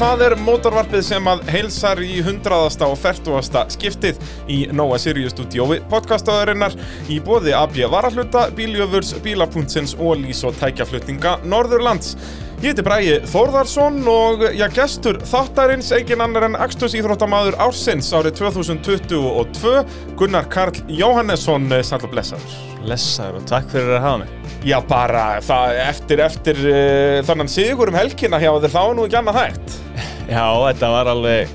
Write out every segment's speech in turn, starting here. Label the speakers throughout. Speaker 1: Það er mótorvarpið sem að heilsar í 100. og 40. skiptið í Nóa Sirius stúdiói podcastaðarinnar í bóði AB Varahluta, Bíljöfurs, Bílapuntsins og Lís og tækjaflutninga Norðurlands. Ég heiti Bræi Þórðarsson og ég gestur þáttarins engin annar en Axtus Íþróttamaður ársins árið 2022 Gunnar Karl Jóhannesson eh, sæll og blessaður.
Speaker 2: Blessaður og takk fyrir að hafa mig
Speaker 1: Já bara það, eftir, eftir uh, þannan sigur um helgina hjá þér þá er nú ekki annað hægt.
Speaker 2: Já, þetta var alveg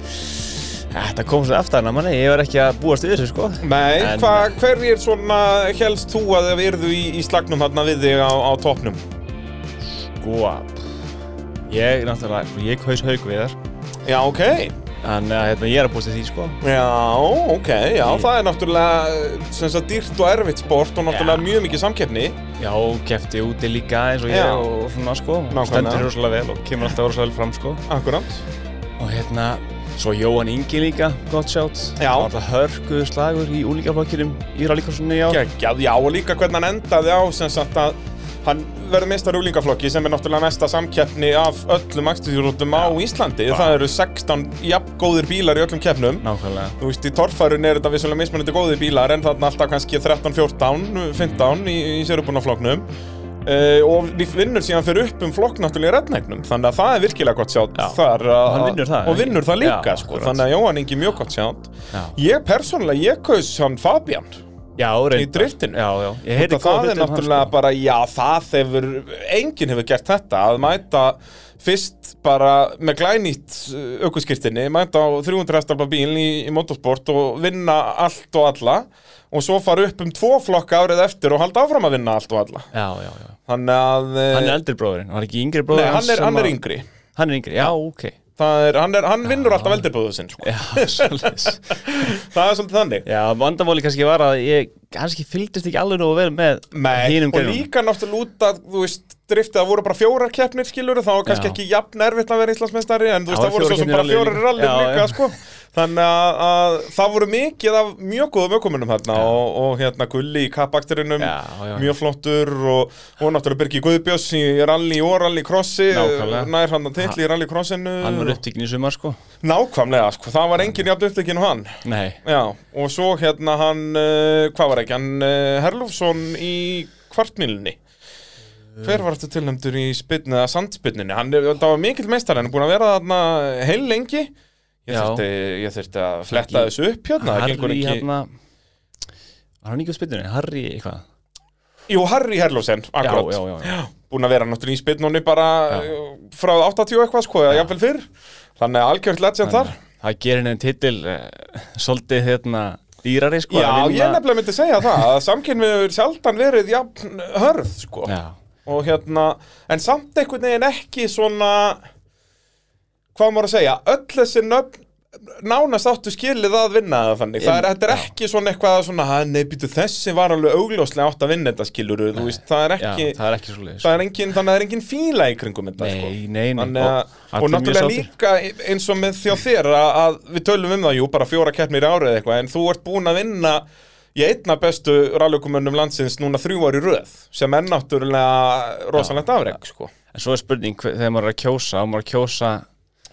Speaker 2: Þetta kom svo eftir að manni, ég var ekki að búast við þessu sko
Speaker 1: Nei,
Speaker 2: En-
Speaker 1: hva, hverjir svona helst þú að þau verðu í, í slagnum þarna við þig á, á topnum?
Speaker 2: Sko Ég náttúrulega, ég kaus haug við þar
Speaker 1: Já, ok.
Speaker 2: En uh, hérna, ég er að búast við því sko
Speaker 1: Já, ok, já,
Speaker 2: Ég-
Speaker 1: það er náttúrulega eh, sem sagt dýrt og erfitt sport og náttúrulega
Speaker 2: Já.
Speaker 1: mjög mikið samkeppni.
Speaker 2: Já, kefti úti líka eins og ég
Speaker 1: Já.
Speaker 2: og svona sko
Speaker 1: Nákvæmlega.
Speaker 2: Stendur rosalega vel og kemur alltaf rosalega vel fram sko
Speaker 1: Akkurát.
Speaker 2: Og hérna, svo Jóhann Ingi líka, gott sjátt
Speaker 1: Já.
Speaker 2: Það var alltaf hörkuðu slagur í úlíkaflokkinum í rálíkossunni já
Speaker 1: Geggjað, já, og líka hvernig hann endaði á sem sagt að hann verður meistar úlingaflokki sem er náttúrulega mesta samkeppni af öllum akstuðjúrútum á Íslandi.
Speaker 2: Vá.
Speaker 1: Það eru 16 jafngóðir bílar í öllum keppnum.
Speaker 2: Nákvæmlega
Speaker 1: Þú veist, í torfarun er þetta vissulega mismunandi góði bílar en þarna alltaf kannski 13, 14, 15 í, í sérubunafloknum uh, og við vinnur síðan fyrir upp um flokk náttúrulega í rednegnum þannig að það er virkilega gott sjátt
Speaker 2: Já.
Speaker 1: þar að,
Speaker 2: Og hann vinnur það,
Speaker 1: og vinnur það
Speaker 2: ekki?
Speaker 1: líka
Speaker 2: Já,
Speaker 1: sko,
Speaker 2: akkurat.
Speaker 1: þannig að Jóhann Ingi mjög gott sjátt
Speaker 2: Já.
Speaker 1: Ég persónulega, ég kaus hann Fabian
Speaker 2: Já, reyndar.
Speaker 1: driftinu?
Speaker 2: Já, já Ég heyrði
Speaker 1: Þetta það
Speaker 2: góða
Speaker 1: er
Speaker 2: hluti um hann,
Speaker 1: náttúrulega
Speaker 2: sko.
Speaker 1: bara, já það hefur, enginn hefur gert þetta að mæta fyrst bara með glænýtt aukurskirtinni, mæta á 300 hestabla bíl í, í motorsport og vinna allt og alla og svo fara upp um tvo flokka árið eftir og halda áfram að vinna allt og alla.
Speaker 2: Já, já, já
Speaker 1: Þannig að, eh,
Speaker 2: Hann er eldri bróðurinn, var ekki yngri
Speaker 1: nei,
Speaker 2: bróðurinn
Speaker 1: hann er, hann er yngri.
Speaker 2: Hann er yngri, já, ok
Speaker 1: Það Er, hann, er, hann vinnur alltaf eldirbúðu sinn, sko.
Speaker 2: Já, svolítið
Speaker 1: Það er svolítið þannig.
Speaker 2: Já, vandamáli kannski var að ég kannski fylgdist ekki alveg nógu vel með
Speaker 1: Nei,
Speaker 2: hinum
Speaker 1: og
Speaker 2: greinum
Speaker 1: líka náttúrulega út að, þú veist, driftið að voru bara fjórar keppnir, skilur, þá var kannski
Speaker 2: Já.
Speaker 1: ekki jafn erfitt að vera Íslandsmeistari, en þú veist,
Speaker 2: Já,
Speaker 1: það voru
Speaker 2: fjórar
Speaker 1: svo sem bara
Speaker 2: keppnir rally
Speaker 1: fjórar
Speaker 2: líka.
Speaker 1: rallir
Speaker 2: Já,
Speaker 1: líka,
Speaker 2: já.
Speaker 1: sko. Þannig að, að það voru mikið af mjög góðum ökumunum hérna og, og hérna Gulli í kappakturinum,
Speaker 2: Já, já, já.
Speaker 1: mjög flottur og, og náttúrulega Birgi Guðbjós í rally og rally crossi,
Speaker 2: Nákvæmlega.
Speaker 1: nær hann að til í rally crossinu.
Speaker 2: Hann var upptíkin í sumar, sko
Speaker 1: Nákvæmlega, sko, það var engin jafn upptökinn og hann.
Speaker 2: Nei
Speaker 1: Já, og svo hérna hann, uh, hvað var ekki, hann uh, Herlufsson í kvartmílunni. Hver var þetta tilnæmdur í spynni eða sandspynninni? Hann er, það var mikill meistar, hann er búin að vera þarna heil lengi. Ég
Speaker 2: Já.
Speaker 1: þurfti, ég þurfti að fletta
Speaker 2: Ekki-
Speaker 1: þessu upp hérna, það gengur
Speaker 2: Harry,
Speaker 1: ekki.
Speaker 2: hérna Var hann ekki á spytunni? Harry, eitthvað
Speaker 1: Jú, Harry Herlufsson, akkurat.
Speaker 2: Já, já, já, já.
Speaker 1: Búin að vera náttúrulega í spynnunni bara
Speaker 2: Já.
Speaker 1: uh, frá 80 eitthvað, sko, eða jafnvel fyrr. Þannig að algjört legend þar.
Speaker 2: Það gerir henni titil uh, svolítið, hérna, dýrari, sko
Speaker 1: Já,
Speaker 2: að
Speaker 1: ég
Speaker 2: vinna-
Speaker 1: nefnilega myndi segja það, að samkynni hefur sjaldan verið jafn hörð, sko.
Speaker 2: Já,
Speaker 1: og hérna, en samt einhvern veginn ekki svona hvað maður að segja, öll þessi nöfn nánast áttu skilið að vinna það þannig, það er, þetta er ekki svona eitthvað svona, "Ha, nei, býtu, þessi var alveg augljóslega átt að vinna þetta skiluru, þú veist, það er
Speaker 2: já,
Speaker 1: ekki
Speaker 2: það er ekki svo leiðis
Speaker 1: það er engin, þannig að það er engin fíla í kringum þetta, sko
Speaker 2: Nei, nei, nei
Speaker 1: Þannig að, og,
Speaker 2: allir mjög
Speaker 1: náttúrulega
Speaker 2: sáttir.
Speaker 1: líka eins og með þjá þér að, að við tölum um það, jú, bara fjóra keppnir í árið eða eitthvað, en þú ert búin að vinna í einna bestu rallökumönnum landsins núna þrjú ári röð, sem er náttúrulega rosalegt afreg, sko.
Speaker 2: En svo er spurning hve- þegar maður er að kjósa og maður er að kjósa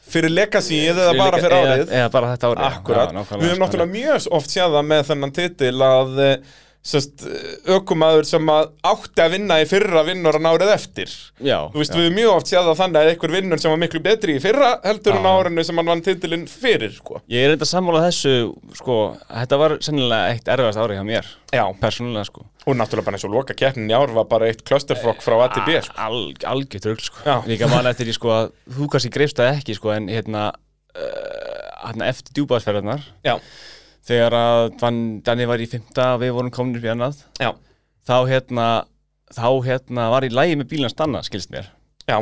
Speaker 1: Fyrir legacyið eða bara fyrir
Speaker 2: eða,
Speaker 1: árið,
Speaker 2: eða bara þetta árið
Speaker 1: akkurat. Við höfum náttúrulega mjög oft séð það með þennan titil að eh, sest, ökumæður sem að átti að vinna í fyrra vinnur en árið eftir.
Speaker 2: já,
Speaker 1: Þú veist,
Speaker 2: já,
Speaker 1: við höfum mjög oft séð það þannig að einhver vinnur sem var miklu betri í fyrra heldur en
Speaker 2: Já.
Speaker 1: árinu sem hann vann titilinn fyrir, sko.
Speaker 2: Ég er reynda sammála þessu sko, þetta var sennilega eitt erfiðast árið hjá mér
Speaker 1: Já,
Speaker 2: persónulega sko
Speaker 1: og náttúrulega bara eins og loka keppnin í ár var bara eitt klösterflokk frá ATB sko.
Speaker 2: Al, algjört rögl sko
Speaker 1: Já.
Speaker 2: Líka mann eftir því sko að þú kannski greifst það ekki sko en hérna uh, hérna eftir djúbaðsferðarnar
Speaker 1: Já,
Speaker 2: þegar að Dan, Danni var í fymta og við vorum komnir í annað
Speaker 1: já,
Speaker 2: þá hérna þá hérna var í lægi með bílans Danna skilst mér
Speaker 1: já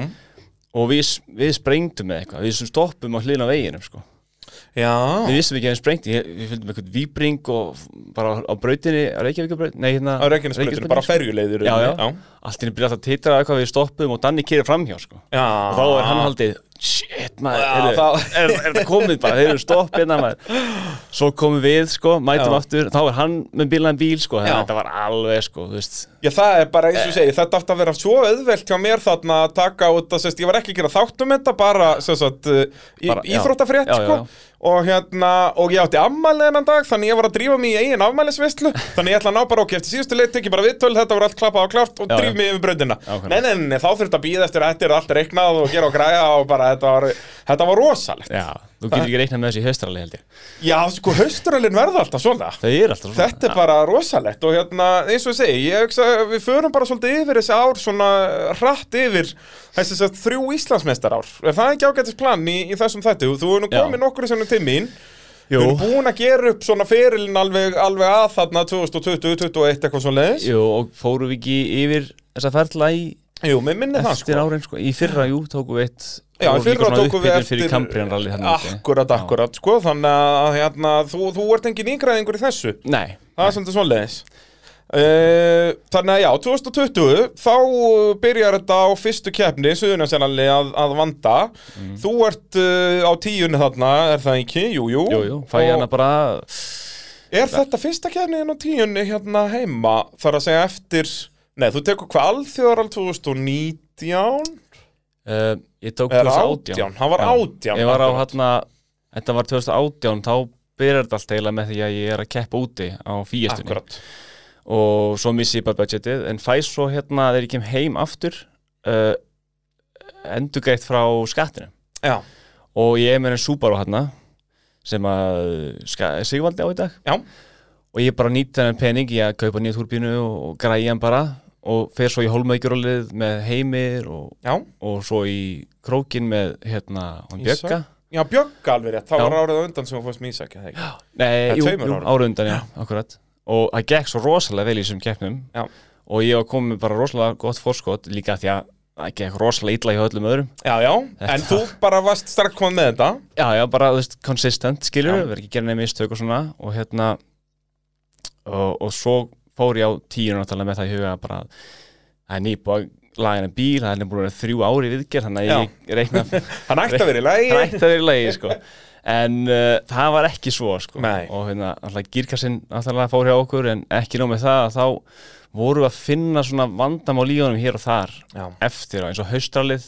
Speaker 2: og við, við sprengdum með eitthvað, við sem stoppum á hliðin á veginum sko.
Speaker 1: Já,
Speaker 2: við vissum ekki að við sprengdi, Ég- við fylgdum eitthvað víbring og f- bara á brautinni á Reykjavíkabraut, nei hérna
Speaker 1: á reikinnsbrutinu, bara ferjuleiður
Speaker 2: já, já.
Speaker 1: já,
Speaker 2: allt í henni byrja alltaf að titra eitthvað við stoppum og Danni kýrir framhjá sko.
Speaker 1: já
Speaker 2: og þá er hann haldið, shit maður,
Speaker 1: Já,
Speaker 2: heyrðu,
Speaker 1: Ah. þá-
Speaker 2: er, er þetta komið bara, þeir eru stopp hérna maður Svo komum við, sko, mætum
Speaker 1: Já.
Speaker 2: aftur Þá er hann með bílaðan bíl, sko þannig
Speaker 1: Já.
Speaker 2: að Þetta var alveg, sko, þú veist
Speaker 1: Já, það er bara eins
Speaker 2: Eh.
Speaker 1: og ég segi, þetta átti að vera svo auðvelt hjá mér þarna að taka út að, sérst, ég var ekki að gera þátt um þetta, bara, sérst,
Speaker 2: Bara, já.
Speaker 1: íþróttafrétt,
Speaker 2: Já, já,
Speaker 1: sko, og hérna, og ég átti afmæli þennan dag, þannig ég var að drífa mig í eigin afmælisvislu, þannig ég ætla að ná bara, ok, eftir síðustu leið, tekið bara viðtöl, þetta voru allt klappað og klárt og
Speaker 2: Já, já.
Speaker 1: dríf mig yfir bröndina.
Speaker 2: Ákveðna.
Speaker 1: Nei, nei, nei, nei, þá þurfti að býða eftir að þetta er allt reiknað og gera og græja og bara, þetta var, þetta var rosalegt.
Speaker 2: Já, þú getur ekki reiknað með þessi höstrali, held ég
Speaker 1: Já, sko, hausturölin verða alltaf svona.
Speaker 2: Þau eru alltaf svona
Speaker 1: Þetta er bara rosalegt og hérna, eins og ég segi, ég hugsa, að við förum bara svolítið yfir þessi ár, svona hratt yfir þessi þess að þrjú Íslandsmeistar ár. Er það ekki ágættis plan í, í þessum þættu? Þú er nú
Speaker 2: Já.
Speaker 1: komin nokkur sem til mín,
Speaker 2: Jú.
Speaker 1: þú er búin að gera upp svona ferilin alveg, alveg að þarna 2020-2021 eitthvað svo leiðis.
Speaker 2: Jú, og fórum við ekki yfir þessa ferla í
Speaker 1: Jú, mér minni það
Speaker 2: eftir
Speaker 1: sko.
Speaker 2: árin, sko Í fyrra, jú, tókum við eitt
Speaker 1: Já, í
Speaker 2: vorum líka
Speaker 1: fyrra
Speaker 2: svona
Speaker 1: tókum við
Speaker 2: upphitnir
Speaker 1: eftir
Speaker 2: Fyrir Cambrian rally þarna úti.
Speaker 1: Akkurat, akkurat, sko, þannig að hérna, þú, þú ert engin yngræðingur í þessu
Speaker 2: Nei,
Speaker 1: Það er svolítið svoleiðis uh, Þannig að já, 2020 þá uh, byrjar þetta á fyrstu keppni Suðunarsjálali að, að vanda
Speaker 2: Mhm.
Speaker 1: Þú ert uh, á tíunni þarna, er það ekki? Jú, jú,
Speaker 2: jú, jú, fæ ég
Speaker 1: Og
Speaker 2: hana bara
Speaker 1: Er þetta fyrsta keppniðin á tíunni hérna heima? Þar að segja eftir Nei, þú tekur hvað alþjóðaral 2019?
Speaker 2: uh, Ég tók
Speaker 1: Eða
Speaker 2: 2018
Speaker 1: átján, hann var
Speaker 2: Já.
Speaker 1: átján
Speaker 2: Ég var á
Speaker 1: akkurat.
Speaker 2: hérna, þetta var 2018 þá byrjar þetta allt eiginlega með því að ég er að keppa úti á fíestunni
Speaker 1: Akkurat
Speaker 2: og svo missi ég bara budgetið en fæ svo hérna þegar ég kem heim aftur uh, endurgreitt frá skattinu
Speaker 1: Já,
Speaker 2: og ég er með enn Subaru hérna sem að ska, Sigvaldi á í dag
Speaker 1: já,
Speaker 2: og ég bara nýtt þennan pening í að kaupa nýja turbínu og, og græja hann bara og fer svo í holmaugurólið með heimir og,
Speaker 1: já
Speaker 2: og svo í krókin með hérna, hann
Speaker 1: Ísak.
Speaker 2: Bjögga
Speaker 1: Já, Björg alveg rétt, þá
Speaker 2: Já.
Speaker 1: var árið á undan sem hún fórst með Ísak, eða ekki?
Speaker 2: Nei,
Speaker 1: er
Speaker 2: jú,
Speaker 1: tveimur
Speaker 2: jú
Speaker 1: árum.
Speaker 2: ára undan, já, akkurat Og það gekk svo rosalega vel í þessum keppnum
Speaker 1: Já.
Speaker 2: Og ég var komið með bara rosalega gott fórskot Líka því að það gekk rosalega illa hjá öllum öðrum
Speaker 1: Já, já, en þú bara varst stark komið með þetta
Speaker 2: Já, já, bara, þú veist, consistent, skilur
Speaker 1: Já.
Speaker 2: Við erum ekki gerðin nefnir mistök og svona Og hérna Og, og svo fór ég á tíu náttúrulega með það í huga að Bara, það er nýbúið að laga henni bíl Það er nefnir búin að vera þrjú ári viðgerð Þannig að
Speaker 1: Já.
Speaker 2: ég reikna
Speaker 1: Hann ætti að vera í
Speaker 2: það
Speaker 1: lagi
Speaker 2: ætti að vera í lagi sko. en uh, það var ekki svo sko.
Speaker 1: Nei.
Speaker 2: og hérna, alltaf girkassinn alltaf fór hjá okkur en ekki nóg með það að þá voru að finna svona vandamál í honum hér og þar
Speaker 1: Já,
Speaker 2: eftir á eins og haustralið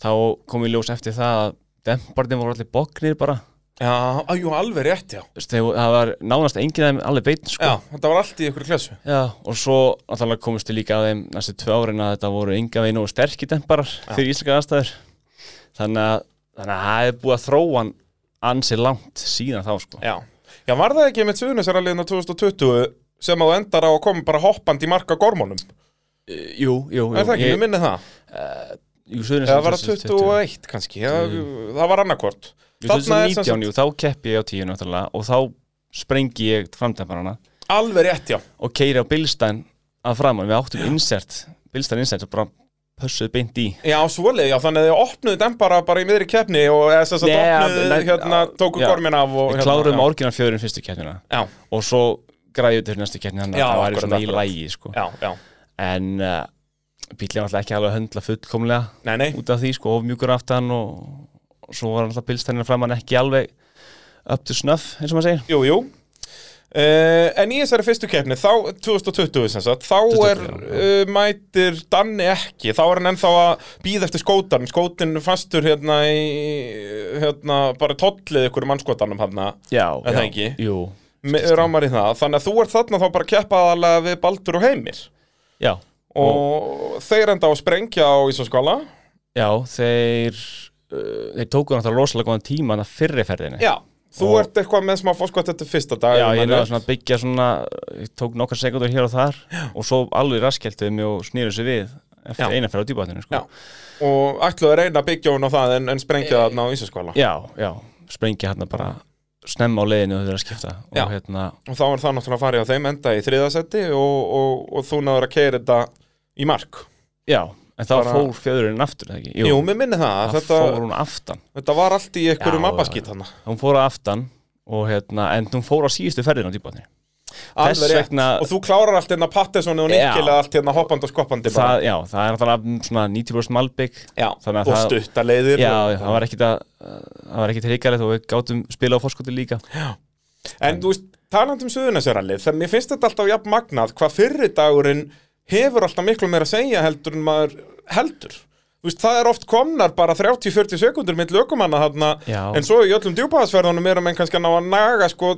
Speaker 2: þá kom í ljós eftir það að dembarnir voru allir bóknir bara
Speaker 1: já, á, jú, alveg rétt, já
Speaker 2: Þú veist, þeir voru- það var nánast enginn af þeim alveg beinn sko.
Speaker 1: Já, þetta var allt í ykkur klessu
Speaker 2: Já, og svo alltaf komist við líka að þeim næstu tvö árin að þetta voru ynga veginn og sterkir demparar fyrir íslenska aðstæður þannig að, þannig að það er búið að þróan ansi langt síðan þá sko.
Speaker 1: Já, já, var það ekki með Suðunisaraliðina 2020 sem að þú endar á að koma bara hoppandi í marka gormónum Eh,
Speaker 2: Jú, jú, jú
Speaker 1: Er það ekki, ég minni það
Speaker 2: jú, Suðurnes-
Speaker 1: Eða var það 21 kannski, já, það var annarkvort
Speaker 2: Jú,
Speaker 1: Þarna er sem
Speaker 2: 2019, jú, þá keppi ég á tíu náttúrulega og þá sprengi ég framdemparana
Speaker 1: sagt alveg rétt, já
Speaker 2: og keiri á Bilstein að framan, við áttum insert Bilstein insert og bara pössuð beint í
Speaker 1: Já, svoleið, já, þannig að þið opnuðu dembara bara í miðri keppni og eða þess að
Speaker 2: Nei,
Speaker 1: opnuðu,
Speaker 2: að- nei,
Speaker 1: hérna,
Speaker 2: að-
Speaker 1: tóku
Speaker 2: já.
Speaker 1: gormin af og
Speaker 2: Við
Speaker 1: hérna,
Speaker 2: klárum
Speaker 1: já.
Speaker 2: orginal fjöðurinn fyrstu keppnina
Speaker 1: Já,
Speaker 2: og svo græði þetta fyrir næstu keppni þannig
Speaker 1: Já,
Speaker 2: að það væri
Speaker 1: akkurat,
Speaker 2: svona í
Speaker 1: akkurat.
Speaker 2: lægi sko.
Speaker 1: já, já,
Speaker 2: en uh, bílinn var alltaf ekki alveg að höndla fullkomlega
Speaker 1: nei, nei,
Speaker 2: út af því sko, of mjúkur aftan og, og svo var alltaf pilstænina framann ekki alveg up to snuff eins og maður segir
Speaker 1: Jú, jú uh, En í þessari fyrstu keppni, þá 2020 sem sagt, þá
Speaker 2: 2020,
Speaker 1: er uh, mætir Danni ekki, þá er hann ennþá að býða eftir skótarn, skótin fastur hérna í hérna, bara tollið ykkur mannskotanum hérna
Speaker 2: Já,
Speaker 1: Er það
Speaker 2: já,
Speaker 1: ekki?
Speaker 2: Jú,
Speaker 1: Me- rámar í það, þannig að þú ert þarna þá bara að keppa aðalega við Baldur og Heimir
Speaker 2: já,
Speaker 1: og þeir enda á að sprengja á Ísaskóla
Speaker 2: já þeir uh, þeir tóku náttúrulega rosalega góðan tíma þannig fyrri ferðinni
Speaker 1: Já, þú
Speaker 2: Og-
Speaker 1: ert eitthvað með smá fórskvætt þetta er fyrsta dag
Speaker 2: Já,
Speaker 1: ef
Speaker 2: ég
Speaker 1: maður
Speaker 2: náði
Speaker 1: er-
Speaker 2: svona að byggja svona, ég tók nokkar sekundur hér og þar og svo alveg raskeltuði mig og snýru sig við eftir
Speaker 1: Já.
Speaker 2: eina ferð á djúbáttinu sko.
Speaker 1: Já. og ætluðu að reyna að byggja hún á það en, en
Speaker 2: Eh,
Speaker 1: sprengja þarna á Ísaskóla
Speaker 2: já, já, sprengja hérna bara snemma á leiðinu þegar það er að skipta
Speaker 1: Já.
Speaker 2: og hérna,
Speaker 1: og þá er það náttúrulega farið á þeim enda í þriðasetti og, og, og þú náður að keira þetta í mark.
Speaker 2: já, en þá
Speaker 1: Bara-
Speaker 2: fór fjöðurinn aftur, eða ekki?
Speaker 1: Jú, mér minni það, að
Speaker 2: það
Speaker 1: þetta,
Speaker 2: fór hún aftan
Speaker 1: þetta var allt í einhverjum
Speaker 2: Já,
Speaker 1: abbaskít hana.
Speaker 2: hún fór að aftan og hérna, en hún fór á síðustu ferðin á dýbáttinu Þess
Speaker 1: alveg rétt
Speaker 2: vegna-
Speaker 1: og þú klárar allt hérna Pattesoni og
Speaker 2: Já.
Speaker 1: Nikkel allt hérna hoppand og skoppandi bara.
Speaker 2: það, já, það er náttúrulega svona 90% malbygg
Speaker 1: já,
Speaker 2: þannig að
Speaker 1: og
Speaker 2: það-
Speaker 1: stuttaleiðir
Speaker 2: Já,
Speaker 1: og-
Speaker 2: já, það var ekkit að það var ekkit hrikalegt og við gátum spila á fórskoti líka
Speaker 1: En þú veist, taland um suðunasjörallið, þannig mér finnst þetta alltaf jafn magnað hvað fyrri dagurinn hefur alltaf miklu meira að segja heldur en maður heldur. Þú veist, það er oft komnar bara 30-40 sekundur mitt lögumanna þarna,
Speaker 2: Já.
Speaker 1: en svo í öllum djúpaðasferðunum erum menn kannski að ná að naga sko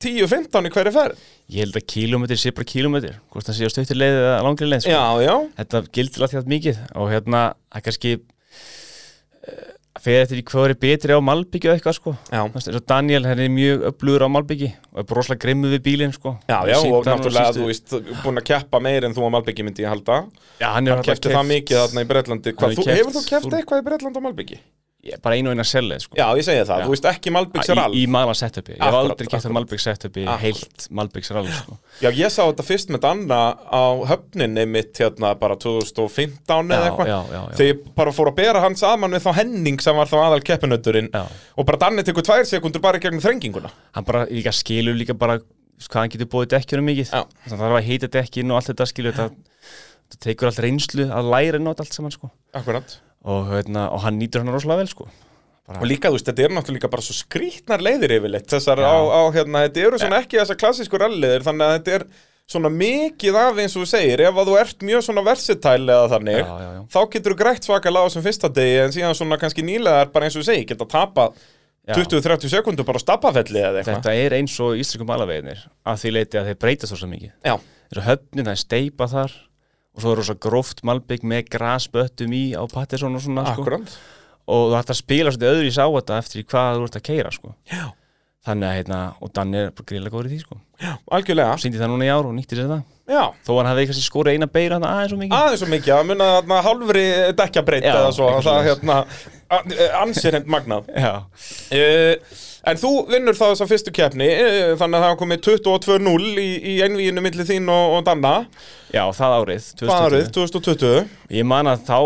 Speaker 1: 10-15 í hverju ferð.
Speaker 2: Ég held að kílómetri sé bara kílómetri hvort það sé á stöttir leið eða langri leið sko.
Speaker 1: Já, já,
Speaker 2: Þetta gildir alltaf jafn mikið og hérna, það kannski uh, fyrir eftir í hvað er betri á malbyggju eða eitthvað sko
Speaker 1: já.
Speaker 2: Þú veist, eins og Daniel, henni er mjög upplugur á Malbyggi og er broslega grimmu við bílinn sko.
Speaker 1: Já, já,
Speaker 2: Sýnt
Speaker 1: og
Speaker 2: hann á
Speaker 1: náttúrulega,
Speaker 2: síðustu-
Speaker 1: þú veist, búin að keppa meir en þú á Malbyggi myndi ég halda.
Speaker 2: Já, hann er
Speaker 1: Kefti það mikið þarna í Bretlandi.
Speaker 2: Hann
Speaker 1: Hvað, þú, hefur
Speaker 2: hefur keppt
Speaker 1: þú keft
Speaker 2: full-
Speaker 1: eitthvað í Bretlandi á Malbyggi?
Speaker 2: mikið Bara einu og eina sellið sko.
Speaker 1: Já, ég segi það,
Speaker 2: Já.
Speaker 1: þú veist, ekki Malbyggs er
Speaker 2: Í, í mala setupi, ég hef
Speaker 1: Akkurat,
Speaker 2: aldrei kæft að Malbygg setupi
Speaker 1: Akkurat.
Speaker 2: heilt Malbyggs rally sko.
Speaker 1: Já, ég sá þetta fyrst með Danna á höfninni mitt hérna bara 2015
Speaker 2: Já,
Speaker 1: eða eitthvað
Speaker 2: já, já, já.
Speaker 1: Þegar ég bara fór að bera hann saman við þá Henning sem var þá aðal keppinauturinn
Speaker 2: Já.
Speaker 1: og bara Danni tekur tvær sekundur bara í gegnum þrenginguna
Speaker 2: Hann bara líka skilur líka bara þú veist, hvað hann getur búið dekkjunum mikið
Speaker 1: Já.
Speaker 2: Þannig að það var að heita dekkin og allt þetta skilur þetta, þetta tekur allt reynslu að læra nót allt saman sko.
Speaker 1: Akkurat
Speaker 2: og, hérna, og hann nýtur hann rosalega vel sko.
Speaker 1: Og líka, þú veist, þetta eru náttúrulega líka bara svo skrýtnar leiðir yfirleitt Þessar á, á, hérna, þetta eru svona ekki þessar klassísku ralliðir Þannig að þetta er svona mikið af eins og þú segir Ef að þú ert mjög svona versatile eða þannig
Speaker 2: Já, já, já.
Speaker 1: Þá getur þú grætt svaka lág sem fyrsta degi En síðan svona kannski nýlegar bara eins og þú segir Geta tapað
Speaker 2: Já.
Speaker 1: 20-30 sekundur bara á stappafelli eða eitthvað
Speaker 2: Þetta er eins og íslensku malaveginir að því leiti að þeir breytast svo mikið
Speaker 1: Já,
Speaker 2: þessu höfnin, það er steipa þar og svo er rosa gróft malbygg með grasböttum í á Patterson og svona sko.
Speaker 1: akkurat
Speaker 2: og þú ætti að spila svolítið öðru í sá þetta eftir í hvað þú ert að keira sko.
Speaker 1: Já.
Speaker 2: þannig að hérna, og Danni er bara gríðlega góður í því sko.
Speaker 1: Algjörlega,
Speaker 2: síndi það núna í ár og nýtti sér það
Speaker 1: já
Speaker 2: þó hann hafði kannski skorið eina beira hann aðeins og mikið
Speaker 1: Aðeins og mikið, að muna þarna hálfri dekkjabreita
Speaker 2: Já,
Speaker 1: eða svo
Speaker 2: eitthvað
Speaker 1: Það
Speaker 2: svoleiðis.
Speaker 1: hérna, ansirend magnað
Speaker 2: Já.
Speaker 1: uh, En þú vinnur það þess að fyrstu keppni uh, Þannig að það komið 22-0 í, í einvíinu milli þín og, og Danna
Speaker 2: Já, það árið, 2020.
Speaker 1: Barið 2020
Speaker 2: Ég man að þá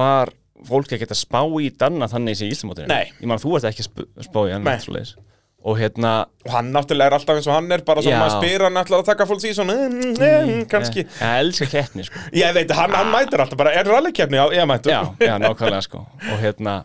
Speaker 2: var fólk ekki að spá í Danna þannig sem í Íslamótinu
Speaker 1: Nei.
Speaker 2: Ég man að þú varst ekki að sp- spá í hann
Speaker 1: Nei.
Speaker 2: svoleiðis. og hérna,
Speaker 1: Og hann náttúrulega er alltaf eins og hann er Bara svona
Speaker 2: Já. eh.
Speaker 1: maður spyr hann ætlar að taka fólks í svona mm, mm, Kanski
Speaker 2: ég, ég elska keppni sko.
Speaker 1: Ég veit, hann, hann mætir alltaf bara Er rallikeppni? Já, ég mætur
Speaker 2: já, já, nákvæmlega sko og hérna,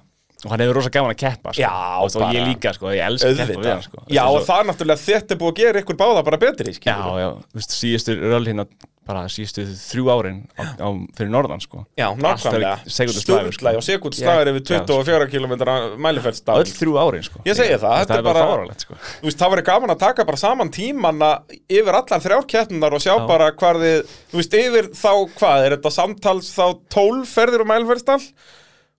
Speaker 2: og hann hefur rosa gaman að keppa sko.
Speaker 1: Já,
Speaker 2: og svo
Speaker 1: bara-
Speaker 2: ég líka sko, ég elska að keppa við hann
Speaker 1: Auðvitað
Speaker 2: sko.
Speaker 1: Já,
Speaker 2: Þetta
Speaker 1: og
Speaker 2: er svo-
Speaker 1: það er náttúrulega þetta er búið að gera ykkur báða bara betri
Speaker 2: já,
Speaker 1: skilurðu.
Speaker 2: já, þú veist, síðustu röll hérna bara síðustu þrjú árin á, á, fyrir norðan sko
Speaker 1: Já, nákvæmlega
Speaker 2: segunduslæður
Speaker 1: Sturla, já, sekundslagur yfir 24 km
Speaker 2: sko. öll
Speaker 1: mælifældsstafn
Speaker 2: þrjú árin sko
Speaker 1: Ég segi það, þetta
Speaker 2: þetta
Speaker 1: er
Speaker 2: er bara
Speaker 1: bara-
Speaker 2: fáralegt sko
Speaker 1: Þú veist, það verið gaman að taka bara saman tímanna yfir allar þrjár keppnar og sjá bara hvar þið, þú veist, yfir þá hvað, er þetta samtals þá 12 ferðir um mælifældsstall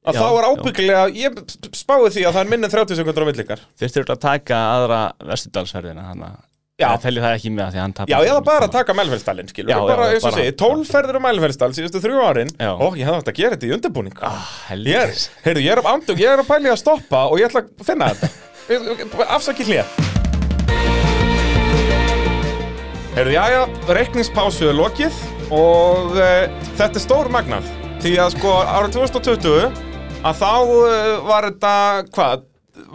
Speaker 1: að
Speaker 2: Já,
Speaker 1: þá er
Speaker 2: já.
Speaker 1: ábyggilega, ég spáði því að það er minni en 30 sekundur á millikar
Speaker 2: þurftir öll að taka aðra vestudalsverðina þannig að
Speaker 1: Já.
Speaker 2: það telli það ekki með að því að hann
Speaker 1: Já,
Speaker 2: tapar
Speaker 1: eða bara að taka mælifældsstallin, skilur
Speaker 2: Já, já,
Speaker 1: bara,
Speaker 2: já,
Speaker 1: eins og
Speaker 2: bara-
Speaker 1: segi, 12 ferðir um mælifældsstall síðustu þrjú árin,
Speaker 2: Já.
Speaker 1: ó, ég hefði átt að gera þetta í undirbúning
Speaker 2: ah, helvítis.
Speaker 1: Ég er, heyrðu, ég er af andug, ég er að pæli að stoppa og ég ætla að finna þetta Afsaki hlið Heyrðu, já, já, reikningspásu er lokið og uh, þetta er stór magnað Því að sko ára 2020 að þá uh, var þetta, hvað,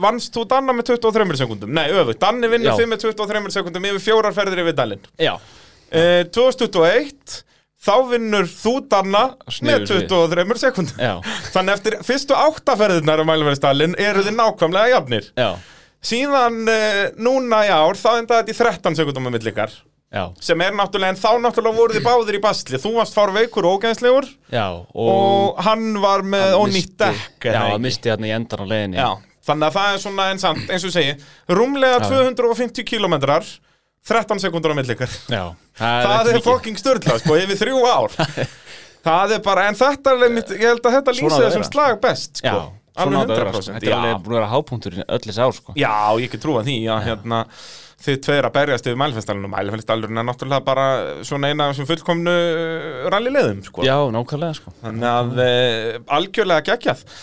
Speaker 1: vannst þú Danna með 23 sekundum? Nei, öfugt, Danni vinnur
Speaker 2: Já.
Speaker 1: þið með 23 sekundum yfir fjórar ferðir yfir Dalinn
Speaker 2: já,
Speaker 1: uh, 2021 þá vinnur þú Danna með
Speaker 2: Sniður við.
Speaker 1: 23 sekundum
Speaker 2: já,
Speaker 1: Þannig eftir fyrstu áttaferðirnar á mælverðstallin eru þið nákvæmlega jafnir.
Speaker 2: já,
Speaker 1: Síðan uh, núna í ár, þá enda þetta í 13 sekundum með millikar.
Speaker 2: já,
Speaker 1: Sem er náttúrulega, en þá náttúrulega voru þið báðir í basli. Þú varst fár veikur og ógænslegur
Speaker 2: já og,
Speaker 1: og hann var með ónýtt dekk.
Speaker 2: já,
Speaker 1: eða
Speaker 2: hann
Speaker 1: ekki?
Speaker 2: misti hérna í endan á leiðinni
Speaker 1: Já, þannig að það er svona eins og, eins og ég segi, rúmlega 250 kilometrar, 13 sekundur á millikar.
Speaker 2: já, það,
Speaker 1: Það
Speaker 2: ekki
Speaker 1: er
Speaker 2: mikið.
Speaker 1: fokking störla, sko, yfir þrjú ár. Það er bara, en þetta er, einmitt- ég held að þetta
Speaker 2: Svona á
Speaker 1: lýsa
Speaker 2: það að
Speaker 1: þessum
Speaker 2: vera.
Speaker 1: slag best, sko.
Speaker 2: Já, svona á
Speaker 1: alveg
Speaker 2: þetta að vera,
Speaker 1: 100%.
Speaker 2: sko. Þetta er alveg búin að vera hápunkturinn öll þessi ár sko.
Speaker 1: Já, ég get trúað því að hérna, þið tveir að berjast yfir mælifestalinn og mælifestalinn er náttúrulega bara svona eina af þessum fullkomnu rallilegðum sko.
Speaker 2: Já, nákvæmlega sko.
Speaker 1: Þannig að uh, algjörlega geggjað uh,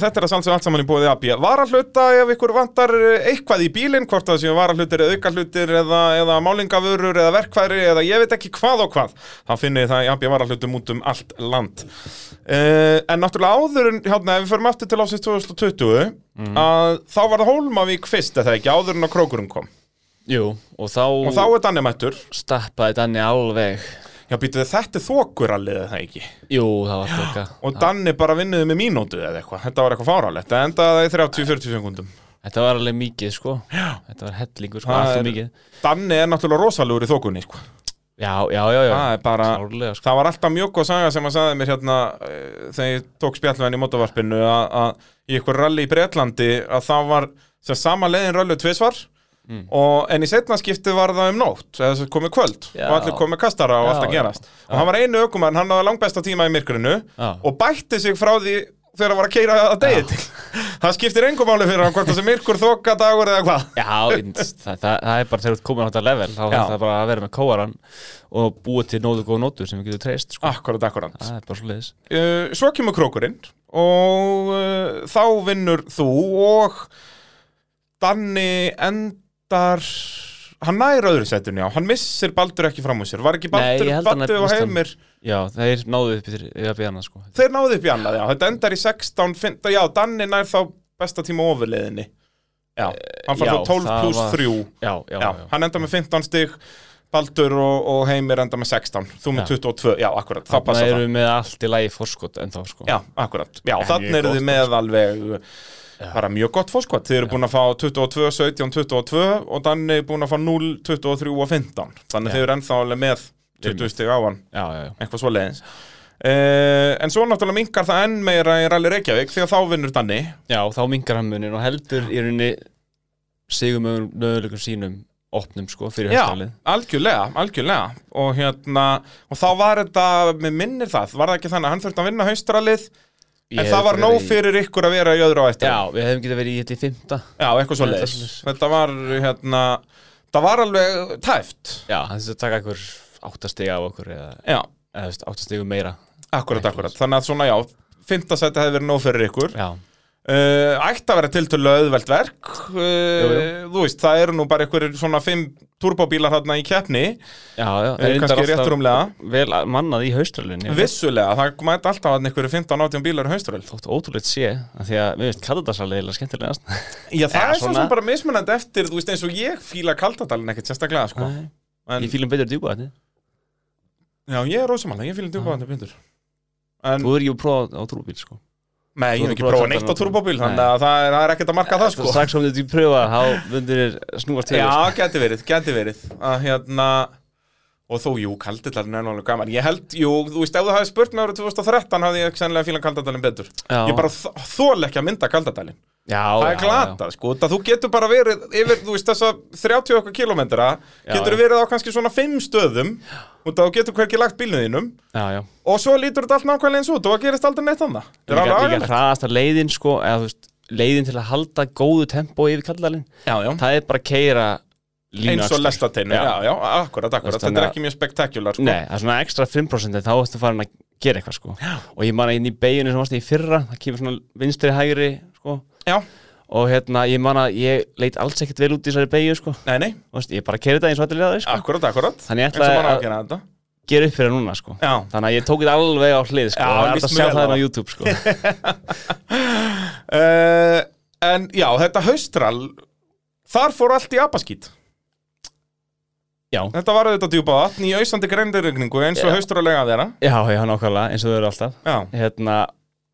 Speaker 1: Þetta er að sálsum allt saman í búið AB Varahluta ef ykkur vantar eh, eitthvað í bílinn Hvort það séu varahlutir eða aukahlutir eða, eða málingavörur eða verkværi eða ég veit ekki hvað og hvað Þá finnið þið það í AB varahlutum út um allt land uh, En náttúrulega áður en hérna, ef við förum aftur til ásins 2020 að, Þá var það Hólmavík fyrst eða ekki áður en að krókurum kom
Speaker 2: Jú, og þá,
Speaker 1: Og þá er Danni mættur.
Speaker 2: stappaði Danni alveg
Speaker 1: Já, býtu þetta er þokurallið eða það ekki.
Speaker 2: Jú, það var þetta
Speaker 1: Og Danni bara vinnuði með mínútu eða eitthvað. Þetta var eitthvað fáralegt. Það endaði í 30-40 sekundum.
Speaker 2: Þetta var alveg mikið sko já. Þetta var hellingur sko,
Speaker 1: Það
Speaker 2: allt
Speaker 1: er-
Speaker 2: er mikið
Speaker 1: Danni er náttúrulega rosalugur í þokunni, sko.
Speaker 2: Já, já, já, já,
Speaker 1: Það er bara...
Speaker 2: klárlega sko
Speaker 1: Það var alltaf mjög góð saga sem að sagði mér hérna eh, þegar ég tók spjallvæðin í mótavarpinu að að í ykkur rally í Bretlandi að það var sem sama leiðin rally tvisvar
Speaker 2: Mm.
Speaker 1: og, en í setna skiptið var það um nótt eða þess að komið kvöld
Speaker 2: Já.
Speaker 1: og allir komið kastara og
Speaker 2: Já,
Speaker 1: allt að
Speaker 2: já.
Speaker 1: gerast og hann var einu ökumann, hann hafði langbesta tíma í myrkrinu
Speaker 2: Já.
Speaker 1: og bætti sig frá því þegar hann var að keira að degi til það skiptir engum áli fyrir hann hvort þessi myrkur þoka dagur eða hvað
Speaker 2: Já, það, það, það er bara þegar þú ert komin á þetta level þá
Speaker 1: Já.
Speaker 2: þarf það bara að vera með kóaran og búa til nóðu góð nótur sem við getum treyst sko.
Speaker 1: Akkurat, akkurat
Speaker 2: Það er bara svo leiðis
Speaker 1: uh, svo kemur krókurinn og uh, þá vinnur þú og Danni endar hann nær öðru setun já, hann missir Baldur ekki fram úr sér var ekki
Speaker 2: Nei,
Speaker 1: Baldur,
Speaker 2: ég held hann
Speaker 1: Baldur og
Speaker 2: missti hann.
Speaker 1: Heimir
Speaker 2: Já, þeir náðu upp yfir yfir að bjana sko.
Speaker 1: þeir náðu upp í annað, já, þetta endar í 16 15, já, Danni nær þá besta tíma ofurleiðinni já, hann fær
Speaker 2: Eh, já,
Speaker 1: þá 12
Speaker 2: það
Speaker 1: pluss
Speaker 2: var-
Speaker 1: 3
Speaker 2: Já, já,
Speaker 1: já,
Speaker 2: já,
Speaker 1: hann endar með 15 stig Baldur og, og Heimir endar með 16 þú með
Speaker 2: Já.
Speaker 1: 22, já, akkurat, þá
Speaker 2: Þannig
Speaker 1: passa það
Speaker 2: erum við með allt í lagi fórskot en þá sko
Speaker 1: Já, akkurat. Já,
Speaker 2: En
Speaker 1: þannig
Speaker 2: mjög
Speaker 1: eru þið
Speaker 2: gott
Speaker 1: með alveg bara mjög gott fórskot. Þið eru búin að fá 22, 17, 22 og Danni er búin að fá 0, 23 og 15. Þannig
Speaker 2: Já.
Speaker 1: þið eru ennþá alveg með 20 stig á hann,
Speaker 2: já, já, já.
Speaker 1: eitthvað svo leiðins. en svo náttúrulega mingar það enn meira í Rally Reykjavík því að þá vinnur Danni.
Speaker 2: já þá mingar hann munin og heldur í rauninni sigum möguleikum sínum opnum sko fyrir
Speaker 1: Já,
Speaker 2: höstalið
Speaker 1: algjörlega, algjörlega og hérna, og þá var þetta með minnir það, var það ekki þannig að hann þurfti að vinna haustralið, en það var nóg fyrir ykkur að vera í öðru á eftir
Speaker 2: Já, við hefum getið verið í þetta í fymta
Speaker 1: Já, eitthvað svo
Speaker 2: Eitthvað
Speaker 1: leiðis.
Speaker 2: svoleiðis.
Speaker 1: Þetta var, hérna, það var alveg tæft.
Speaker 2: Já, hann þess að taka einhver áttastiga á okkur eða,
Speaker 1: Já,
Speaker 2: eða þú veist, áttastigu meira
Speaker 1: akkurat,
Speaker 2: Eitthvað
Speaker 1: akkurat. Þannig að svona, já, fymta seti hefði verið nóg fyrir ykkur.
Speaker 2: Já,
Speaker 1: Uh, ætti að vera tiltölu auðvelt verk. Uh,
Speaker 2: Jú,
Speaker 1: Þú veist, það eru nú bara einhverjir svona fimm turbóbílar hérna í keppni.
Speaker 2: já, já
Speaker 1: Eh,
Speaker 2: reyndar
Speaker 1: kannski rétt
Speaker 2: alltaf
Speaker 1: rúmlega.
Speaker 2: Vel að- mannað í haustralinni
Speaker 1: Vissulega, það mætti alltaf hann einhverjir 15-18 bílar í hausturöld.
Speaker 2: Þótt ótrúleitt sé, af því að mér finnst Katadasarlega eða skemmtilegast
Speaker 1: Já, það
Speaker 2: Já,
Speaker 1: er svona,
Speaker 2: svona.
Speaker 1: bara mismunandi eftir, þú veist, eins og ég fíla kaldadalinn ekkert sérstaklega, sko. En,
Speaker 2: Ég fílum betur djúpa þetta
Speaker 1: já, ég er rosamann, ég fíla djúpa hann byndur. En,
Speaker 2: Þú er ekki að prófa á trúbíl, sko
Speaker 1: nei, ég hef
Speaker 2: þú hefur
Speaker 1: ekki
Speaker 2: prófað
Speaker 1: prófað
Speaker 2: kaldadalinn
Speaker 1: neitt á
Speaker 2: á
Speaker 1: turbóbíl,
Speaker 2: Nei.
Speaker 1: þannig að það er, það er ekkert að marka það, sko.
Speaker 2: Strax sem þú ekki pröfa, þá myndir þér snúast til
Speaker 1: Já, geti verið, geti verið að hérna og þó, jú, kaldadalinn er náttúrulega gaman ég held, jú, þú veist, ef þú hafði spurt mig árið 2013 hafði ég sennilega fílan kaldadalinn betur
Speaker 2: Já.
Speaker 1: ég bara þ- þoli ekki að mynda kaldadalinn
Speaker 2: já,
Speaker 1: það er
Speaker 2: já, já.
Speaker 1: glatað, sko, það þú getur bara verið yfir, þú veist, þessa 30 okkar kilometra
Speaker 2: Já,
Speaker 1: getur
Speaker 2: já.
Speaker 1: verið á kannski svona 5 stöðum og þá getur hverki lagt bílnum þínum
Speaker 2: Já, já
Speaker 1: og svo lítur þetta allt nákvæmlega eins út og það gerist aldrei neitt annað Það er
Speaker 2: Líka,
Speaker 1: alveg
Speaker 2: líka
Speaker 1: agalegt.
Speaker 2: hraðasta leiðin, sko eða, þú veist, Leiðin til að halda góðu tempó yfir Katadalinn
Speaker 1: Já, já.
Speaker 2: Það er bara að keira
Speaker 1: eins og lestateinu, já, já, akkurat, akkurat þetta
Speaker 2: þannig
Speaker 1: er
Speaker 2: að-
Speaker 1: ekki mjög spektakular, sko
Speaker 2: Nei, það er svona ekstra 5% en þá ertu farin að gera eitthvað sko og ég man að inn í beiginu sem varst í fyrra það kemur svona vinstri hægri sko
Speaker 1: já,
Speaker 2: og hérna ég man að ég leit alls ekkert vel út í þessari beigju sko
Speaker 1: nei, nei,
Speaker 2: Þú veist, ég bara kerði það eins og allir leða sko.
Speaker 1: akkurat, akkurat
Speaker 2: þannig ég
Speaker 1: eins og
Speaker 2: ætlaði
Speaker 1: maður á að
Speaker 2: að
Speaker 1: gera þetta
Speaker 2: gera upp fyrir núna sko
Speaker 1: Já.
Speaker 2: þannig að ég tók þetta alveg á hlið sko
Speaker 1: Já,
Speaker 2: og það er hægt
Speaker 1: líst
Speaker 2: að
Speaker 1: mér
Speaker 2: sjá
Speaker 1: vel
Speaker 2: það
Speaker 1: á.
Speaker 2: inn á YouTube sko
Speaker 1: uh, En já, þetta haustral Þar fór allt í apaskít
Speaker 2: Já,
Speaker 1: Þetta var auðvitað djúpa vatn í ausandi greindirregningu eins og
Speaker 2: Já.
Speaker 1: haustralega þeirra
Speaker 2: já, já, nákvæmlega eins og þau eru alltaf
Speaker 1: Já,
Speaker 2: hérna,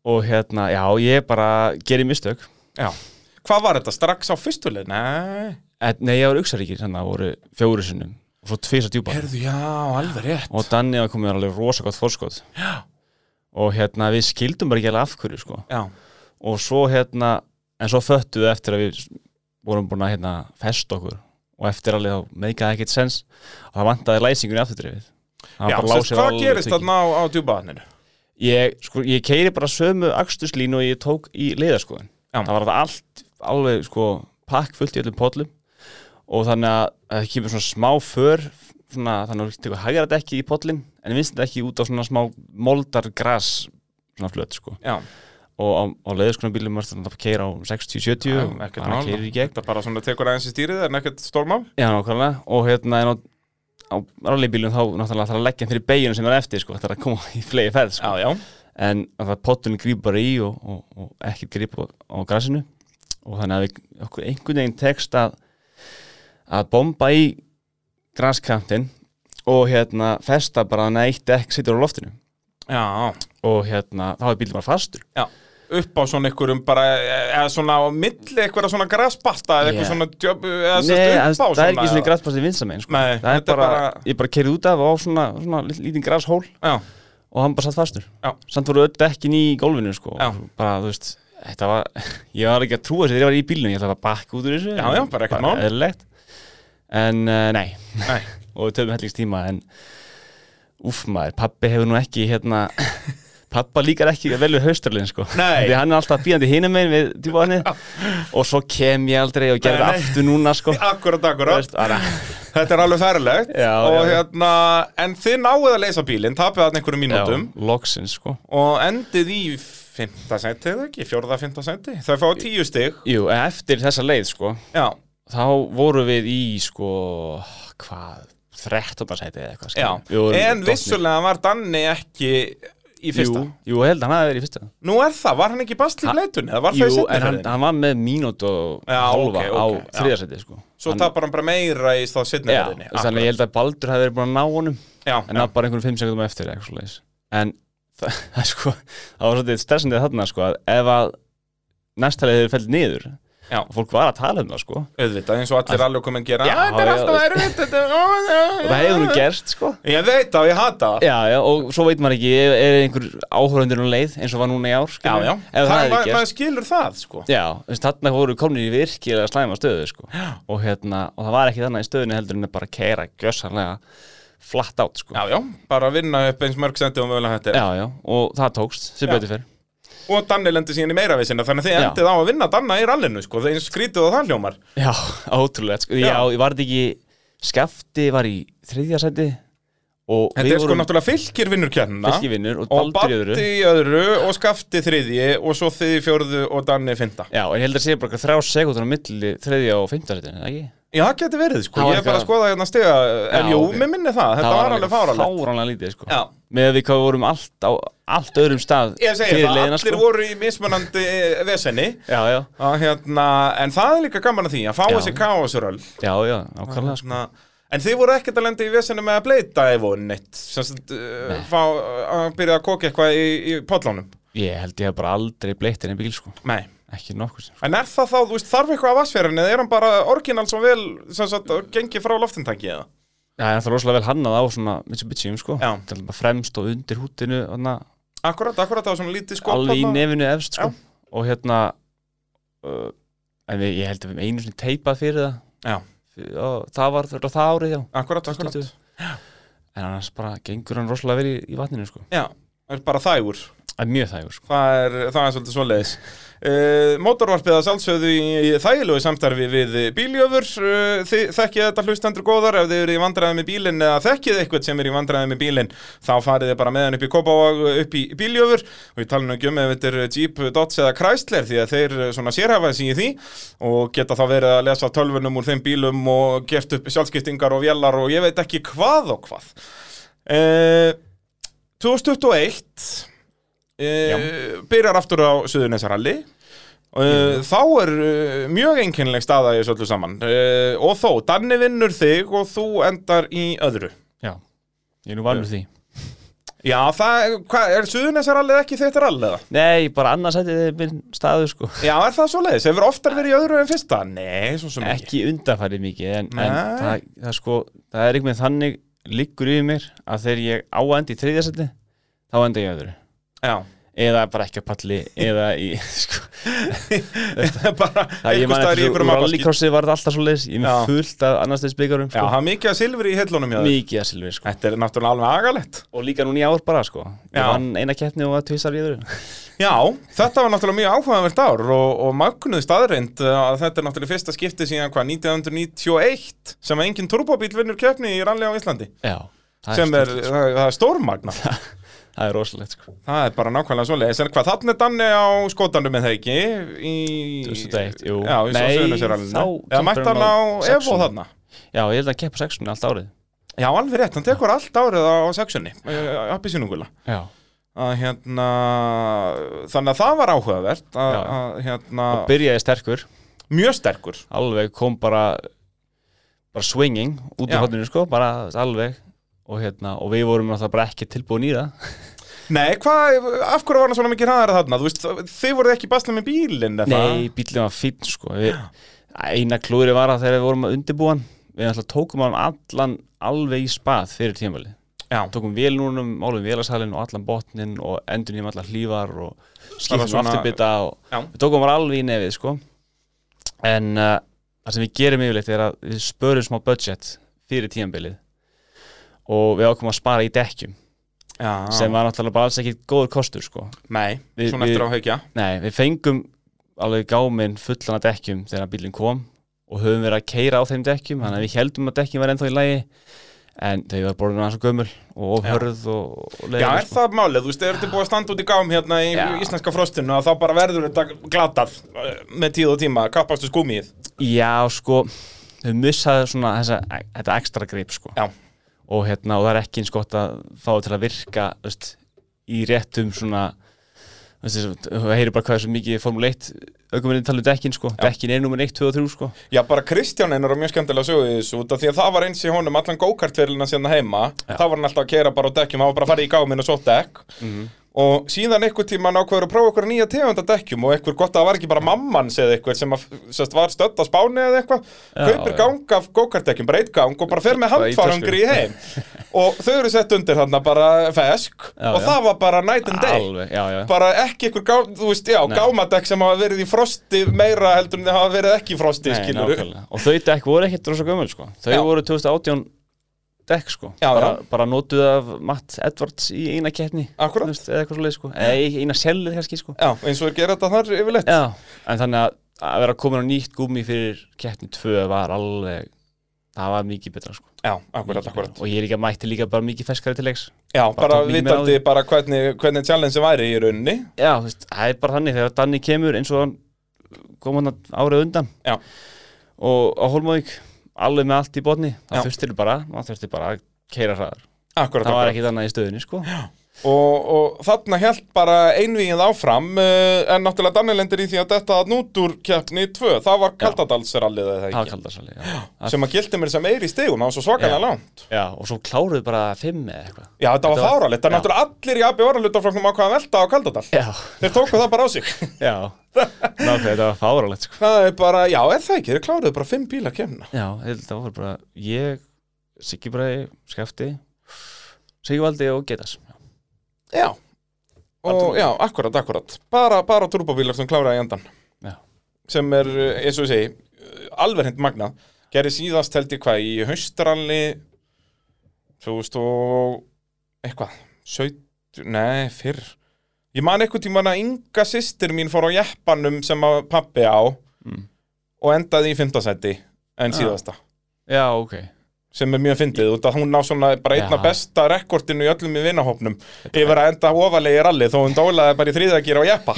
Speaker 2: og hérna, já, ég bara geri mistök
Speaker 1: já Hvað var þetta? Strax á fyrstu leið? Nei
Speaker 2: en, Nei, ég var auksaríkir, þannig að voru fjóru sinnum og svo tvisa djúpa
Speaker 1: Herðu, já, alveg rétt
Speaker 2: og Danni hafa komið alveg rosa gott fórskot já. og hérna við skildum bara ekki alveg af hverju sko
Speaker 1: Já,
Speaker 2: og svo hérna, en svo föttu við eftir að við vorum búin að hérna fest okkur og eftir alveg þá meikaði ekkert sens og það vantaði læsingunni afturtrefið Það var
Speaker 1: já
Speaker 2: bara
Speaker 1: sérst,
Speaker 2: lásið
Speaker 1: hvað
Speaker 2: alveg
Speaker 1: gerist
Speaker 2: tekið.
Speaker 1: þarna á, á djúpa vatninu?
Speaker 2: Ég, sko, ég keiri bara sömu akstuslínu og ég tók í leiðarskoðun
Speaker 1: Já.
Speaker 2: það var þetta allt alveg sko pakk fullt í öllum pollum og þannig að að það kemur svona smá för svona, þannig að þú tekur hægara dekki í pollin en vinst þetta ekki út á svona smá moldar gras svona flöt sko
Speaker 1: Já,
Speaker 2: og á, á leiðarskoðunabílum er þetta að keira á um 60-70 og
Speaker 1: ekkert
Speaker 2: bara
Speaker 1: mál.
Speaker 2: keirir í gegn
Speaker 1: Þetta bara svona tekur aðeins í stýrið, er nekkert stórmál?
Speaker 2: Já, nákvæmlega, og hérna en á, á rallybílum þá náttúrulega þarf að leggja hann fyrir beginum sem er eftir sko, það er að koma í flegi ferð sko
Speaker 1: Já, já
Speaker 2: en að það pottunni grýp bara í og, og, og ekkert grýp á, á grasinu og þannig að við, okkur einhvern veginn tekst að að bomba í graskantinn og hérna festa bara hann að eitt dekk situr á loftinu
Speaker 1: Já,
Speaker 2: og hérna þá er bílum bara fastur
Speaker 1: já upp á svona einhverjum bara eða svona á milli einhverja svona graspasta eða eitthvað
Speaker 2: Já.
Speaker 1: svona djöp, eða
Speaker 2: Nei,
Speaker 1: svona upp á
Speaker 2: það,
Speaker 1: svona
Speaker 2: það er ekki svona
Speaker 1: eða-
Speaker 2: graspast í vinsamegin sko.
Speaker 1: Nei,
Speaker 2: það er
Speaker 1: þetta er
Speaker 2: bara,
Speaker 1: bara-
Speaker 2: ég bara kerði út af á svona, svona lit- lítinn grashól
Speaker 1: Já,
Speaker 2: og hann bara satt fastur
Speaker 1: Já.
Speaker 2: samt voru öll dekkin í gólfinu sko.
Speaker 1: Já.
Speaker 2: bara þú veist þetta var, ég var ekki að trúa þessu þegar ég var í bílunum ég ætla að bakka út úr þessu
Speaker 1: Já, já, bara ekkert mál.
Speaker 2: eðlilegt. en uh, nei,
Speaker 1: nei,
Speaker 2: og við töfum hellingstíma en úf maður, pabbi hefur nú ekki hérna, pabba líkar ekki vel við haustralinn sko,
Speaker 1: Nei.
Speaker 2: því hann er alltaf býjandi hinum megin við djúbarni og svo kem ég aldrei og gerði
Speaker 1: Nei, nei.
Speaker 2: aftur núna sko,
Speaker 1: akkurat, akkurat
Speaker 2: veist, bara,
Speaker 1: Þetta er alveg færlegt
Speaker 2: Já,
Speaker 1: og
Speaker 2: já.
Speaker 1: hérna, en þið náuð að leysa bílinn, tapið hann einhverjum
Speaker 2: já,
Speaker 1: mínútum
Speaker 2: loksins sko
Speaker 1: og endið í fymta senti, eða ekki, fjórða fymta senti þau fá tíu stig,
Speaker 2: Jú, en eftir þessa leið sko
Speaker 1: já,
Speaker 2: þá voru við í sko hvað, 13. sæti eða eitthvað
Speaker 1: já
Speaker 2: skilur við. Við
Speaker 1: en
Speaker 2: vorum dottnir.
Speaker 1: vissulega var Danni ekki í fyrsta,
Speaker 2: Jú, jú, ég held að hann hafi verið í fyrsta
Speaker 1: nú er það, var hann ekki bastl í
Speaker 2: Ha-
Speaker 1: leitun, eða var það í
Speaker 2: Jú,
Speaker 1: setni
Speaker 2: en hann,
Speaker 1: ferðin,
Speaker 2: hann var með mínút og
Speaker 1: Já,
Speaker 2: halva
Speaker 1: ok,
Speaker 2: á
Speaker 1: ok, já.
Speaker 2: þriða sæti sko
Speaker 1: svo
Speaker 2: hann,
Speaker 1: tapar hann bara meira í þá setni
Speaker 2: Já,
Speaker 1: ferðinni
Speaker 2: þannig að ég held að Baldur hefði verið búin að ná honum
Speaker 1: já,
Speaker 2: en
Speaker 1: já,
Speaker 2: það bara einhvern 5 sekundum eftir eitthvað svoleiðis en það, það sko, það var svolítið stressandi þarna sko að ef að næstalið hefur fælt niður
Speaker 1: Já.
Speaker 2: og fólk var að tala um það sko og
Speaker 1: auðvitað, eins og allir alveg komin að gera
Speaker 2: Já,
Speaker 1: "Ah, þetta er
Speaker 2: já,
Speaker 1: alltaf erfitt þetta er- ó, já, já,
Speaker 2: það hefur nú
Speaker 1: já."
Speaker 2: gerst sko
Speaker 1: ég veit það, ég hata það
Speaker 2: Já, já, og svo veit maður ekki, er er einhver áhörundur um leið eins og var núna í ár,
Speaker 1: já,
Speaker 2: skilur
Speaker 1: já,
Speaker 2: ef það,
Speaker 1: það,
Speaker 2: hefði
Speaker 1: maður
Speaker 2: gerst.
Speaker 1: maður skilur það, sko
Speaker 2: Já, þess að þarna voru komnir í virkilega slæma stöðu, sko, og hérna, og það var ekki þannig í stöðunni heldur en að bara keira gjössanlega flatt átt, sko.
Speaker 1: Já, já, bara vinna upp eins mörg senti og mögulega hætti
Speaker 2: já, og það tókst, sem
Speaker 1: Já.
Speaker 2: betur fyrr.
Speaker 1: Og Danni lendi síðan í meira við sinna Þannig að þið
Speaker 2: Já.
Speaker 1: endið á að vinna Danna í rallinu sko, Það er eins skrítið og það hljómar
Speaker 2: Já, ótrúlega, sko, já,
Speaker 1: Já.
Speaker 2: ég var þetta ekki, skefti var í þriðja seti og
Speaker 1: Þetta
Speaker 2: við
Speaker 1: er sko
Speaker 2: vorum
Speaker 1: náttúrulega fylgir vinnur kjærna
Speaker 2: fylki vinnur og
Speaker 1: Og
Speaker 2: baldur í öðru.
Speaker 1: Batti í öðru og Skafti þriðji Og svo þið í fjórðu og Danni í fynda
Speaker 2: Já, en ég held að segja bara þrjá sekundur á milli þriðja og fimmta setinu, ekki?
Speaker 1: Já, það geti verið sko
Speaker 2: Það var
Speaker 1: Ég er bara
Speaker 2: eitthvað-
Speaker 1: að skoða hérna stiga En
Speaker 2: Já,
Speaker 1: jú,
Speaker 2: ok.
Speaker 1: mér minni það, þetta var alveg fáralegt
Speaker 2: Fáránlega lítið, sko.
Speaker 1: Já,
Speaker 2: með að við hvað við vorum allt á allt öðrum stað
Speaker 1: ég segi
Speaker 2: fyrir
Speaker 1: það,
Speaker 2: leiðina,
Speaker 1: allir
Speaker 2: sko.
Speaker 1: voru í mismunandi eh, vesenni
Speaker 2: já, já,
Speaker 1: Að, hérna, En það er líka gaman að því Að fá
Speaker 2: Já.
Speaker 1: þessi káasuröl
Speaker 2: já, já, nákvæmlega sko.
Speaker 1: Hérna, en þið voru ekkert að lenda í vesinu með að bleita ef og neitt sem sagt, uh, fá, að byrja að koka eitthvað í, í pollánum
Speaker 2: ég held ég hef bara aldrei bleitt henni bíl sko.
Speaker 1: Nei.
Speaker 2: ekki nokkuð sem sko.
Speaker 1: En er það þá, þú veist, þarf eitthvað af vassferðinni eða er hann bara orginal svo vel sem sagt, gengi frá loftintaki eða?
Speaker 2: já, það er alltaf rosalega vel hannað á svona Mitsubishium sko.
Speaker 1: Já.
Speaker 2: Það er bara fremst og undir húttinu hana,
Speaker 1: Akkurat, akkurat, það var svona lítið skop
Speaker 2: alveg í
Speaker 1: þarna.
Speaker 2: nefinu efst sko.
Speaker 1: Já.
Speaker 2: og hérna uh, en við, ég held að við einu sinni teipað fyrir það
Speaker 1: Já.
Speaker 2: Fyrir- og það var þetta það árið já,
Speaker 1: Akkurat, akkurat
Speaker 2: 20. en annars bara gengur hann rosalega vel í, í vatninu sko.
Speaker 1: Já, það er bara þægur
Speaker 2: það er mjög þægur sko.
Speaker 1: Það er, það er svolítið svoleiðis. Uh, Mótorvarpið að sjálfsögðu í, í þægilegu samstarfi við bíljöfur. Uh, þið þekkið þetta hlustendur góðar ef þið eru í vandræði með bílinn eða þekkið eitthvað sem er í vandræði með bílinn þá farið þið bara með hann upp í Kópavog upp í bíljöfur og ég tala nú ekki um ef þetta er Jeep, Dodge eða Chrysler því að þeir eh, svona sérhafa sig í því og geta þá verið að lesa tölvunum úr þeim bílum og gert upp sjálfskiptingar og vélar og ég veit ekki hvað og hvað. Uh, 2021 uh, byrjar aftur á Suðunesaralli Uh, þá er uh, mjög einkennileg staða í þessu öllu saman uh, og þó, Danni vinnur þig og þú endar í öðru
Speaker 2: já, ég er nú vanur því
Speaker 1: Já, það, hva, er Suðunesarallið ekki þetta rallið?
Speaker 2: Nei, bara annarsættið er minn staðu sko
Speaker 1: Já, er það svo leiðis? Hefur oftar verið í öðru en fyrsta? Nei, svo sem ekki
Speaker 2: Ekki undarfærið mikið En, en
Speaker 1: Nei.
Speaker 2: það, það, sko, það er einhvern veginn þannig liggur yfir mér að þegar ég á að enda í þriðjasætti þá enda ég í öðru
Speaker 1: Já,
Speaker 2: eða bara ekki að palli eða í sko,
Speaker 1: bara
Speaker 2: það ég
Speaker 1: einhvers
Speaker 2: man
Speaker 1: staðar í
Speaker 2: eftir
Speaker 1: ykkur
Speaker 2: svo
Speaker 1: mappaskýt
Speaker 2: rallycrossið var þetta alltaf svo leis ég er
Speaker 1: Já.
Speaker 2: með fullt af annars þess byggarum
Speaker 1: Já,
Speaker 2: sko.
Speaker 1: það er mikið að silfri í hellunum hjá þér
Speaker 2: mikið að silvi sko.
Speaker 1: Þetta er náttúrulega alveg agalegt
Speaker 2: og líka núna í ár bara sko. ég
Speaker 1: Já.
Speaker 2: vann eina keppni og að tvisar í öðru
Speaker 1: Já, þetta var náttúrulega mjög áhugavert ár og, og magnuð staðreind uh, að þetta er náttúrulega fyrsta skipti síðan hvað 1991 sem að engin turbóbíl vinnur keppni í ralli á Íslandi
Speaker 2: Já, það
Speaker 1: sem er,
Speaker 2: stórt, sko.
Speaker 1: það, það er stórmagna
Speaker 2: það er rosalegt sko.
Speaker 1: það er bara nákvæmlega svoleiðis en hvað þannig er Danni á skotanum en það ekki í
Speaker 2: 2001, jú.
Speaker 1: Já, í
Speaker 2: Nei,
Speaker 1: Söðunisjöralinu
Speaker 2: þá-
Speaker 1: eða mætti hann á Evo
Speaker 2: Saxon.
Speaker 1: þarna
Speaker 2: Já, ég held að keppa sexunni allt árið
Speaker 1: Já, alveg rétt, hann tekur allt árið á sexunni eh, appi sínungula
Speaker 2: Já,
Speaker 1: að hérna þannig að það var áhugavert að,
Speaker 2: Já.
Speaker 1: að hérna
Speaker 2: byrjaði sterkur
Speaker 1: mjög sterkur
Speaker 2: alveg kom bara bara swinging út
Speaker 1: Já.
Speaker 2: úr hodninu sko, bara þú veist, alveg og, hérna, og við vorum náttúrulega bara ekki tilbúin í það
Speaker 1: Nei, hvað, af hverju var hann svona mikið hraðar þarna? Þú veist, þið voruð ekki basla með bílinn eða það?
Speaker 2: Nei, bílum var fínn sko við, Eina klúri var að þegar við vorum að undirbúan við alltaf tókum hann allan alveg í spað fyrir tímali
Speaker 1: Já,
Speaker 2: tókum vélunum, málum vélarsalinn og allan botnin og endur nýjum allar hlífar og
Speaker 1: Bara
Speaker 2: skiptum
Speaker 1: svona-
Speaker 2: afturbita og
Speaker 1: Já.
Speaker 2: við tókum bara alveg í nefið sko en uh, það sem við gerum yfirleitt er að við spörum smá budget fyrir tímabilið og við ákvæmum að spara í dekkjum
Speaker 1: já.
Speaker 2: sem var náttúrulega bara alls ekki góður kostur sko.
Speaker 1: Nei,
Speaker 2: Við-
Speaker 1: svona
Speaker 2: við-
Speaker 1: eftir á haugja.
Speaker 2: Nei, við fengum alveg gáminn fullan af dekkjum þegar bílinn kom og höfum verið að keira á þeim dekkjum þannig að við heldum að dekkjum var ennþá í lagi en þau var borðin aðeins og gömul og ofhörð og, og
Speaker 1: Já,
Speaker 2: leiðileg,
Speaker 1: er það málið, þú veist, er þetta búið að standa út í gám hérna í
Speaker 2: Já.
Speaker 1: íslenska frostinu að þá bara verður þetta glatað eh, með tíð og tíma, kappastu skúmið
Speaker 2: Já, sko, þau missaðu svona þessa, þetta ekstra grip, sko.
Speaker 1: Já.
Speaker 2: Og hérna, og það er ekki eins gott að fá það til að virka, þú veist, í réttum svona, þú veist, þessu- þú heyrir bara hvað er svo mikið Formule 1 aukuminni tala um dekkin, sko. Dekkin er nummer 1, 2 og 3, sko.
Speaker 1: Já, bara Kristján einar og mjög skemmtilega sögðu í þessu út af því að það var eins í honum allan gókartverilina sérna heima þá var hann alltaf að keira bara á dekkjum, hann var bara að fara í gáminn og svo dekk
Speaker 2: Mhm.
Speaker 1: og síðan einhver tíma nákvæður að prófa okkur nýja tegunda dekkjum og einhver gott að það var ekki bara mamman segði eitthvað sem að, sest, var stödd á spáni eða eitthvað kaupir
Speaker 2: já.
Speaker 1: gang af gókartdekkjum, bara eitt gang og bara fer með
Speaker 2: Bara í
Speaker 1: handfarangri í heim og þau eru sett undir þarna bara fesk
Speaker 2: Já,
Speaker 1: og
Speaker 2: já.
Speaker 1: það var bara night and day
Speaker 2: Alveg, já, já.
Speaker 1: bara ekki einhver gá, þú veist, já, gámadekk sem hafa verið í frosti meira heldur en þið hafa verið ekki í frosti,
Speaker 2: Nei,
Speaker 1: skilur
Speaker 2: nákvæmlega. Og þau dekk voru ekkert rosa gömul, sko. Þau
Speaker 1: Já.
Speaker 2: voru 2018 dekk, sko.
Speaker 1: Já,
Speaker 2: bara,
Speaker 1: já.
Speaker 2: bara notuð af Matt Edwards í eina keppni.
Speaker 1: Akkúrat.
Speaker 2: þú veist, Eða eitthvað svo sko. Eða eina sjellið, kannski, sko.
Speaker 1: Já, eins og er gera þetta þar yfirleitt
Speaker 2: Já, en þannig að, að vera komin á nýtt gúmi fyrir keppni 2 var alveg, það var mikið betra sko.
Speaker 1: Já, akkurat,
Speaker 2: Mikið
Speaker 1: akkurat
Speaker 2: betra. Og ég líka mætti líka bara mikið feskari til leiks.
Speaker 1: Já, bara
Speaker 2: tók mikið meira á
Speaker 1: vitandi bara hvernig, hvernig challenge væri í rauninni
Speaker 2: Já, þú veist, það er bara þannig þegar Danni kemur eins og hann kom hann árið undan
Speaker 1: Já.
Speaker 2: og á Holmavík, alveg með allt í botni,
Speaker 1: Já.
Speaker 2: það þurftir bara, maður þurftir bara að keira hraðar.
Speaker 1: Akkurat,
Speaker 2: Það var
Speaker 1: akkurat
Speaker 2: ekki þannig í stöðunni sko. Já.
Speaker 1: og, og þarna held bara einvíðið áfram uh, en náttúrulega Daniel endur í því að þetta nútur keppni 2, það var Kaldadalsrallið eða
Speaker 2: Það var
Speaker 1: ekki,
Speaker 2: kaldarsali, já. Að-
Speaker 1: sem að gildi mér sem eir í stegum, það var svo svakalega
Speaker 2: Já.
Speaker 1: langt
Speaker 2: já. Og svo kláruðu bara fimm eða eitthvað.
Speaker 1: Já, þetta var
Speaker 2: Þetta var-
Speaker 1: fáralegt, það er
Speaker 2: Já.
Speaker 1: náttúrulega allir í AB varalutaflokknum ákvaða að velta á Kaldadal
Speaker 2: Já,
Speaker 1: Þeir tóku það bara á sig
Speaker 2: já. Nákvæmlega, þetta var fáralegt sko.
Speaker 1: Það er bara, já, er það ekki, þeir kláruðu bara fimm bíla kemna
Speaker 2: Já, ég held að það var bara ég, Siggi Bræði, Skefti, Sigvaldi og Getas.
Speaker 1: Já, og,
Speaker 2: Bara-
Speaker 1: já, akkurat, akkurat Bara, bara turbóbílar sem kláraði í endan
Speaker 2: Já.
Speaker 1: Sem er, eh, eins og ég segi, eh, alveg hend magnað Gerði síðast held ég hvað í haustralli 2000 og eitthvað 17, nei, fyrr Ég man einhvern tímann að Inga systir mín fór á jeppanum sem að pappi á
Speaker 2: Mm.
Speaker 1: og endaði í fimmtasæti en
Speaker 2: Já.
Speaker 1: síðasta
Speaker 2: Já, ok.
Speaker 1: sem er mjög fyndið út að hún ná svona bara einna
Speaker 2: Já.
Speaker 1: besta rekordinu í öllum í vinahópnum yfir að enda ofalegi ralli þó hún dólaði bara í þrýðagýra og jeppa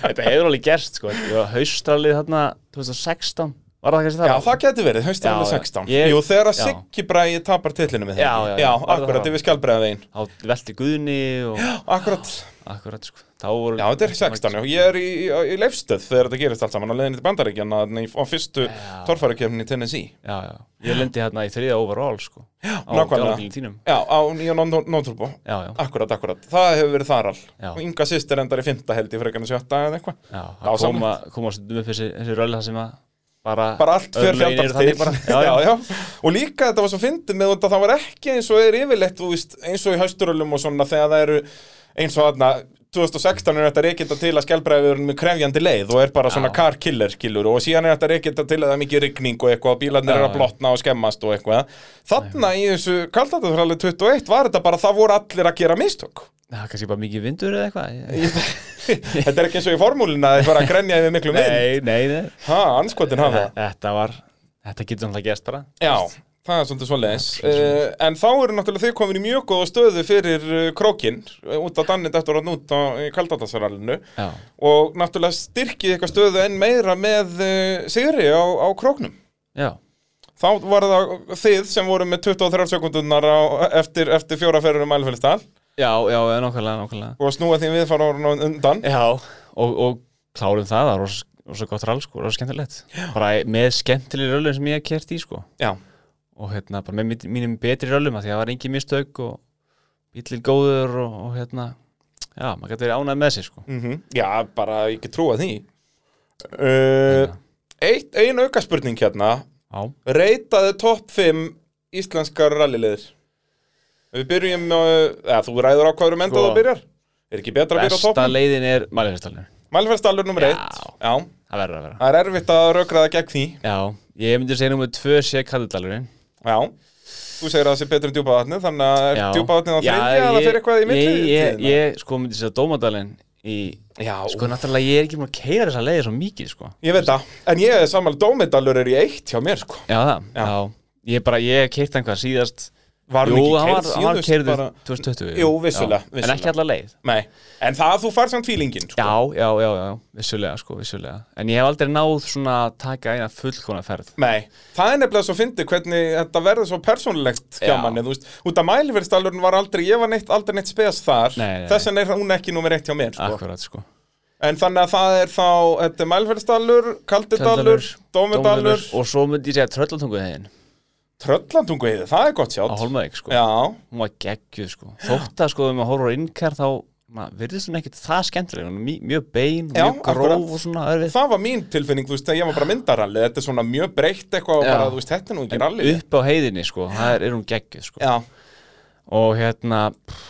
Speaker 2: Þetta hefur alveg gerst, sko. Ég var haustralið þarna 2016, var það kannski það?
Speaker 1: Já, það geti verið, haustið alveg
Speaker 2: Já, já.
Speaker 1: 16
Speaker 2: Ég-
Speaker 1: Jú, þegar að
Speaker 2: já.
Speaker 1: Siggi bræði tapar titlinu með
Speaker 2: Já, já, já. Var það
Speaker 1: akkurat,
Speaker 2: það?
Speaker 1: yfir skjálbreiðavegin
Speaker 2: Þá velti Guðni og
Speaker 1: Akkurat,
Speaker 2: akkurat, sko. Þá voru...
Speaker 1: já, þetta er 16 já. Ég er í, í leifstöð þegar þetta gerist allt saman á leiðinni til Bandaríkjana nei, á fyrstu
Speaker 2: Já.
Speaker 1: torfærakefni í Tennessee
Speaker 2: Já, já. Ég lendi þarna í þriða overall, sko. Já,
Speaker 1: nákvæmlega. Ah.
Speaker 2: Á bílum þínum.
Speaker 1: Já, á nýja nótrúbó
Speaker 2: Já, já.
Speaker 1: Akkurat, akkurat, það hefur verið þar
Speaker 2: Já.
Speaker 1: all Inga sýstir endar í fymta held í frekarna sjötta eða eitthvað
Speaker 2: Já,
Speaker 1: Já,
Speaker 2: það koma, koma stundum upp þessi, þessi röll það sem að bara...
Speaker 1: bara allt fyrir
Speaker 2: örlögin eru
Speaker 1: fjandans
Speaker 2: þannig
Speaker 1: til
Speaker 2: bara.
Speaker 1: já, já, og líka þetta var svo fyndið með þetta það var ekki eins og er yfirleitt þú veist, eins og í hausturölum og svona þegar það eru eins og þarna 2016 er þetta reykita til að skjálbreiðurinn með krefjandi leið og er bara svona
Speaker 2: Já.
Speaker 1: car killer skilur og síðan er þetta reykita til að það er mikið rigning og eitthvað og bílarnir
Speaker 2: Já,
Speaker 1: eru að
Speaker 2: já.
Speaker 1: blotna og skemmast og eitthvað þarna í þessu kaldataralli 21 var þetta bara það voru allir að gera mistök
Speaker 2: Já, kannski bara mikið vindur eða eitthvað.
Speaker 1: þetta er ekki eins og í formúlina að það var að grenja yfir miklu mynd
Speaker 2: Nei, nei, nei.
Speaker 1: ha, anskotin hafa
Speaker 2: Þe- Þetta var, þetta getur náttúrulega gerst bara
Speaker 1: Já, það er svolítið svo leis En þá eru náttúrulega þið komin í mjög góða stöðu fyrir uh, krókinn uh, út á dannið eftir að út á kaldatansarallinu
Speaker 2: Já,
Speaker 1: og náttúrulega styrkið eitthvað stöðu enn meira með uh, sigri á, á króknum
Speaker 2: já,
Speaker 1: Þá var það þið sem voru með 23 sekundunar á, eftir, eftir fjóra ferður um ælfélstal
Speaker 2: já, já, nákvæmlega, nákvæmlega
Speaker 1: og snúa því viðfara árun undan
Speaker 2: Já, og, og klárum það, það var ros- rosa gott rall sko, rosa skemmtilegt bara með skemmtilegri röllum sem ég hef kert í sko
Speaker 1: Já.
Speaker 2: og hérna bara með mitt- mínum betri röllum af því að það var engin mistök og bíllinn góður og, og hérna já, maður gæti verið ánægð með sér sko
Speaker 1: Mm Já, bara ég ekki trúa því uh, Eitt, ein auka spurning hérna
Speaker 2: já,
Speaker 1: Reytaðu topp 5 íslenskar rallilegir Við byrjum á, eða þú ræður á hvað eru mendað
Speaker 2: Sko.
Speaker 1: þú byrjar Er ekki betra að byrja á
Speaker 2: besta
Speaker 1: toppum?
Speaker 2: leiðin er Mælifestalinn,
Speaker 1: Mælferðstallur nummer
Speaker 2: Já.
Speaker 1: 1 Já,
Speaker 2: það verður að vera
Speaker 1: það er erfitt að rökraða gegn því
Speaker 2: já, ég myndi segja nummer tvö sé Kalludalurinn
Speaker 1: Já, þú segir að það sé betur en djúpavatnið Þannig að er
Speaker 2: Já.
Speaker 1: djúpavatnið á
Speaker 2: Já,
Speaker 1: þriðja eða
Speaker 2: ég-
Speaker 1: fyrir eitthvað í milli
Speaker 2: ég, ég,
Speaker 1: tíðina?
Speaker 2: ég sko myndi segja Dómadalinn í
Speaker 1: Já,
Speaker 2: sko náttúrulega ég er ekki búin að keira þessa leiði svo mikið sko
Speaker 1: ég veit það En ég er sammála dómedalur er í eitt hjá mér sko
Speaker 2: já það,
Speaker 1: Já.
Speaker 2: já, ég bara, ég keitt einhvað síðast
Speaker 1: Var
Speaker 2: jú,
Speaker 1: hún
Speaker 2: hann
Speaker 1: ekki
Speaker 2: var,
Speaker 1: keyrð
Speaker 2: hann var
Speaker 1: síðust
Speaker 2: keirður
Speaker 1: bara-
Speaker 2: 2020
Speaker 1: Jú, vissulega,
Speaker 2: já. en
Speaker 1: vissulega.
Speaker 2: ekki alla leið
Speaker 1: Nei, en það að þú fær samt fílingin sko.
Speaker 2: Já, já, já, já, vissulega, sko, vissulega En ég hef aldrei náð svona að taka eina fullkona ferð
Speaker 1: Nei, það er nefnilega svo fyndið hvernig þetta verður svo persónulegt hjá
Speaker 2: Já.
Speaker 1: manni, þú veist, út af mælverðstallurinn var aldrei, ég var neitt, aldrei neitt spes þar
Speaker 2: Nei, nei, nei.
Speaker 1: þess vegna er hún ekki númer eitt hjá mér, sko
Speaker 2: Akkurat, sko
Speaker 1: en þannig að það er þá, þetta er mælverðstallur kaldidallur, dómudallur
Speaker 2: Og svo myndi ég segja tröllatungu þegin
Speaker 1: tröllandungu heiði, það er gott
Speaker 2: á
Speaker 1: sjátt
Speaker 2: Holmavík, sko
Speaker 1: Já,
Speaker 2: Hún var geggjuð, sko Þótt að, sko, ef maður horfur á innkær þá maður virðist hún ekkit það skemmtileg Hún er mj- mjög bein,
Speaker 1: Já,
Speaker 2: mjög gróf
Speaker 1: akkurat.
Speaker 2: og svona erfið
Speaker 1: það var mín tilfinning, þú veist, þegar ég var bara myndarallið þetta er svona mjög breytt eitthvað, og
Speaker 2: Já.
Speaker 1: bara, þú veist, þetta er nú ekki rallið
Speaker 2: Upp á heiðinni, sko, það er, er hún geggjuð, sko
Speaker 1: Já,
Speaker 2: Og hérna, pff,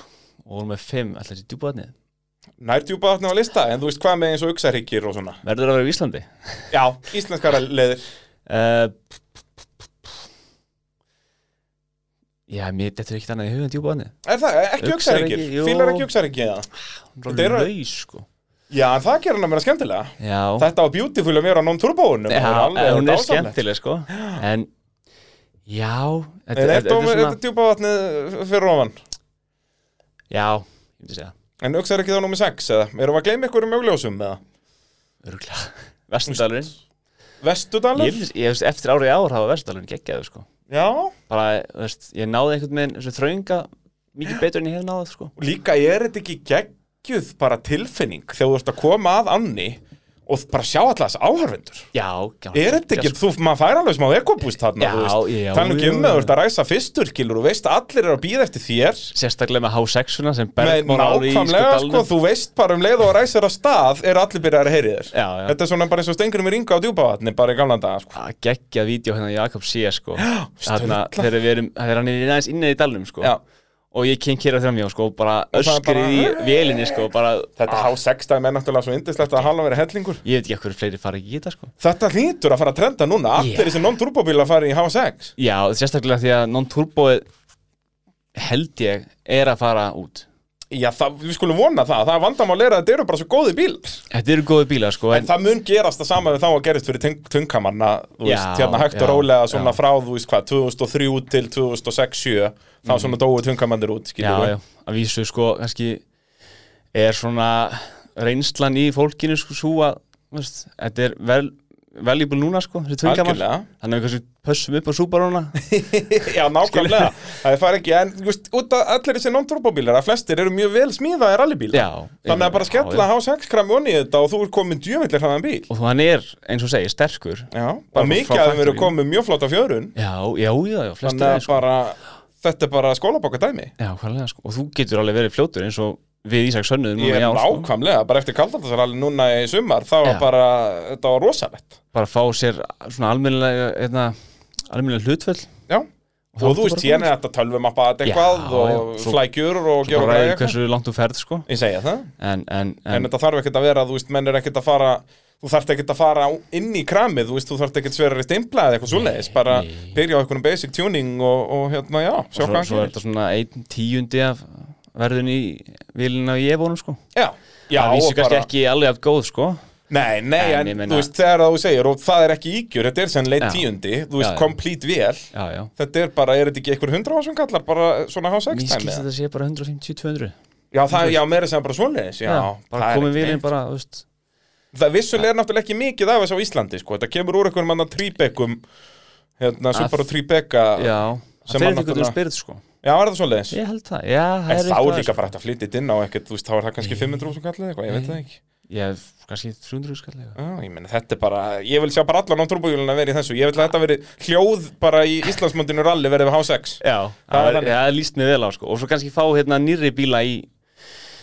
Speaker 2: og hún er með fimm, alltaf þessi djúpaðnið
Speaker 1: nær djúpa á lista, en þú veist hvað með eins og uxarhyggir og svona
Speaker 2: Verður að vera í Íslandi
Speaker 1: Já, íslenskara leðir
Speaker 2: Uh, Já, mér dettur ekkert annað í hugan djúbaðni
Speaker 1: Er það, ekki
Speaker 2: Uxahryggi,
Speaker 1: uxarhyggir,
Speaker 2: jú.
Speaker 1: fílar ekki uxarhyggi eða?
Speaker 2: Hún
Speaker 1: Þetta
Speaker 2: er
Speaker 1: eru-
Speaker 2: laus, sko
Speaker 1: Já, en það gerir hann að vera skemmtilega
Speaker 2: Já,
Speaker 1: Þetta var beautiful að mér á non-turbóunum
Speaker 2: já en hún er
Speaker 1: skemmtileg
Speaker 2: skemmtileg, sko En, já
Speaker 1: En
Speaker 2: Þetta þetta-
Speaker 1: eftir
Speaker 2: þetta
Speaker 1: á
Speaker 2: er svona
Speaker 1: þetta djúpa vatnið fyrir ofan
Speaker 2: Já, ég myndi segja
Speaker 1: En auks er ekki þá nummer 6 eða? Erum við að gleyma ykkur um augljósum eða?
Speaker 2: Öruglega Vestundalurinn Ég
Speaker 1: Vestudalur?
Speaker 2: myndi, ég veist, eftir árið ár hafa Vestundalurinn geggjaðu, sko
Speaker 1: Já
Speaker 2: Bara, þú veist, ég náði einhvern veginn þessu þrönga Mikið betur en ég hef náðað, sko
Speaker 1: Og líka er þetta ekki geggjuð bara tilfinning þegar þú ert að koma að anni og bara sjá alltaf þess áhörfundur
Speaker 2: Já, já sko.
Speaker 1: Er þetta ekki, þú, maður fær alveg smá ekobúst þarna,
Speaker 2: Já,
Speaker 1: þú veist,
Speaker 2: já,
Speaker 1: tala nú ekki
Speaker 2: já,
Speaker 1: um að
Speaker 2: já.
Speaker 1: þú ert að ræsa fyrstur, kilur, þú veist, allir eru að býða eftir þér,
Speaker 2: Sérstaklega með H6-una sem
Speaker 1: Nei,
Speaker 2: Bergmór alveg í sko
Speaker 1: nákvæmlega, sko,
Speaker 2: dalnum.
Speaker 1: þú veist bara um leið og að ræsa þér að stað er allir byrjar að heyri þér
Speaker 2: Já, já
Speaker 1: Þetta er svona bara eins og stengurum í ringa á djúpavatni bara í gamla daga, sko
Speaker 2: að geggja Ah, vídeo hérna Jakob sé sko þarna,
Speaker 1: sturlað.
Speaker 2: þegar við erum, þegar hann er aðeins inni í dalnum sko
Speaker 1: Já.
Speaker 2: og ég kynk hér á þrjá mjög sko og bara
Speaker 1: það er
Speaker 2: öskrið í
Speaker 1: bara-
Speaker 2: vélinni sko bara,
Speaker 1: Þetta H6 dæmi er náttúrulega svo indislegt að hala verið hellingur
Speaker 2: ég veit ekki hvað fleiri fara ekki í þetta sko
Speaker 1: Þetta hlýtur að fara að trenda núna, allir
Speaker 2: Já.
Speaker 1: yeah. þessi non-turbóbíla fara í H6
Speaker 2: já, sérstaklega því að non-turboið held ég er að fara út
Speaker 1: Já, það, við skulum vona það, það er vandamál er að þetta eru bara svo góði bíl
Speaker 2: þetta eru góði bílar sko
Speaker 1: En
Speaker 2: en,
Speaker 1: það mun gerast það sama við þá að gerist fyrir tung, tungkamanna, þú
Speaker 2: Já,
Speaker 1: veist, hérna hægt
Speaker 2: já,
Speaker 1: og rólega svona
Speaker 2: já.
Speaker 1: frá, þú veist hvað, 2003 til 2006-7, þá svona dóu tungkamannir út,
Speaker 2: já,
Speaker 1: skilur
Speaker 2: Mm. já, að vísu sko kannski er svona reynslan í fólkinu sko svo að þú veist, þetta er vel valuable núna sko, þessi tvingamar
Speaker 1: Algjörlega.
Speaker 2: þannig að við kannski pössum upp á súbaruna
Speaker 1: Já, nákvæmlega, það fara ekki En þú veist, út af allir þessi non-turbóbílar að flestir eru mjög vel smíðaði rallybíl
Speaker 2: já,
Speaker 1: Þannig að bara
Speaker 2: já,
Speaker 1: skella H6 kram onni í þetta og þú er komin djöfellir hraðan bíl
Speaker 2: og hann er, eins og segir, sterkur
Speaker 1: Já,
Speaker 2: Bara
Speaker 1: bara mikið
Speaker 2: frá
Speaker 1: að þeim eru
Speaker 2: factory.
Speaker 1: komin með mjög flotta fjörun
Speaker 2: já, já, já, já flestir
Speaker 1: Þannig
Speaker 2: er
Speaker 1: að
Speaker 2: sko.
Speaker 1: bara, þetta er bara skólabokka dæmi
Speaker 2: já, hvaðlega, sko. og þú getur alveg verið fljótur eins og við Ísak Sönnuðum
Speaker 1: Ég er nákvæmlega, bara eftir kaldartasaralli núna í sumar þá var
Speaker 2: sko. Já.
Speaker 1: bara, þetta var rosalett
Speaker 2: bara fá sér svona almennilega hérna, almennilega hlutföll
Speaker 1: Já,
Speaker 2: þá
Speaker 1: og
Speaker 2: ertu
Speaker 1: þú veist,
Speaker 2: bara
Speaker 1: hérna er þetta tölvumappa eitthvað
Speaker 2: Já,
Speaker 1: og
Speaker 2: já, svo-
Speaker 1: flækjur og
Speaker 2: bara
Speaker 1: gera
Speaker 2: ræður
Speaker 1: eitthvað
Speaker 2: hversu langt þú ferð sko.
Speaker 1: Ég segja það
Speaker 2: en, en,
Speaker 1: en
Speaker 2: en,
Speaker 1: þetta þarf ekkert að vera, þú veist, menn er ekkert að fara þú þarf ekkert að fara á- inn í kramið þú veist, þú þarf ekkert sverari stimpla eða eitthvað svoleiðis bara
Speaker 2: nei.
Speaker 1: byrja á einhvern basic tuning og, og hérna, já, sjá
Speaker 2: svo,
Speaker 1: hvað hann
Speaker 2: svo er
Speaker 1: gerir
Speaker 2: þetta svona einn tíundi af verðun í vilina og ég vonum sko.
Speaker 1: Já, já,
Speaker 2: það vísi
Speaker 1: og
Speaker 2: kannski
Speaker 1: bara
Speaker 2: ekki alveg að góð sko.
Speaker 1: Nei, nei,
Speaker 2: En
Speaker 1: en,
Speaker 2: ég meina-
Speaker 1: þú veist, þegar þú segir og það er ekki ígjur, þetta er sennilega
Speaker 2: Já.
Speaker 1: tíundi þú
Speaker 2: Já,
Speaker 1: veist,
Speaker 2: já.
Speaker 1: complete vel
Speaker 2: já, já
Speaker 1: þetta er bara, er þetta ekki einhver hundra ásum kallar bara svona H6
Speaker 2: Mér skilst
Speaker 1: dæmi
Speaker 2: þetta sé bara 150-200
Speaker 1: Já, það, já, meira sem bara svoleiðis, já,
Speaker 2: bara
Speaker 1: það er
Speaker 2: komið
Speaker 1: ekki
Speaker 2: vilin
Speaker 1: neitt.
Speaker 2: bara, þú veist
Speaker 1: Það vissulega er náttúrulega ekki mikið af þess á Íslandi, sko, þetta kemur úr einhverjum annan tríbekum hérna,
Speaker 2: Að-
Speaker 1: Subaru tríbeka
Speaker 2: Já,
Speaker 1: sem hann
Speaker 2: það er eitthvað
Speaker 1: náttúrulega-
Speaker 2: um spirit sko
Speaker 1: Já, er það svoleiðis?
Speaker 2: Ég held það, já
Speaker 1: En
Speaker 2: það er
Speaker 1: þá
Speaker 2: eitthvað,
Speaker 1: er líka
Speaker 2: sko.
Speaker 1: bara hægt að flytja þetta inn á ekkert, þú veist, þá er það kannski 500 sem kallið eitthvað, ég veit það ekki.
Speaker 2: ég hef kannski 300 skallega
Speaker 1: Já, ég meina, þetta er bara, ég vil sjá bara allan á turbójúluna verið í þessu, ég vil að þetta verið hljóð bara í Íslandsmóndinu rally verið við H6
Speaker 2: Já,
Speaker 1: Það
Speaker 2: það,
Speaker 1: er
Speaker 2: það,
Speaker 1: þannig.
Speaker 2: það líst mér vel á sko. og svo kannski fá hérna nýri bíla í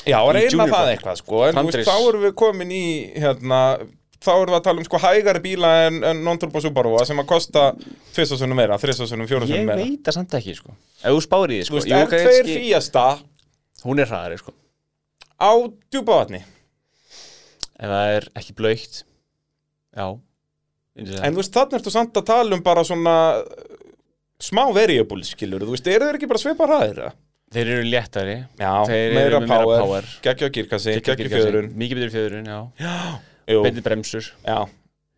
Speaker 1: Já, og reyna
Speaker 2: Junior
Speaker 1: það
Speaker 2: Cup.
Speaker 1: eitthvað, sko, en þú veist,
Speaker 2: Flandris.
Speaker 1: þá erum við komin í, hérna, þá erum við að tala um, sko, hægari bíla en, en non-turbo Subaru sem að kosta tvisasunum meira, þrisasunum,
Speaker 2: ég
Speaker 1: fjórasunum meira
Speaker 2: veit það samt ekki sko. ef þú spáir í því
Speaker 1: Þú
Speaker 2: sko.
Speaker 1: veist,
Speaker 2: Jú,
Speaker 1: R2
Speaker 2: kannski-
Speaker 1: Fiesta
Speaker 2: hún er hraðari sko.
Speaker 1: á djúpavatni,
Speaker 2: ef það er ekki blöytt já
Speaker 1: en þú veist, þannig ertu samt að tala um bara svona uh, smá variable, skilur, þú veist, eru þeir ekki bara svipar hraðir, eða?
Speaker 2: þeir eru léttari
Speaker 1: Já,
Speaker 2: Þeir eru
Speaker 1: meira
Speaker 2: með meira
Speaker 1: power,
Speaker 2: power.
Speaker 1: geggja kirkassi, geggja
Speaker 2: Geggjað
Speaker 1: fjöðrun,
Speaker 2: gírkassi. mikið betur í fjöðurinn, já
Speaker 1: jú,
Speaker 2: betri bremsur
Speaker 1: já.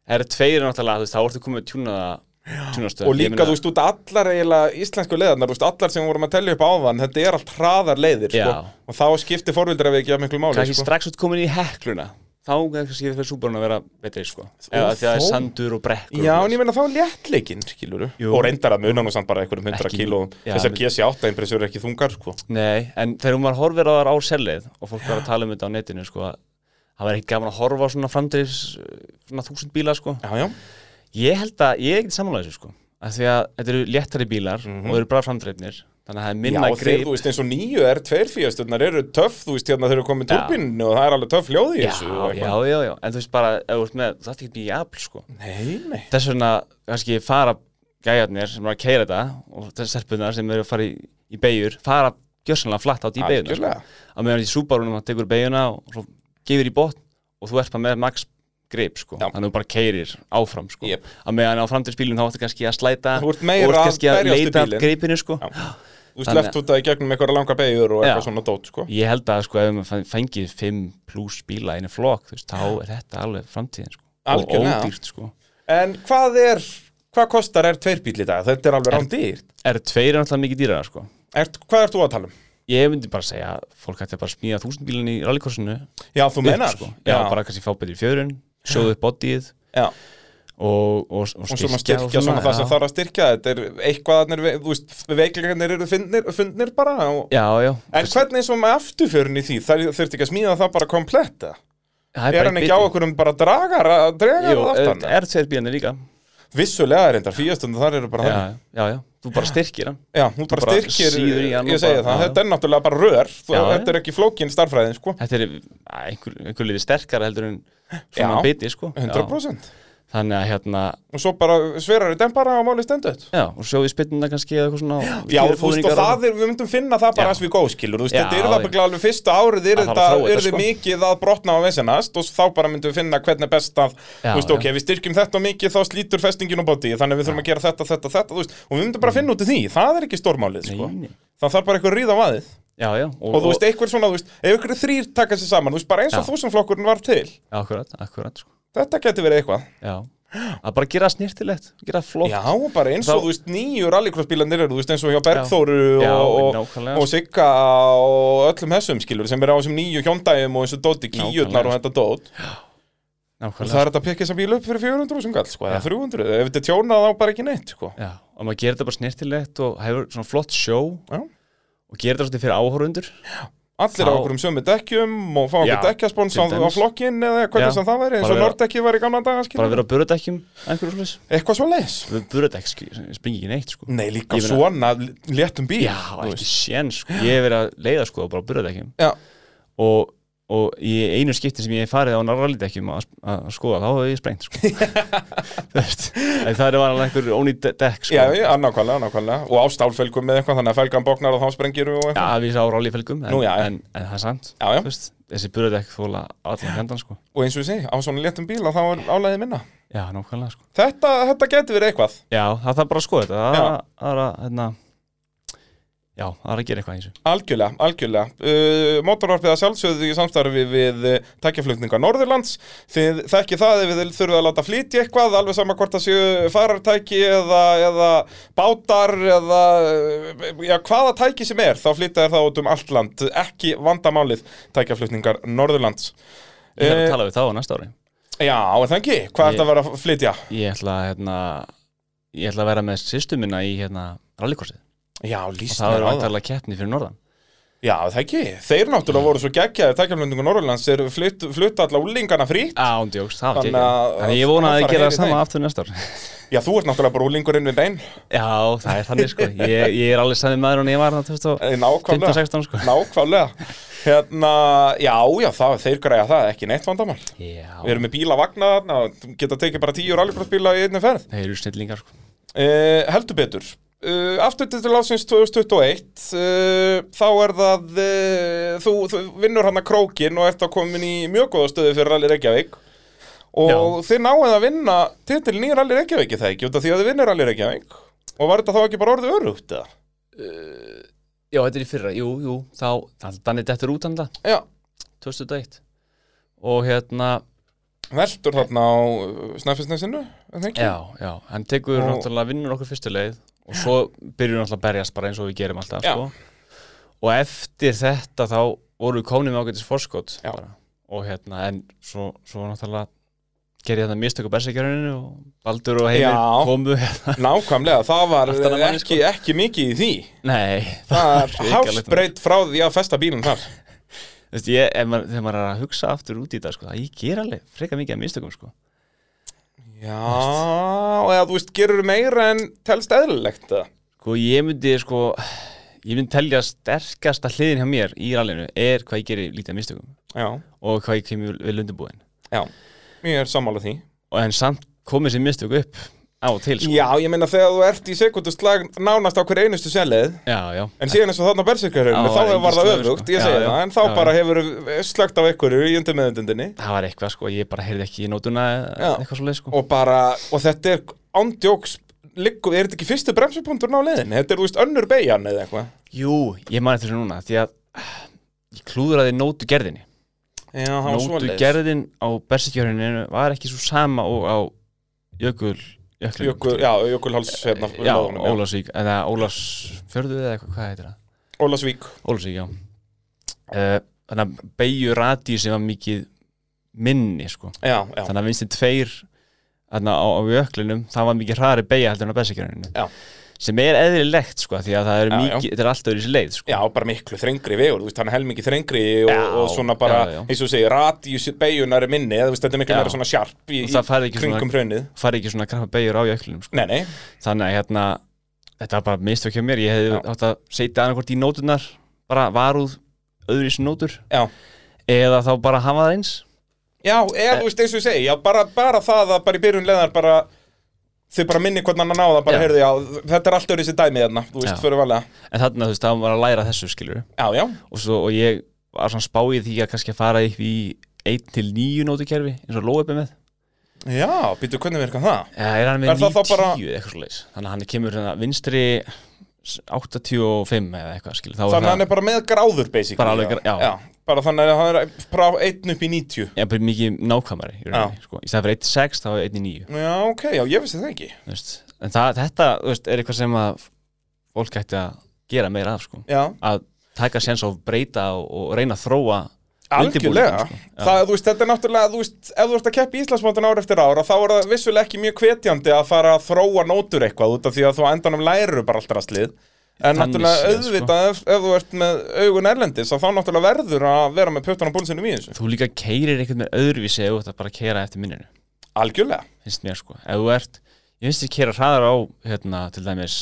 Speaker 2: það eru tveir náttúrulega þú veist, þá ertu komið að tjúna það tjúnastöð
Speaker 1: og líka, þú veist, út allar eiginlega íslensku leiðarnar, þú veist, allar sem við vorum að tellja upp áðan þetta er allt hraðar leiðir, sko
Speaker 2: Já.
Speaker 1: og þá skiptir forvildra við ekki að miklu máli,
Speaker 2: kannski
Speaker 1: sko
Speaker 2: strax út komin í hekluna þá er kannski fyrir súbarun að vera betri sko.
Speaker 1: Og
Speaker 2: eða því að það er
Speaker 1: þó-
Speaker 2: sandur og brekkur
Speaker 1: Já,
Speaker 2: og
Speaker 1: en ég meina þá er léttleikinn, skilur
Speaker 2: Jú.
Speaker 1: og reyndar að muna nú samt bara einhverjum hundra
Speaker 2: Ekki-
Speaker 1: kíló
Speaker 2: Já,
Speaker 1: þessar
Speaker 2: men-
Speaker 1: GC8 impressur er ekki þungar, sko
Speaker 2: Nei, en þegar hún var horfir á þar á selið og fólk var að tala um þetta á netinu sko, að það var ekki gaman að horfa á svona framdreifs svona þúsund bíla sko.
Speaker 1: Já, já,
Speaker 2: ég held að, ég er ekkert sammála þessu sko. að því að þetta eru léttari bílar og eru bara framdreifnir þannig að það er
Speaker 1: Mhm. já
Speaker 2: minna
Speaker 1: og þeir,
Speaker 2: greip
Speaker 1: þú veist, eins og nýju er tveir fíastunnar eru töff, þú veist, hérna þeir eru komið
Speaker 2: Já.
Speaker 1: turbinni og það er alveg töff hljóð í
Speaker 2: já,
Speaker 1: þessu og
Speaker 2: já,
Speaker 1: eitthvað.
Speaker 2: já, já, en þú veist bara ef þú veist með, það er ekki mikið afl sko.
Speaker 1: Nei, nei,
Speaker 2: þess vegna kannski fara gæjarnir sem eru að keira þetta og þessar serpunar sem eru að fara í, í beigur fara gjörsanlega flatt átt í beiguna sko.
Speaker 1: algjörlega
Speaker 2: að meðan í súbarunum það tekur beiguna og svo gefur í botn og þú ert bara með max grip sko,
Speaker 1: Já.
Speaker 2: þannig að þú bara keirir áfram sko,
Speaker 1: Jep.
Speaker 2: að meðan á framtíðsbílun þá ertu kannski að slæta
Speaker 1: Þú ert meira
Speaker 2: og ert kannski
Speaker 1: að
Speaker 2: að
Speaker 1: berjast við
Speaker 2: leita að
Speaker 1: bílinn.
Speaker 2: gripinu sko.
Speaker 1: Já. Þú veist,
Speaker 2: Þannig-
Speaker 1: left út í gegnum eitthvað langa beigur og eitthvað
Speaker 2: Já.
Speaker 1: svona dót, sko
Speaker 2: ég held að sko, ef maður fæ- fengið 5 pluss bíla í einu flokk, þú veist, þá er þetta alveg framtíðin sko, og
Speaker 1: Algjörlega.
Speaker 2: ódýrt sko.
Speaker 1: En hvað er, hvað kostar er tveir bíl í dag? Þetta er alveg rándýrt.
Speaker 2: R2 er náttúrulega mikið dýrara sko.
Speaker 1: Er, hvað ert þú að tala um?
Speaker 2: ég myndi bara segja að fólk ætti bara að smíða þúsundbílun í rallikorsinu
Speaker 1: Já, þú meinar.
Speaker 2: sko.
Speaker 1: Já,
Speaker 2: já, bara kannski fá betri fjörun sjóðu upp bodyið
Speaker 1: já.
Speaker 2: og, og,
Speaker 1: Og
Speaker 2: og,
Speaker 1: svona styrkja svona það
Speaker 2: já.
Speaker 1: sem þarf að styrkja. Þetta er eitthvað að nýr, þú veist, veiklingarnir eru fundnir, fundnir bara. Og,
Speaker 2: Já, já
Speaker 1: en hvernig eins og með afturfjörun í því? Það þurfti ekki að smíða það bara kompletta.
Speaker 2: það
Speaker 1: Er hann ekki á okkur um bara dragara, dragara að
Speaker 2: aftan?
Speaker 1: aftan?
Speaker 2: Jú, R2 bílarnir líka
Speaker 1: Vissulega er reyndar, fíastundu þar eru bara
Speaker 2: já,
Speaker 1: það.
Speaker 2: já, já, þú bara styrkir hann
Speaker 1: Já, hún bara,
Speaker 2: bara
Speaker 1: styrkir,
Speaker 2: síður í hann og
Speaker 1: ég segi
Speaker 2: bara-
Speaker 1: það,
Speaker 2: já.
Speaker 1: þetta er náttúrulega bara rör, þú,
Speaker 2: Já, já.
Speaker 1: þetta er ekki flókin starfræðin, sko,
Speaker 2: Þetta er að, einhver, einhver liði sterkara heldur en
Speaker 1: Já,
Speaker 2: svona biti, sko Já.
Speaker 1: 100%.
Speaker 2: Þannig að hérna,
Speaker 1: og svo bara sverari dempara og máli stendur
Speaker 2: já, og sjóðu spinnuna kannski eða eitthvað svona
Speaker 1: Já, þú veist, og það er, við myndum finna það bara
Speaker 2: Já.
Speaker 1: as við góð, skilur, þú veist,
Speaker 2: Já,
Speaker 1: þetta eru
Speaker 2: já.
Speaker 1: það bygglega alveg fyrsta árið, eru
Speaker 2: þarf að
Speaker 1: þetta,
Speaker 2: þróa þetta,
Speaker 1: eru þið
Speaker 2: sko.
Speaker 1: mikið að brotna á vesenast og þá bara myndum við finna hvernig er best að,
Speaker 2: Já,
Speaker 1: þú veist,
Speaker 2: já.
Speaker 1: ok, við styrkjum þetta mikið þá slítur festingin og bóti, þannig að við þurfum að gera þetta, þetta, þetta, þú veist, og við myndum bara finna út í því, það er ekki stórmálið, sko,
Speaker 2: Mm. Nei, nei.
Speaker 1: það þarf bara eitthvað að ríða á aðið
Speaker 2: Já, já,
Speaker 1: og þú veist, eitthvað svona, þú veist, ef ykkur þrýr taka sér saman, þú veist, bara eins og
Speaker 2: Já.
Speaker 1: þúsundflokkurinn var til,
Speaker 2: Akkurat, akkurat, sko
Speaker 1: þetta geti verið eitthvað.
Speaker 2: Já, að bara gera snirtilegt, gera flott
Speaker 1: Já, bara eins og
Speaker 2: Þá-
Speaker 1: þú veist nýju rallycrossbílandir eru, þú veist eins og hjá Bergþóru
Speaker 2: Já,
Speaker 1: og, og,
Speaker 2: nákvæmlega.
Speaker 1: og Sigga og öllum þessum skilur sem eru á þessum nýju hjóndægjum og eins og dóti kíurnar og
Speaker 2: Nákvæmlega.
Speaker 1: þetta dót og það
Speaker 2: Nákvæmlega
Speaker 1: er þetta að pekja þessa bíl upp fyrir 400 sem gall sko, eða 300, ef þetta er tjónað þá bara ekki neitt sko.
Speaker 2: Já, og maður gerir þetta bara snirtilegt og hefur svona flott sjó
Speaker 1: Já.
Speaker 2: og gerir þetta svona fyrir áhorundur
Speaker 1: Allir á
Speaker 2: Þá-
Speaker 1: okkur um sömu dekkjum og fá
Speaker 2: Já,
Speaker 1: okkur dekkjaspons á,
Speaker 2: til
Speaker 1: á
Speaker 2: dæmis.
Speaker 1: flokkin eða
Speaker 2: Já.
Speaker 1: hvernig sem það væri eins
Speaker 2: Bara
Speaker 1: og
Speaker 2: vera-
Speaker 1: Nordekkið var í gamla daga
Speaker 2: bara
Speaker 1: skilur
Speaker 2: vera á burðadekkjum einhverjum slis
Speaker 1: eitthvað svo leis
Speaker 2: Burðadekk sk- springi ekki neitt sko
Speaker 1: Nei, líka
Speaker 2: Ég meina-
Speaker 1: svona léttum bíl
Speaker 2: Já,
Speaker 1: þú
Speaker 2: ekki
Speaker 1: veist.
Speaker 2: sén sko Ég hef verið að leiða sko bara á burðadekkjum
Speaker 1: Já,
Speaker 2: og, og í einu skipti sem ég hef farið á narralidekkjum að, að skoða þá hef ég sprengt sko Þú veist, en það er alveg einhver ónýtt de- dekk sko
Speaker 1: já, já, nákvæmlega, nákvæmlega Og á stálfelgum með eitthvað, þannig að felgan bóknar og þá sprengir og eitthvað
Speaker 2: Já, við sá rallyfelgum en,
Speaker 1: Nú, já, já.
Speaker 2: en, en það er sant
Speaker 1: Já, já.
Speaker 2: Þú veist, Þessi burðadekk þóla allan hendan sko
Speaker 1: og eins og ég segi, á svona léttum bíla þá er álæðið minna.
Speaker 2: Já, nákvæmlega sko
Speaker 1: Þetta, þetta geti verið eitthvað.
Speaker 2: Já, það þarf bara að skoða þetta Það
Speaker 1: Já.
Speaker 2: það er að, hérna Já, það er að gera eitthvað í þessu
Speaker 1: Algjörlega, algjörlega. Uh, Mótorvarpið að sjálfsögðu í samstarfi við uh, tækjaflutninga Norðurlands. Þið þekki það ef þið þurfið að láta flýti eitthvað, alveg sama hvort það séu farartæki eða, eða bátar eða uh, já, hvaða tæki sem er, þá flýta þér það út um allt land. Ekki vandamálið tækjaflutningar Norðurlands.
Speaker 2: Ég er
Speaker 1: Eh,
Speaker 2: að tala við þá á næsta ári
Speaker 1: Já, er það ekki? Hvað
Speaker 2: Ég-
Speaker 1: ert að vera að flytja?
Speaker 2: Ég ætla að, hérna, ég ætla að vera með sýstu minna í hérna rallikorsið
Speaker 1: Já,
Speaker 2: og
Speaker 1: lýst mér
Speaker 2: það verður
Speaker 1: á það.
Speaker 2: vantarlega keppni fyrir norðan
Speaker 1: Já, það ekki. Þeir náttúrulega voru svo geggjaði tækjaflendingu Norrlands, þeir flutt, flutt alla úlingana frýtt.
Speaker 2: ándjóks, það var ekki
Speaker 1: Þannig að-
Speaker 2: þannig ég vona
Speaker 1: að fara
Speaker 2: að ég
Speaker 1: heyri
Speaker 2: gera það sama
Speaker 1: þeim.
Speaker 2: aftur næsta ár
Speaker 1: Já, þú ert náttúrulega bara úlingurinn við bein.
Speaker 2: Já, það er þannig sko Ég, ég er alveg sami maður en ég var
Speaker 1: Eh,
Speaker 2: þarna
Speaker 1: Nákvæmlega.
Speaker 2: 15-16 sko
Speaker 1: Nákvæmlega. Hérna, já, já, það, þeir græja það, ekki neitt vandamál. Við
Speaker 2: Já,
Speaker 1: erum með bílavagna þarna og geta tekið bara tíu rallycrossbíla í einni ferð.
Speaker 2: þeir eru snillingar sko
Speaker 1: Uh, heldur betur uh, Aftur til ásins 2021 uh, Þá er það uh, þú, þú vinnur hann að krókin og ert að komin í mjög góða stöðu fyrir Rally Reykjavík og
Speaker 2: Já.
Speaker 1: þið náið að vinna titilin í Rally Reykjavík er það ekki út af því að þið vinnur Rally Reykjavík og var þetta þá ekki bara orðið örugt eða?
Speaker 2: Já, þetta er í fyrra, jú, jú Þá, þannig dannið þetta er út hann það,
Speaker 1: Já,
Speaker 2: 2001 Og hérna,
Speaker 1: veldur þarna á eh, Snæfisnesinu
Speaker 2: já, já Hann tekur
Speaker 1: Og-
Speaker 2: náttúrulega vinnur okkur fyrstu leið Og svo byrjum við náttúrulega að berjast bara eins og við gerum alltaf
Speaker 1: Já.
Speaker 2: sko Og eftir þetta þá voru við komin með ágætis forskot
Speaker 1: Já.
Speaker 2: bara. Og hérna, en svo, svo náttúrulega gerði þetta mistök á berserkjöruninu og Baldur og Heimir
Speaker 1: Já.
Speaker 2: komu hérna.
Speaker 1: Nákvæmlega, það var
Speaker 2: Allt annað manni,
Speaker 1: ekki, ekki mikið í því
Speaker 2: Nei,
Speaker 1: Það er
Speaker 2: Hrikalegt.
Speaker 1: hálfsbreytt frá því að festa bílinn þar
Speaker 2: Þú veist, ég, ef maður, þegar maður er að hugsa aftur út í þetta, sko, að ég ger alveg freka mikið að mistökum, sko.
Speaker 1: Já, eða þú veist, gerur meira en telst eðlilegt eða?
Speaker 2: Sko, ég myndi, sko, ég myndi telja sterkasta hliðin hjá mér í rallinu er hvað ég gerir lítið að mistökum
Speaker 1: Já,
Speaker 2: og hvað ég kemur við lundubúin.
Speaker 1: já, ég er sammála því
Speaker 2: Og en samt komið sér mistök upp á og til, sko.
Speaker 1: Já, ég meina þegar þú ert í sekunduslag nánast á hver einustu selið
Speaker 2: Já, já.
Speaker 1: En síðan eins og þarna berserkjörðunni,
Speaker 2: Já,
Speaker 1: þá
Speaker 2: var engin
Speaker 1: var það
Speaker 2: slögur, sko.
Speaker 1: öfugt, ég
Speaker 2: Já,
Speaker 1: segi
Speaker 2: já,
Speaker 1: það En þá
Speaker 2: já,
Speaker 1: bara hefur slögt af einhverju í undirmiðundundinni
Speaker 2: Það var eitthvað, sko, ég bara heyrði ekki í nótuna
Speaker 1: Já.
Speaker 2: eða eitthvað svo leið, sko.
Speaker 1: Og bara, og þetta er ándjóks, liggur, er þetta ekki fyrsti bremsupunkturinn á leiðinni? Þetta er, þú veist, önnur beigjan eða eitthvað
Speaker 2: Jú, ég man eftir þessu núna, því að eh, ég klúðraði nótu gerðinni.
Speaker 1: Já, það var
Speaker 2: Nótu
Speaker 1: svoleiðis.
Speaker 2: gerðin á bersikjöruninu var ekki svo sama og á jökul, jökul,
Speaker 1: Jökul, já, Jökulháls, hérna,
Speaker 2: Já,
Speaker 1: loðunum, já.
Speaker 2: Ólasvík, eða Ólasfjörðu eða eitthvað, hvað heitir það?
Speaker 1: Ólafsvík
Speaker 2: Ólasvík, já uh, Þannig að beigju radíu sem var mikið minni, sko
Speaker 1: Já, já,
Speaker 2: Þannig að vinstu tveir þarna á, á jöklinum, það var mikið hraðari beigja heldur en á
Speaker 1: Já.
Speaker 2: bessikjöruninu sem er eðlilegt, sko, því að það er
Speaker 1: Já, já.
Speaker 2: mikið þetta er alltaf í þessi leið, sko
Speaker 1: Já, bara miklu þrengri vegur, þú veist, hann er helmingi þrengri og,
Speaker 2: Já,
Speaker 1: og svona bara,
Speaker 2: já, já.
Speaker 1: eins og þú segir, radíus beijunar er minni, eða þú veist, þetta er miklu
Speaker 2: Já.
Speaker 1: meira svona sjarp í, í
Speaker 2: Og það færði ekki
Speaker 1: kringum
Speaker 2: svona,
Speaker 1: hrunnið.
Speaker 2: færði ekki svona krafna beigjur á jöklinum, sko
Speaker 1: Nei, nei,
Speaker 2: Þannig að hérna, þetta var bara mistök hjá mér Ég
Speaker 1: Já.
Speaker 2: hefði átt að setja annarkvort í nótunar bara varúð öðru nótur
Speaker 1: já.
Speaker 2: eða þá bara hafa það eins
Speaker 1: Já, eða þú veist, eins og ég segi, já, bara, bara það að bara í byrjun leðar bara, þau bara minni hvernig annan á það, bara,
Speaker 2: Já.
Speaker 1: heyrðu, já, þetta er allt öðru sér dæmið þarna, þú veist,
Speaker 2: Já.
Speaker 1: fyrir valega.
Speaker 2: en þarna þú veist, það var að læra þessu skilur
Speaker 1: Já, já,
Speaker 2: og, svo, og ég var svona spáið því að kannski að fara upp í 1 til 9 nótukerfi eins og lóðupi með
Speaker 1: já, býtu, hvernig virkar það?
Speaker 2: eða er
Speaker 1: Er
Speaker 2: hann með
Speaker 1: það
Speaker 2: 9
Speaker 1: þá bara-
Speaker 2: eitthvað svo leis þannig að hann kemur hérna vinstri s- 85 eða eitthvað skilur þá
Speaker 1: Þannig að hann er bara með gráður, basically.
Speaker 2: Bara alveg
Speaker 1: já.
Speaker 2: gra- já.
Speaker 1: bara þannig að hann er frá 1 upp í 90.
Speaker 2: ég er bara mikið nákvæmari í rauninni, sko. í stæð fyrir 1 til 6 þá er 1 til 9
Speaker 1: Já, ok, já, ég vissi það ekki.
Speaker 2: þú veist. en það, þetta þú veist, er eitthvað sem að fólk ætti að gera meira af sko.
Speaker 1: Já.
Speaker 2: að taka séns á að breyta og, og reyna að þróa
Speaker 1: Algjörlega,
Speaker 2: undirbúninginn, sko. Já.
Speaker 1: það, þú veist, þetta er náttúrulega, þú veist, ef þú ert að keppa í Íslandsmótin ára eftir ára, þá er það vissulega ekki mjög hvetjandi að fara að þróa nótur eitthvað út af því að þú á endanum læru bara allt rastlið. En
Speaker 2: Þannig
Speaker 1: náttúrulega
Speaker 2: séð, sko.
Speaker 1: auðvitað ef, ef þú ert með augun erlendis, að þá náttúrulega verður að vera með puttan á búlsinu í þessu.
Speaker 2: þú líka keirir einhvern veginn öðruvísi ef þú ert að bara keira eftir minninu
Speaker 1: Algjörlega,
Speaker 2: finnst mér sko, ef þú ert ég finnst þér keira hraðar á hérna, til dæmis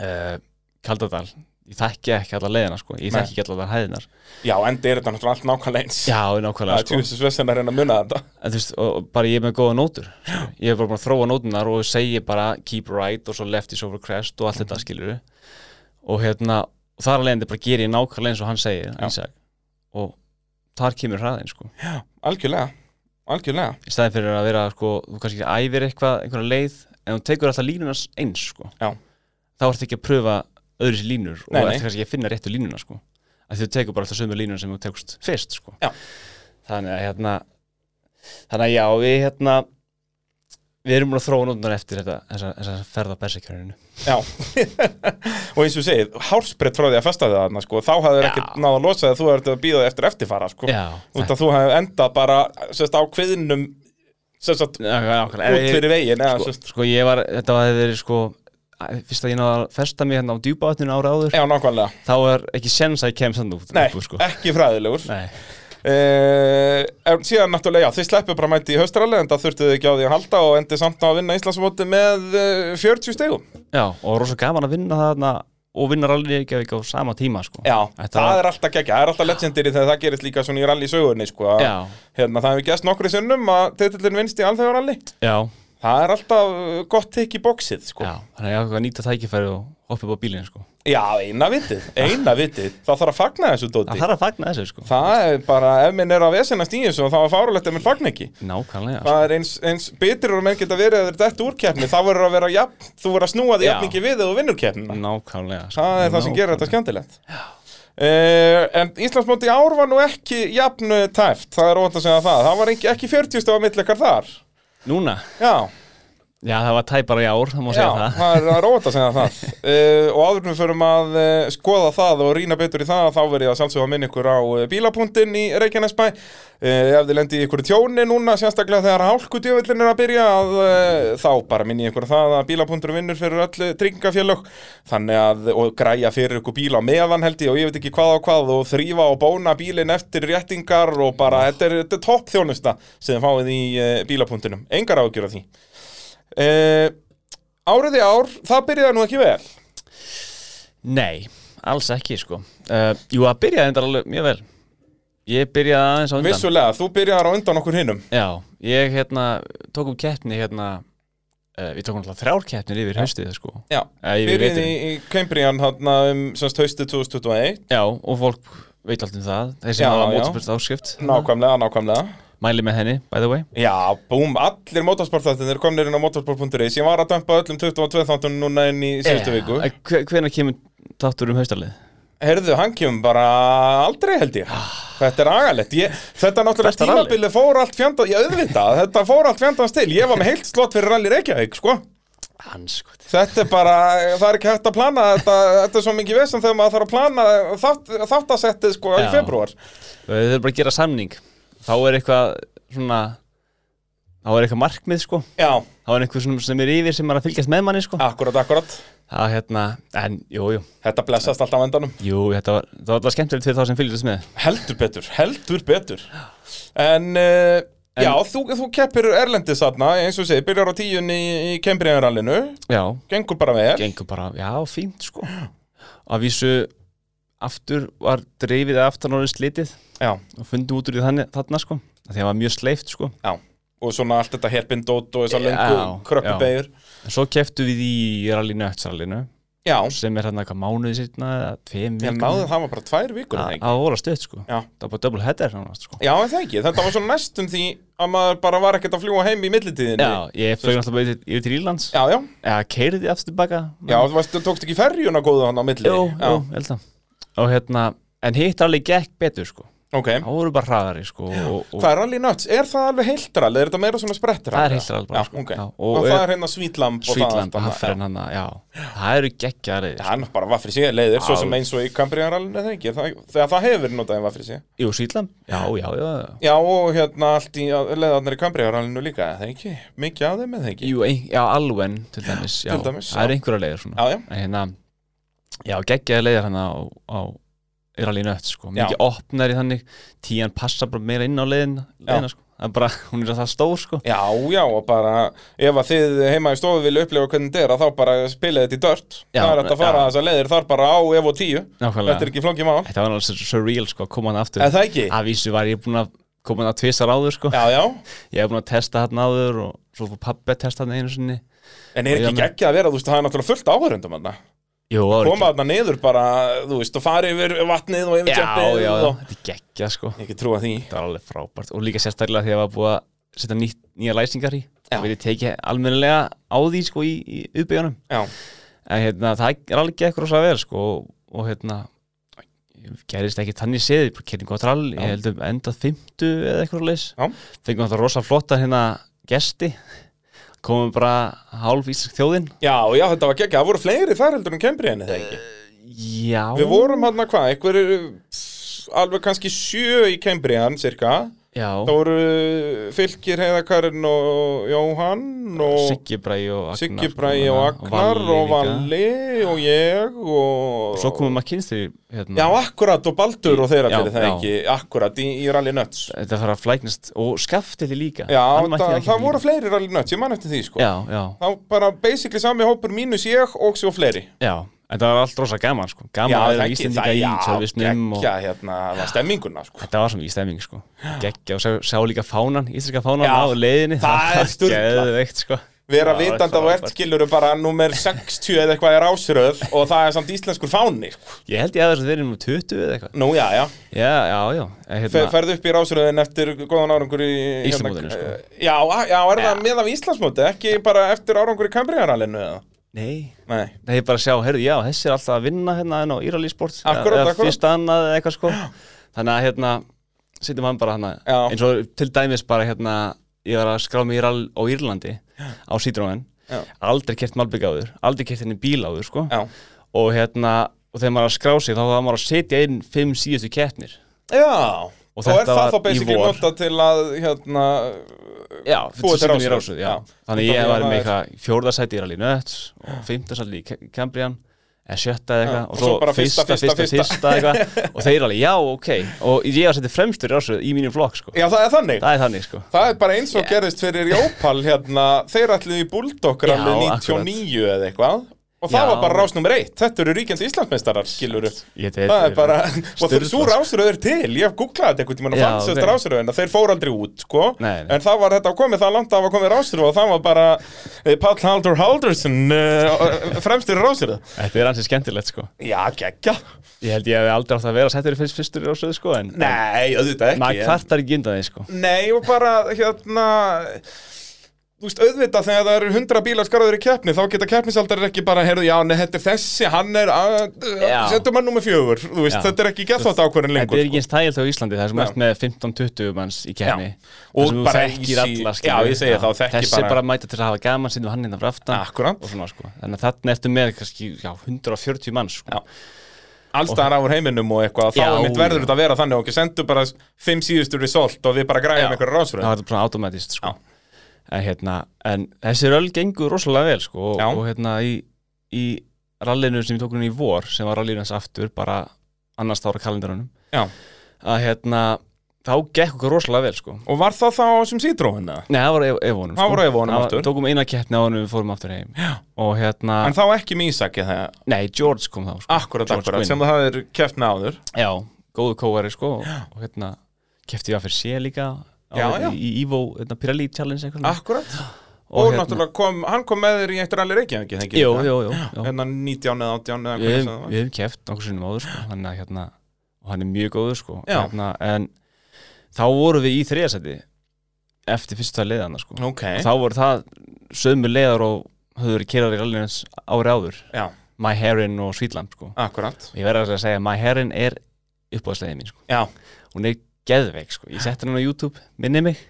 Speaker 2: uh, Kaldadal, ég þekki ekki alla leiðina sko, ég
Speaker 1: Nei.
Speaker 2: þekki ekki allar hæðinar
Speaker 1: já, endi er þetta náttúrulega allt nákvæmlega eins.
Speaker 2: já,
Speaker 1: það
Speaker 2: nákvæmlega
Speaker 1: er
Speaker 2: sko
Speaker 1: tjóðsins vessin að reyna að muna þetta.
Speaker 2: en, þú veist, og, og bara ég er með góða nótur sko. ég er bara búin að þróa nótunar og segi bara keep right og svo left is over crest og allt
Speaker 1: Mhm.
Speaker 2: þetta skilur og hérna, og þar að leiðandi bara gerir ég nákvæmlega eins og hann segir Ísak. og þar kemur hraðin sko
Speaker 1: Algjörlega, algjörlega.
Speaker 2: í staðin fyrir að vera sko, þú kannski æfir eitthvað, einhverja leið en þú tekur alltaf línuna s- eins sko.
Speaker 1: Já.
Speaker 2: þá ertu ekki að pröfa öðru sér línur og
Speaker 1: Nei, nei.
Speaker 2: ertu kannski ekki að finna réttu línuna sko. að þú tekur bara alltaf sömu línuna sem þú tekst fyrst sko.
Speaker 1: Já.
Speaker 2: þannig að hérna þannig að já, við hérna við erum búin að þróa nótunar eftir þetta þessa, þessa ferða bersekjörninu
Speaker 1: Já, og eins og segið, hálsbreytt frá því að festa það þarna, sko, þá hafðir
Speaker 2: Já.
Speaker 1: ekkert náða að losa það að þú ert að býða eftir eftirfara, sko.
Speaker 2: já,
Speaker 1: Út að þú hefði endað bara sérst, á kviðnum sérst, út
Speaker 2: nákvæmlega Ef ég-
Speaker 1: fyrir veginn eða,
Speaker 2: sko,
Speaker 1: sérst,
Speaker 2: sko ég var, þetta var þeir sko að- fyrst að ég náða að festa mig hérna á djúbavatninu ára áður
Speaker 1: Já, nákvæmlega.
Speaker 2: þá er ekki sens að ég kemst þannig út
Speaker 1: Nei,
Speaker 2: upp úr, sko.
Speaker 1: ekki fræðilegur.
Speaker 2: Nei.
Speaker 1: Uh, síðan náttúrulega, já, þið sleppu bara mæti í haustrali en það þurftu þið ekki á því að halda og endi samt á að vinna Íslandsmóti með uh, 40 stegum.
Speaker 2: Já, og rosa gaman að vinna þarna og vinna rallið ekki á sama tíma sko.
Speaker 1: Já,
Speaker 2: Þetta
Speaker 1: það
Speaker 2: var-
Speaker 1: er alltaf geggja, það er alltaf legendary þegar það gerist líka svona í rally sögurni, sko. að-
Speaker 2: Já.
Speaker 1: Hérna, það hefur gæst nokkru sinnum að titillin vinst í alþegar rally.
Speaker 2: já,
Speaker 1: Það er alltaf uh, gott tikk í boxið, sko.
Speaker 2: já, þannig að ég ákveð að nýta tækifæri og hoppa upp á bílinn sko.
Speaker 1: Já, eina vitið, eina vitið. Það þarf að fagna þessu,
Speaker 2: Það
Speaker 1: Dóti.
Speaker 2: þarf að fagna þessu sko.
Speaker 1: Það er bara, ef minn er að vesenast í þessu, þá er fárulegt ef minn fagna ekki.
Speaker 2: Nákvæmlega sko.
Speaker 1: Það er eins, eins bitur og menn geta verið að þetta úr keppni, þá verður að vera jafn, þú verður að snúa því
Speaker 2: Já.
Speaker 1: jafn mikið við þegar þú vinnur keppnina.
Speaker 2: Nákvæmlega sko.
Speaker 1: Það er það sem gerir þetta
Speaker 2: Nákvæmlega.
Speaker 1: skemmtilegt. Uh, en Íslandsmóti í ár var nú ekki jafn eh, tæft, það er ótt að segja það. Það var ekki, ekki 40 stofa millekar þar.
Speaker 2: Núna,
Speaker 1: Já,
Speaker 2: já það var tæpara í ár, það má
Speaker 1: já
Speaker 2: segja það
Speaker 1: það er- það er ótt að segja það. Uh, og áður en við förum að uh, skoða það og rýna betur í það, þá verður ég að sjálfsögða að minna ykkur á eh, bílapunktinn í Reykjanesbæ. Uh, ef þið lendir í ykkur tjóni núna, sérstaklega þegar hálkudjöfullin er að byrja, að, uh, þá bara minni ég ykkur á það að bílapunktur vinnur fyrir öll eh, tryggingafélög þannig að, og græja fyrir ykkur bíl á meðan held ég og ég veit ekki hvað og hvað og þrýfa og bóna bílinn eftir réttingar og bara, þetta er, þetta er topp þjónusta sem þið fáið í uh, bílapunktunum, engar ágjur af því. Uh, árið í ár, það byrjaði nú ekki vel.
Speaker 2: Nei, alls ekki sko. uh, Jú, það byrjaði þetta alveg mjög vel Ég byrjaði aðeins á undan
Speaker 1: Vissulega, þú byrjaði á undan okkur hinnum.
Speaker 2: Já, ég hérna tók um keppni hérna uh, Við tókum alltaf þrjár keppnir yfir haustið sko.
Speaker 1: Já,
Speaker 2: Eh, yfir
Speaker 1: byrjaði
Speaker 2: veturinn.
Speaker 1: í, í Cambrian hann um semst haustið 2021,
Speaker 2: Já, og fólk veit allt um það Þeir sem
Speaker 1: Já,
Speaker 2: hafa
Speaker 1: já.
Speaker 2: mótorspyrst áskrift
Speaker 1: nákvæmlega, nákvæmlega.
Speaker 2: Mæli með henni, by the way
Speaker 1: Mhm. Já, búm, allir motorsportþættin eru komnir inn á motorsport.is Ég var að dömpa öllum 22 þáttunum núna inn í síðustu viku
Speaker 2: Eh, hve- Hvenær kemur þáttur um haustalið?
Speaker 1: Herðu, hann kemur bara aldrei held ég Þetta er agalegt ég, Ah. Þetta náttúrulega
Speaker 2: Besta rally.
Speaker 1: tímabilið fór allt fjandans Ég auðvitað, þetta fór allt fjandans til Ég var með heilt slott fyrir rally Reykjavík, sko
Speaker 2: Hans, sko
Speaker 1: Þetta er bara, það er ekki hægt að plana Þetta, þetta er svo mikið vesen þegar maður þarf að plana þátt, Þáttasettið, sko, í
Speaker 2: Já.
Speaker 1: februar
Speaker 2: Við þurfum bara að gera samning Þá er eitthvað svona Þá er eitthvað markmið, sko
Speaker 1: Já,
Speaker 2: Þá er eitthvað svona sem er yfir sem er að fylgjast með manni, sko
Speaker 1: akkurat, akkurat
Speaker 2: Það hérna, en, jú, jú
Speaker 1: Þetta blessast alltaf á endanum
Speaker 2: Jú, þetta var, það var alltaf skemmtilegt fyrir þá sem fylgjast með
Speaker 1: Heldur betur, heldur betur En, uh, já, þú, þú keppir Erlendis þarna, eins og ég segi, byrjar á tíun í, í Kembriðanrallinu
Speaker 2: Já,
Speaker 1: Gengur bara vel
Speaker 2: gengur bara, já, fínt sko að vísu aftur var dreifið aftan orðið slitið
Speaker 1: Já,
Speaker 2: og fundum út úr því þannig, þarna sko Af því að það var mjög sleift sko
Speaker 1: já Og svona allt þetta herpindót og þessar
Speaker 2: Já,
Speaker 1: löngu
Speaker 2: já.
Speaker 1: kröppubegjur
Speaker 2: en svo keftu við í rallinu ötsrallinu
Speaker 1: Já,
Speaker 2: sem er hérna eitthvað mánuði sérna eða tveim
Speaker 1: ég náði það var bara tvær vikur
Speaker 2: það
Speaker 1: en ekki
Speaker 2: það voru stutt sko
Speaker 1: Já.
Speaker 2: það var bara double header nánast sko
Speaker 1: Já, en það ekki, þetta var svona næstum því að maður bara var ekkert að fljúa heim í millitíðinni
Speaker 2: Já, ég flög náttúrulega bara yfir til- yfir til Írlands
Speaker 1: já, já,
Speaker 2: eða keiriði aftur tilbaka
Speaker 1: já, þú varst, þú tókst ekki ferjuna góðu hann á milli
Speaker 2: jú,
Speaker 1: já,
Speaker 2: jú, held það og hérna, en hitt alveg gekk betur sko
Speaker 1: ok
Speaker 2: þá voru bara hraðari sko og, og
Speaker 1: Hvað er allir nuts? Er það alveg heildralið? Er þetta meira svona sprettralið?
Speaker 2: Það er heildralið bara,
Speaker 1: Já,
Speaker 2: sko.
Speaker 1: ok.
Speaker 2: Já,
Speaker 1: og,
Speaker 2: og
Speaker 1: það
Speaker 2: er-
Speaker 1: er hérna svítlamb og það
Speaker 2: Svítland,
Speaker 1: allt annað, já.
Speaker 2: Hafren hann, hérna, sko. já það eru geggjaðar
Speaker 1: Já, hann bara vaffri sig leiðir, svo
Speaker 2: Já.
Speaker 1: sem eins og í Kambriðanrallinu það ekki, það, þegar það hefur verið notað en vaffri sig.
Speaker 2: Jú, Sýtlam? Já, já, já.
Speaker 1: Já, og hérna allt í leiðarnar í Kambriðanrallinu líka, er það ekki, mikið af þeim er það ekki.
Speaker 2: Jú, ein, já, alven til dæmis. Já,
Speaker 1: Til dæmis, já.
Speaker 2: Það eru einhverja leiðir svona.
Speaker 1: Já, já,
Speaker 2: En hérna, já, geggjaði leiðir hann á, á er alveg nött, sko.
Speaker 1: Já.
Speaker 2: Mikið opnar í þannig, tían passa bara meira inn á leiðina, leiðina sko. Það er bara, hún er það stór, sko.
Speaker 1: já, já, og bara ef að þið heima í stofu vilja upplifa hvernig þetta er að þá bara spila þetta í dört,
Speaker 2: Já,
Speaker 1: það er hægt að fara
Speaker 2: já.
Speaker 1: þessar leiðir þar bara á ef og tíu, þetta er
Speaker 2: Nákvæmlega.
Speaker 1: ekki flókið mál.
Speaker 2: Þetta var alveg svo surreal, sko, að koma hann aftur.
Speaker 1: Er það ekki?
Speaker 2: Að vísu var ég búin að koma hann að tvisar áður, sko.
Speaker 1: Já, já,
Speaker 2: Ég hef búin að testa hann áður og svo fór pabbi að testa hann einu sinni.
Speaker 1: en er
Speaker 2: Og ég
Speaker 1: ekki
Speaker 2: meina-
Speaker 1: geggja að vera, þú veist, það er náttúrulega fullt áhörundum hann
Speaker 2: Jú, það var
Speaker 1: koma þarna niður bara, þú veist, og fara yfir vatnið og
Speaker 2: ekki-
Speaker 1: yfir
Speaker 2: Já,
Speaker 1: tjöppið
Speaker 2: já,
Speaker 1: og...
Speaker 2: þetta er geggja, sko.
Speaker 1: Ég ekki trúa því
Speaker 2: Það var alveg frábært og líka sérstaklega því að var búið að setja nýtt, nýja læsingar í
Speaker 1: Já.
Speaker 2: og við tekið almennilega á því sko í, í uppbyggjanum
Speaker 1: Já,
Speaker 2: en hérna það er alveg ekki rosa vel sko og, og hérna gerist ekki tannig séði, bara kerði gott rall
Speaker 1: Já.
Speaker 2: ég held um endað 50 eða eitthvað leis
Speaker 1: Já.
Speaker 2: fengum þetta rosa flotta hérna gesti komum bara hálf íslensk þjóðin
Speaker 1: já, já þetta var geggja, það voru fleiri þar heldur en kembri henni þegar ekki
Speaker 2: Já
Speaker 1: Við vorum hann að hvað, einhver alveg kannski sjö í kembriðan, cirka
Speaker 2: já,
Speaker 1: Það voru Fylkir, Heiðakarinn og Jóhann og
Speaker 2: Siggi Bræi og Agnar hérna,
Speaker 1: Siggi Bræi og Agnar
Speaker 2: Valli
Speaker 1: og
Speaker 2: líka.
Speaker 1: Valli og ég og...
Speaker 2: Svo komum maður kynst því hérna,
Speaker 1: Já, akkurat og Baldur og þeirra
Speaker 2: Já,
Speaker 1: fyrir það
Speaker 2: já.
Speaker 1: ekki Akkurat í, í Rally Nuts
Speaker 2: Þetta þarf að flæknast og skafti því líka
Speaker 1: Já,
Speaker 2: Hann mætti
Speaker 1: það,
Speaker 2: ekki
Speaker 1: það
Speaker 2: líka.
Speaker 1: voru fleiri Rally Nuts, ég man eftir því sko
Speaker 2: Já, já,
Speaker 1: Þá bara basically sami hópur mínus ég og svo fleiri
Speaker 2: já En það var allt rosa gaman sko Gaman
Speaker 1: Já,
Speaker 2: að vera
Speaker 1: það ekki-
Speaker 2: íslendinga
Speaker 1: það-
Speaker 2: í
Speaker 1: já,
Speaker 2: servisnum og
Speaker 1: geggja, hérna, það var stemminguna sko.
Speaker 2: Þetta var sem í stemming sko Gekkja og sá, sá líka fánan, íslenska fánan
Speaker 1: Já,
Speaker 2: á leiðinni
Speaker 1: það er sturlað.
Speaker 2: Geðveikt sko
Speaker 1: vera
Speaker 2: Já,
Speaker 1: vitandi
Speaker 2: það
Speaker 1: að þú
Speaker 2: var
Speaker 1: ert
Speaker 2: bara-
Speaker 1: skilur bara nummer 60 eða eitthvað er ásröð og það er samt íslenskur fáni sko.
Speaker 2: Ég held ég að þess að þeir eru nú 20 eða eitthvað
Speaker 1: Nú, já, já,
Speaker 2: Já, já, já En
Speaker 1: Fe,
Speaker 2: hérna,
Speaker 1: ferðu upp í rásröðin eftir góðan árangur í
Speaker 2: Íslandsmótinu, sko.
Speaker 1: eh, Já, a- já, er það
Speaker 2: Já.
Speaker 1: með af Íslandsmóti, ekki bara eftir árangur í Kambriðaralinu eða?
Speaker 2: Nei
Speaker 1: Nei,
Speaker 2: Það er bara að sjá, heyrðu, já, þessi er alltaf að vinna hérna enn á Írali sport
Speaker 1: Akkúrat,
Speaker 2: eða
Speaker 1: akkúrat.
Speaker 2: Fyrst annað eða eitthvað sko Þannig að hérna, setjum hann bara hana
Speaker 1: Já.
Speaker 2: Eins og til dæmis bara hérna Ég var að skrá mig Íral á Írlandi Á Citroen
Speaker 1: Já.
Speaker 2: Aldrei kert Malbygg áður, aldrei kert henni bíl áður sko
Speaker 1: já
Speaker 2: Og hérna, og þegar maður er að skrá sig Þá var maður að setja inn fimm síðustu kettnir
Speaker 1: Já,
Speaker 2: Og
Speaker 1: þá er
Speaker 2: þetta
Speaker 1: það
Speaker 2: var
Speaker 1: þá
Speaker 2: í
Speaker 1: basically
Speaker 2: vor.
Speaker 1: nota til að, hérna,
Speaker 2: Já,
Speaker 1: Þú ert
Speaker 2: fyrir signum í
Speaker 1: rásuð.
Speaker 2: rásuð, já.
Speaker 1: Já.
Speaker 2: Þannig
Speaker 1: Út af
Speaker 2: ég
Speaker 1: því að
Speaker 2: var
Speaker 1: það
Speaker 2: með
Speaker 1: er-
Speaker 2: eitthvað fjórðarsæti í Rally Nuts og fimmtarsæti í Ke- Cambrian eða sjötta
Speaker 1: Já,
Speaker 2: eða eitthvað
Speaker 1: og
Speaker 2: og
Speaker 1: svo bara
Speaker 2: svo
Speaker 1: fyrsta,
Speaker 2: fyrsta,
Speaker 1: fyrsta,
Speaker 2: fyrsta,
Speaker 1: fyrsta.
Speaker 2: fyrsta, eitthvað og þeir alveg, já, ok og ég var settið fremstur í rásuð í mínum flokk, sko
Speaker 1: já, það er þannig
Speaker 2: Það er þannig, sko
Speaker 1: Það er bara eins og gerðist fyrir Jópal hérna, þeir ætluðu í Bulldogger
Speaker 2: Já,
Speaker 1: alveg
Speaker 2: akkurat.
Speaker 1: 99 eða eitthvað og það
Speaker 2: Já.
Speaker 1: var bara rás nummer 1, þetta eru ríkjandi Íslandsmeistarar skiluru,
Speaker 2: Ég veit,
Speaker 1: það er
Speaker 2: ég-
Speaker 1: bara og þeir svo rásröð er til, ég hef googlað þetta einhvern tímann og
Speaker 2: Já,
Speaker 1: fann sérst
Speaker 2: ok.
Speaker 1: rásröðina, þeir fóru aldrei út sko,
Speaker 2: Nei, nei.
Speaker 1: en það var þetta að komið það langt að hafa komið rásröð og það var bara eh, Páll Haldur Haldursson uh, fremstur rásröð
Speaker 2: Þetta er ansið skemmtilegt, sko
Speaker 1: Já, geggja
Speaker 2: Ég held ég hefði aldrei átt að vera settur í fyrst, fyrstur í rásuð, sko en
Speaker 1: Nei, auðvitað ekki
Speaker 2: maður
Speaker 1: en-
Speaker 2: kvartar ekki undan því, sko
Speaker 1: Nei og bara hérna Þú veist, auðvitað þegar það eru hundra bílar skarður í keppni þá geta keppnisaldar ekki bara, heyrðu, já, nei, þetta er þessi, hann er að,
Speaker 2: Já.
Speaker 1: setjum hann nummer fjögur, þú veist,
Speaker 2: Já.
Speaker 1: þetta er ekki gett þátt ákvörðin
Speaker 2: Þetta
Speaker 1: lengur. sko.
Speaker 2: er ekki eins tægilt á Íslandi, það er sem
Speaker 1: Já.
Speaker 2: mest með 15-20 manns í kefni
Speaker 1: Og
Speaker 2: þú
Speaker 1: bara
Speaker 2: þekkir
Speaker 1: easy-
Speaker 2: alla skilur
Speaker 1: já,
Speaker 2: við.
Speaker 1: ég segi það, og þekki
Speaker 2: Þessi
Speaker 1: bara- Ah.
Speaker 2: bara mæta til að hafa gaman sínum hann innan frá aftan
Speaker 1: Akkurát.
Speaker 2: og svona sko Þannig að þarna ertu með kannski já, 140 manns
Speaker 1: Já.
Speaker 2: sko.
Speaker 1: Allstaðar áur heiminum og eitthvað, þá
Speaker 2: Já,
Speaker 1: er mitt verður
Speaker 2: já.
Speaker 1: þetta að vera þannig og ekki sendu bara fimm síðustu result og við bara græjum einhverja
Speaker 2: Það
Speaker 1: rásfröð.
Speaker 2: var þetta bara automatist sko. en, hérna, en þessi röll gengur rosalega vel sko, og,
Speaker 1: Já.
Speaker 2: og hérna í, í rallinu sem við tókum í vor sem var rallinu hans aftur, bara annars ára kalendarunum
Speaker 1: Já.
Speaker 2: að hérna, þá gekk okkur rosalega vel sko.
Speaker 1: Og var það þá á þessum sídróinu?
Speaker 2: Nei, það var E- á Evónum
Speaker 1: Það var á Evónum aftur.
Speaker 2: Tókum eina keppni á honum við fórum aftur heim Já. Og hérna,
Speaker 1: En Ah. þá ekki mísaki þegar,
Speaker 2: nei, George kom þá sko.
Speaker 1: akkurat,
Speaker 2: George
Speaker 1: akkurat,
Speaker 2: Quinn.
Speaker 1: sem það er keppna áður.
Speaker 2: Já, góðu kóari sko og, og hérna, keppti ég að fyrir sé líka á,
Speaker 1: Já, já.
Speaker 2: Í í Evo, hérna, Pirelli Challenge eitthvað hérna-
Speaker 1: Akkurat. Og, náttúrulega kom, hann kom með þér í eitt rally reykjaðan, ekki þengið
Speaker 2: Jú, jú, jú, jú.
Speaker 1: hérna 19 eða 18 eða
Speaker 2: Við
Speaker 1: hvernig sem
Speaker 2: hefum,
Speaker 1: það
Speaker 2: við hefum keppt nokkur sinnum áður sko Þannig að hérna, og hann er mjög góður sko
Speaker 1: Já.
Speaker 2: hérna, En þá vorum við í þriðasæti Eftir fyrstu það leiðana sko
Speaker 1: var ok,
Speaker 2: Og Þá voru það sömu leiðar og höfðu verið keraðar í rallinu hans ári áður
Speaker 1: já,
Speaker 2: My Heron og Sweetland sko
Speaker 1: akkurat
Speaker 2: Ég verði að segja að My Heron er uppáðslegið mín sko.
Speaker 1: já.
Speaker 2: Hún er geðveik sko. Ég setti hann á YouTube, minni mig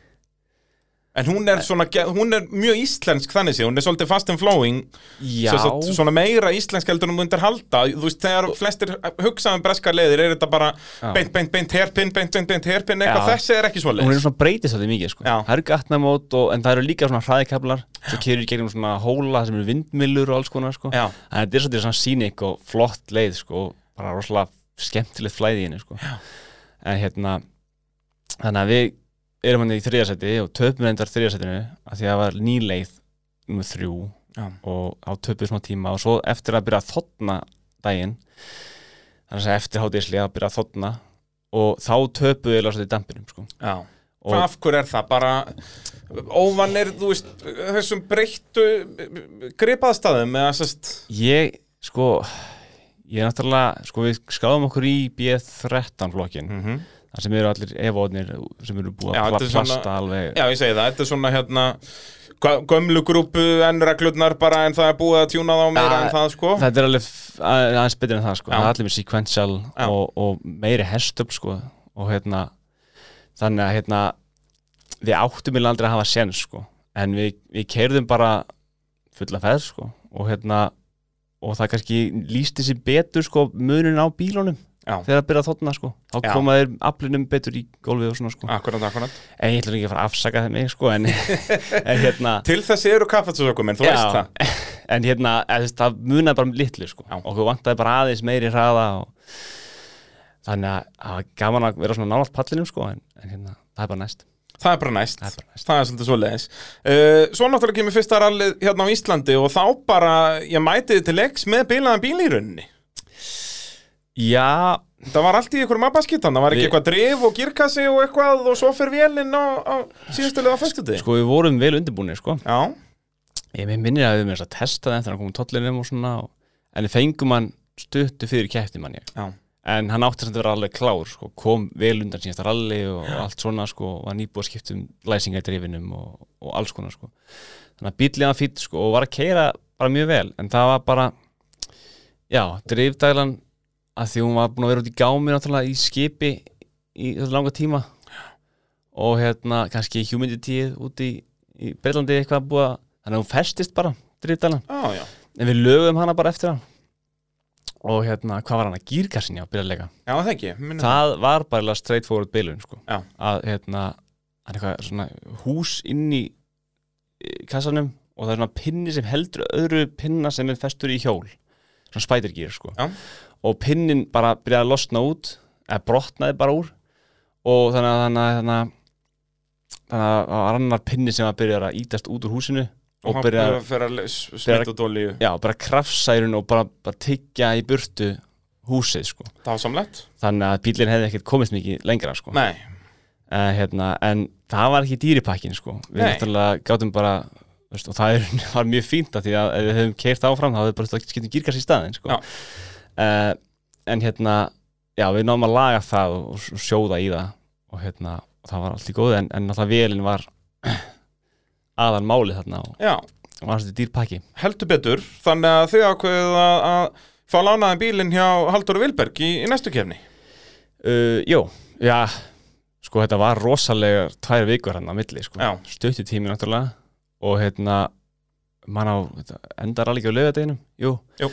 Speaker 1: en hún er svona, ge- hún er mjög íslensk þannig séð, hún er svolítið fast and flowing
Speaker 2: Já,
Speaker 1: sem sagt, svona meira íslensk heldur en hún myndir halda, þú veist, þegar flestir hugsaðum breskar leiðir, er þetta bara
Speaker 2: Já.
Speaker 1: beint, beint, beint, herpinn, beint, beint, beint, herpinn eitthvað
Speaker 2: Já.
Speaker 1: þessi er ekki svo
Speaker 2: hún er
Speaker 1: leið
Speaker 2: svona breytist á því mikið sko.
Speaker 1: Já.
Speaker 2: Það eru gatnamót og, en það eru líka svona hraðikablar Svo keyrir í gegnum svona hóla sem eru vindmillur og alls konar sko.
Speaker 1: Já.
Speaker 2: En þetta er svolítið svona sínik og flott leið sko. og Bara rosalega skemmtilegt flæði í henni sko. En hérna Þannig að við erum hann í þriðasæti og töpum reyndar þriðasætinu að því að það var ný leið nummer þrjú
Speaker 1: Já.
Speaker 2: og á töpuð smá tíma og svo eftir að byrja að þotna daginn þannig að eftir hátíðislega að byrja að þotna og þá töpuðu við lásið í dampinum sko.
Speaker 1: já
Speaker 2: Og-
Speaker 1: Hvað af hverju er það? Bara óvanir, þú veist, þessum breyttu gripaðstæðum eða sérst,
Speaker 2: ég sko ég er náttúrulega, sko við skáðum okkur í B13 flokkin þar sem eru allir evóðnir sem eru búið
Speaker 1: Mhm. Já,
Speaker 2: að
Speaker 1: þetta er
Speaker 2: pla-
Speaker 1: svona-
Speaker 2: plasta alveg
Speaker 1: Já, ég segi það, þetta er svona hérna gö- gömlu grúpu en reglurnar bara en það er búið að tjúna þá meira
Speaker 2: Ja,
Speaker 1: en það sko
Speaker 2: Þetta er alveg f- að- aðeins betur en það sko.
Speaker 1: Já.
Speaker 2: Það er allir með sequential
Speaker 1: Já.
Speaker 2: og, og meiri herstöp sko. og hérna þannig að hérna við áttum við aldrei að hafa sen sko. en við, við keirðum bara fulla ferð sko. og hérna og það kannski lýsti sér betur sko, munin á bílunum
Speaker 1: Já.
Speaker 2: þegar það byrja að þóttna sko þá
Speaker 1: Já.
Speaker 2: koma þeir aflinum betur í gólfið og svona sko
Speaker 1: Akkurat, akkurat.
Speaker 2: en ég ætla nú ekki að fara að afsaka þeim mig sko en, en hérna
Speaker 1: Til þessi eru kappatsökum, en þú veist það.
Speaker 2: en hérna, eða, þú veist, það munaði bara um litlu sko.
Speaker 1: Já.
Speaker 2: okkur vantaði bara aðeins meiri hraða og... þannig að það var gaman að vera svona nálægt pallinum sko, en, en hérna, það er bara næst
Speaker 1: Það er bara næst.
Speaker 2: Það er bara næst.
Speaker 1: Það er svolítið svo leiðis. Uh, svo náttúrulega kemur fyrsta rallið hérna á Íslandi og þá bara, ég mæti þið til leiks með bilaðan bíl í rauninni.
Speaker 2: Já,
Speaker 1: Það var allt í einhverjum abbaskittan, það var ekki
Speaker 2: Við-
Speaker 1: eitthvað drif og girkassi og eitthvað og svo fyrir vélinn á, á síðustulega á föstudegi.
Speaker 2: sko við vorum vel undirbúinir sko.
Speaker 1: Já,
Speaker 2: ég mér minnir að við með þess að testa það þegar hann kom úr tollinum og svona og... en við fengum hann stuttu fyrir kæfti mann ég
Speaker 1: já.
Speaker 2: en hann átti samt að vera alveg klár sko, kom vel undan síðasta ralli og allt svona sko, og var nýbúið að skipta um læsingadrifinum og, og alls konar sko. þannig að bíllið hann fýtt sko, og var að keira bara mjög vel en það var bara já, drifdælan að því hún var búin að vera út í gámi náttúrulega í skipi í þetta langa tíma og hérna kannski humidityið út í, í Breitlandi eitthvað búið að þannig að hún festist bara drifdælan
Speaker 1: Já, já.
Speaker 2: en við lögum hana bara eftir hann og hérna, hvað var hann að gýrkassin já, byrjarleika
Speaker 1: Já, það ekki. Minna.
Speaker 2: það var bara eiginlega straightforward bilun sko.
Speaker 1: Já.
Speaker 2: að hérna hann er eitthvað svona hús inn í eh, kassanum og það er svona pinni sem heldur öðru pinna sem er festur í hjól svona spidergear sko.
Speaker 1: Já.
Speaker 2: og pinnin bara byrjaði að losna út eða brotnaði bara úr og þannig að þannig að þannig að þannig að það var annar pinni sem að byrja að ítast út úr húsinu og, og byrja
Speaker 1: að fyrir að smita út olíu.
Speaker 2: já, bara krafsa í raun og bara, bara tyggja í burtu húsið sko.
Speaker 1: Það var samlegt?
Speaker 2: þannig að bílinn hefði ekkert komist mikið lengra sko.
Speaker 1: Nei.
Speaker 2: uh, hérna, en það var ekki dýripakkin sko. við
Speaker 1: Nei.
Speaker 2: náttúrulega gátum bara þú veist, og það er, var mjög fínt að því að ef við hefum keirt áfram þá hefði bara þurft að getum gírkast í staðin sko.
Speaker 1: Já.
Speaker 2: uh, en hérna já, við náðum að laga það og, og s- sjóða í það og hérna, og það var allt í góð en, en náttúrulega velin var aðan máli þarna og
Speaker 1: Já,
Speaker 2: og var svolítið dýrpakki
Speaker 1: heldur betur. Þannig að þið ákveðið að, að fá lánaðan bílinn hjá Halldóru Vilberg í, í næstu kefni.
Speaker 2: uh, Jó, já sko þetta var rosalega tvær vikur hann á milli sko.
Speaker 1: Já.
Speaker 2: stuttu tími náttúrulega og hérna mann á, þetta, endar alveg ekki á laugardeginum Jú,
Speaker 1: Jú.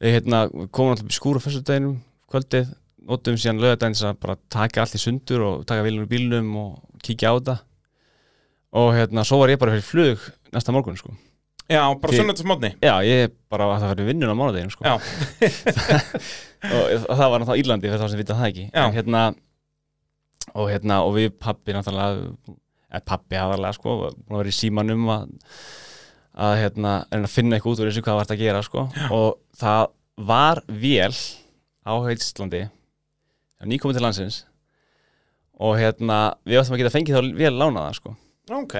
Speaker 2: við hérna komum alltaf í skúr á fyrstudeginum kvöldið, notum síðan laugardegin til að bara taka allt í sundur og taka vilunum í bílnum og kíkja á þetta og hérna, svo var ég bara fyrir flug næsta morgun sko.
Speaker 1: Já, bara
Speaker 2: Þið-
Speaker 1: sunnundasmótni.
Speaker 2: Já, ég bara var það fyrir vinnun á mánudeginum sko.
Speaker 1: Já.
Speaker 2: og það var náttúrulega Írlandi fyrir þá sem vita það ekki
Speaker 1: Já.
Speaker 2: en hérna og hérna og við pappi náttúrulega eða pappi aðalega sko búin að vera í símanum að, að hérna reyna að finna eitthvað út úr þessu hvað var þetta að gera sko og það var vél á Íslandi nýkomið til landsins og hérna við áttum að geta fengið þá vél lánaða sko
Speaker 1: Ok,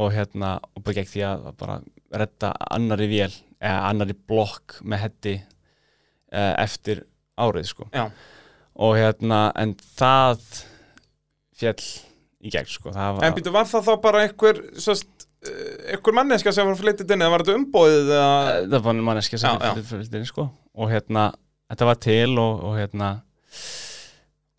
Speaker 2: og hérna og bara gegn því að bara redda annari vél eða annari blokk með hetti eh, eftir árið sko
Speaker 1: Já.
Speaker 2: og hérna en það fjall í gegn sko það var,
Speaker 1: en býtu, var það þá bara einhver, sérst, einhver manneska sem var flyttið inn eða var þetta umbóðið að...
Speaker 2: Eh, það var manneskja
Speaker 1: Já,
Speaker 2: sem
Speaker 1: já.
Speaker 2: fyrir fjöldinni sko og hérna þetta var til og, og hérna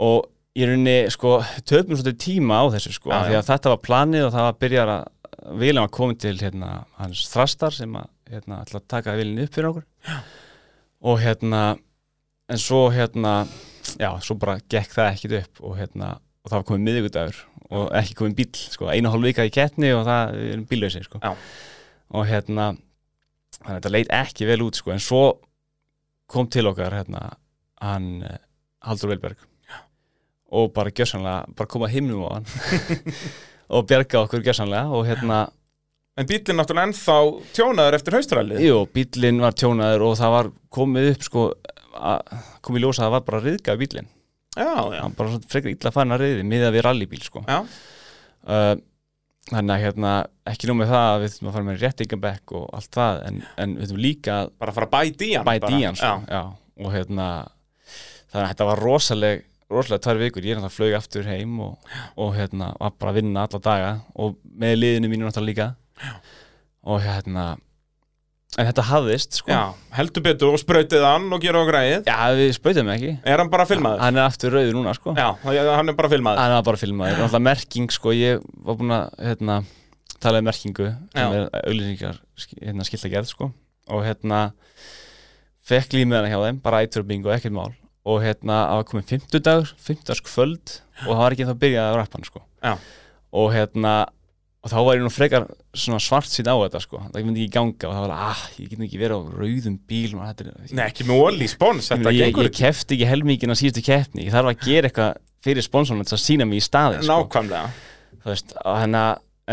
Speaker 2: og í rauninni sko töpum svolítið tíma á þessu sko
Speaker 1: Já,
Speaker 2: af því
Speaker 1: já.
Speaker 2: að þetta var planið og það var byrjar að vilja að koma til hérna hans þrastar sem að hérna ætla að taka vilinni upp fyrir okkur og hérna en svo hérna já, svo bara gekk það ekkit upp og hérna og það var komið miðvikudagur og ekki komið bíl sko, einu og hálf vika í kettni og það við erum bílausir sko
Speaker 1: Já.
Speaker 2: og hérna þannig að þetta leit ekki vel út sko en svo kom til okkar hérna hann eh, Haldur Vilberg og bara gjörsanlega, bara koma himnum á hann og bjarga okkur gjörsanlega og hérna,
Speaker 1: En bílinn náttúrulega ennþá tjónaður eftir haustralið.
Speaker 2: jú, bíllinn var tjónaður og það var komið upp sko að- kom í ljósa að það var bara að riðga bíllinn,
Speaker 1: Já, já.
Speaker 2: hann bara svona frekar illa farin að riði miðað við rallybíl sko
Speaker 1: Já,
Speaker 2: uh, þannig að hérna ekki nóg með það að við þurfum að fara með réttingabekk og allt það, en, en við þurfum líka að
Speaker 1: bara að fara að bæti í hann.
Speaker 2: bæti
Speaker 1: bara.
Speaker 2: í hann sko.
Speaker 1: Já,
Speaker 2: já. og hérna þannig að þetta var rosaleg rosalega tvær vikur, ég náttúrulega flög aftur heim og, og hérna var bara að vinna alla daga og með liðinu mínu náttúrulega líka já. og hérna en þetta hafðist sko
Speaker 1: já, heldur betur og sprautið hann og gera á græðið.
Speaker 2: já við spautum ekki
Speaker 1: Er hann bara filmaður?
Speaker 2: hann er aftur rauður núna sko
Speaker 1: Já, hann er bara filmaður.
Speaker 2: hann var bara filmaður, náttúrulega merking sko, ég var búinn að hérna, tala um merkingu sem
Speaker 1: Já.
Speaker 2: er auðlýsingar hérna, skilta gerð sko og hérna fekk límiðana hjá þeim, bara ætturbingu og ekkert mál og hérna það var komið fimmtudagur, fimmtudagskvöld og það var ekki ennþá byrjað að rappa hann sko
Speaker 1: Já.
Speaker 2: og hérna og þá var ég nú frekar svona svart sín á þetta sko það myndi ekki ganga og það var ah, ég get nú ekki verið á rauðum bíl og þetta er
Speaker 1: Nei, ekki með ólí spons,
Speaker 2: Ég
Speaker 1: þetta
Speaker 2: meina, ég,
Speaker 1: gengur
Speaker 2: ég kefti ekki helmingin á síðustu keppni ég þarf að gera eitthvað fyrir sponsorinn til að sína mig í staðin
Speaker 1: ekki
Speaker 2: sko.
Speaker 1: nákvæmlega.
Speaker 2: Þú veist, og hérna,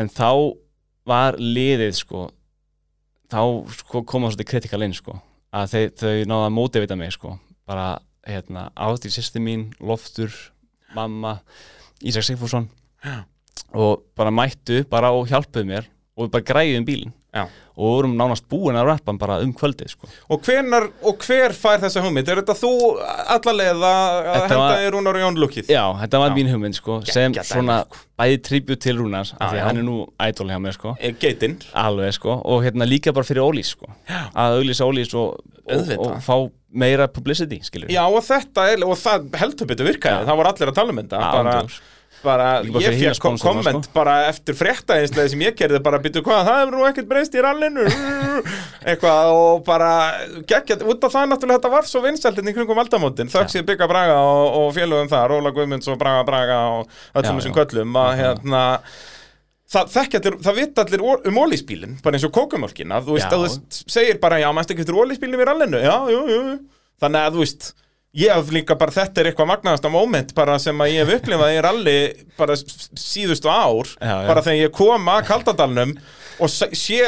Speaker 2: en þá var liðið sko, þá sko, koma svolítið kritikal inn sko, að þau, þau náða að mótivita mig sko, bara hérna, áttir sýsti mín, Loftur mamma, Ísak Sigfússon
Speaker 1: Já.
Speaker 2: og bara mættu bara og hjálpuðu mér og við bara græðum bílinn
Speaker 1: Já.
Speaker 2: og vorum nánast búin að rappa hann bara um kvöldið sko.
Speaker 1: Og, hvenar, og hver fær þessa hugmynd? Er þetta þú allalega að
Speaker 2: Þetta
Speaker 1: henda
Speaker 2: var-
Speaker 1: var... í Rúnar og Jón lukkið?
Speaker 2: Já, þetta var
Speaker 1: Já.
Speaker 2: mín hugmynd sko, sem
Speaker 1: Geggjað
Speaker 2: svona
Speaker 1: dæmi,
Speaker 2: bæði tribut til Rúnars af því
Speaker 1: já.
Speaker 2: að hann er nú idol hjá mér sko
Speaker 1: Eh, Geitinn.
Speaker 2: alveg sko, og hérna líka bara fyrir Ólís sko,
Speaker 1: Já.
Speaker 2: að auglýsa Ólís og, og,
Speaker 1: Auðvitað.
Speaker 2: og fá meira publicity skilur
Speaker 1: Já, og þetta er, og það heldur betur virkaði,
Speaker 2: Já.
Speaker 1: það voru allir að tala um þetta. bara,
Speaker 2: sko.
Speaker 1: bara,
Speaker 2: Líka bara
Speaker 1: ég
Speaker 2: fyrir hina
Speaker 1: fekk kom
Speaker 2: sponsorana,
Speaker 1: komment
Speaker 2: sko.
Speaker 1: bara eftir fréttaeinslega sem ég gerði bara býtu hvað, það hefur nú ekkert breyst í rallinu eitthvað og bara geggjað, út af það náttúrulega þetta var svo vinsældin í kringum aldamótin, þökk sér Bygga Braga og, og félögum þar, Óla Guðmunds og Braga Braga og
Speaker 2: Já,
Speaker 1: öllum þessum
Speaker 2: já.
Speaker 1: köllum að hérna Það, þekkja allir, það vita allir or- um ólísbílinn, bara eins og kókumálkina, þú veist,
Speaker 2: Já.
Speaker 1: að þú veist, segir bara, já, mæstu ekki eftir ólísbílinn við rallinu, já, jú, jú, jú. þannig að þú veist, ég hef líka bara, þetta er eitthvað magnaðasta moment bara sem að ég hef upplifað í ralli bara s- s- síðustu ár,
Speaker 2: Já, já.
Speaker 1: bara þegar ég kom að Kaldadalnum og s- sé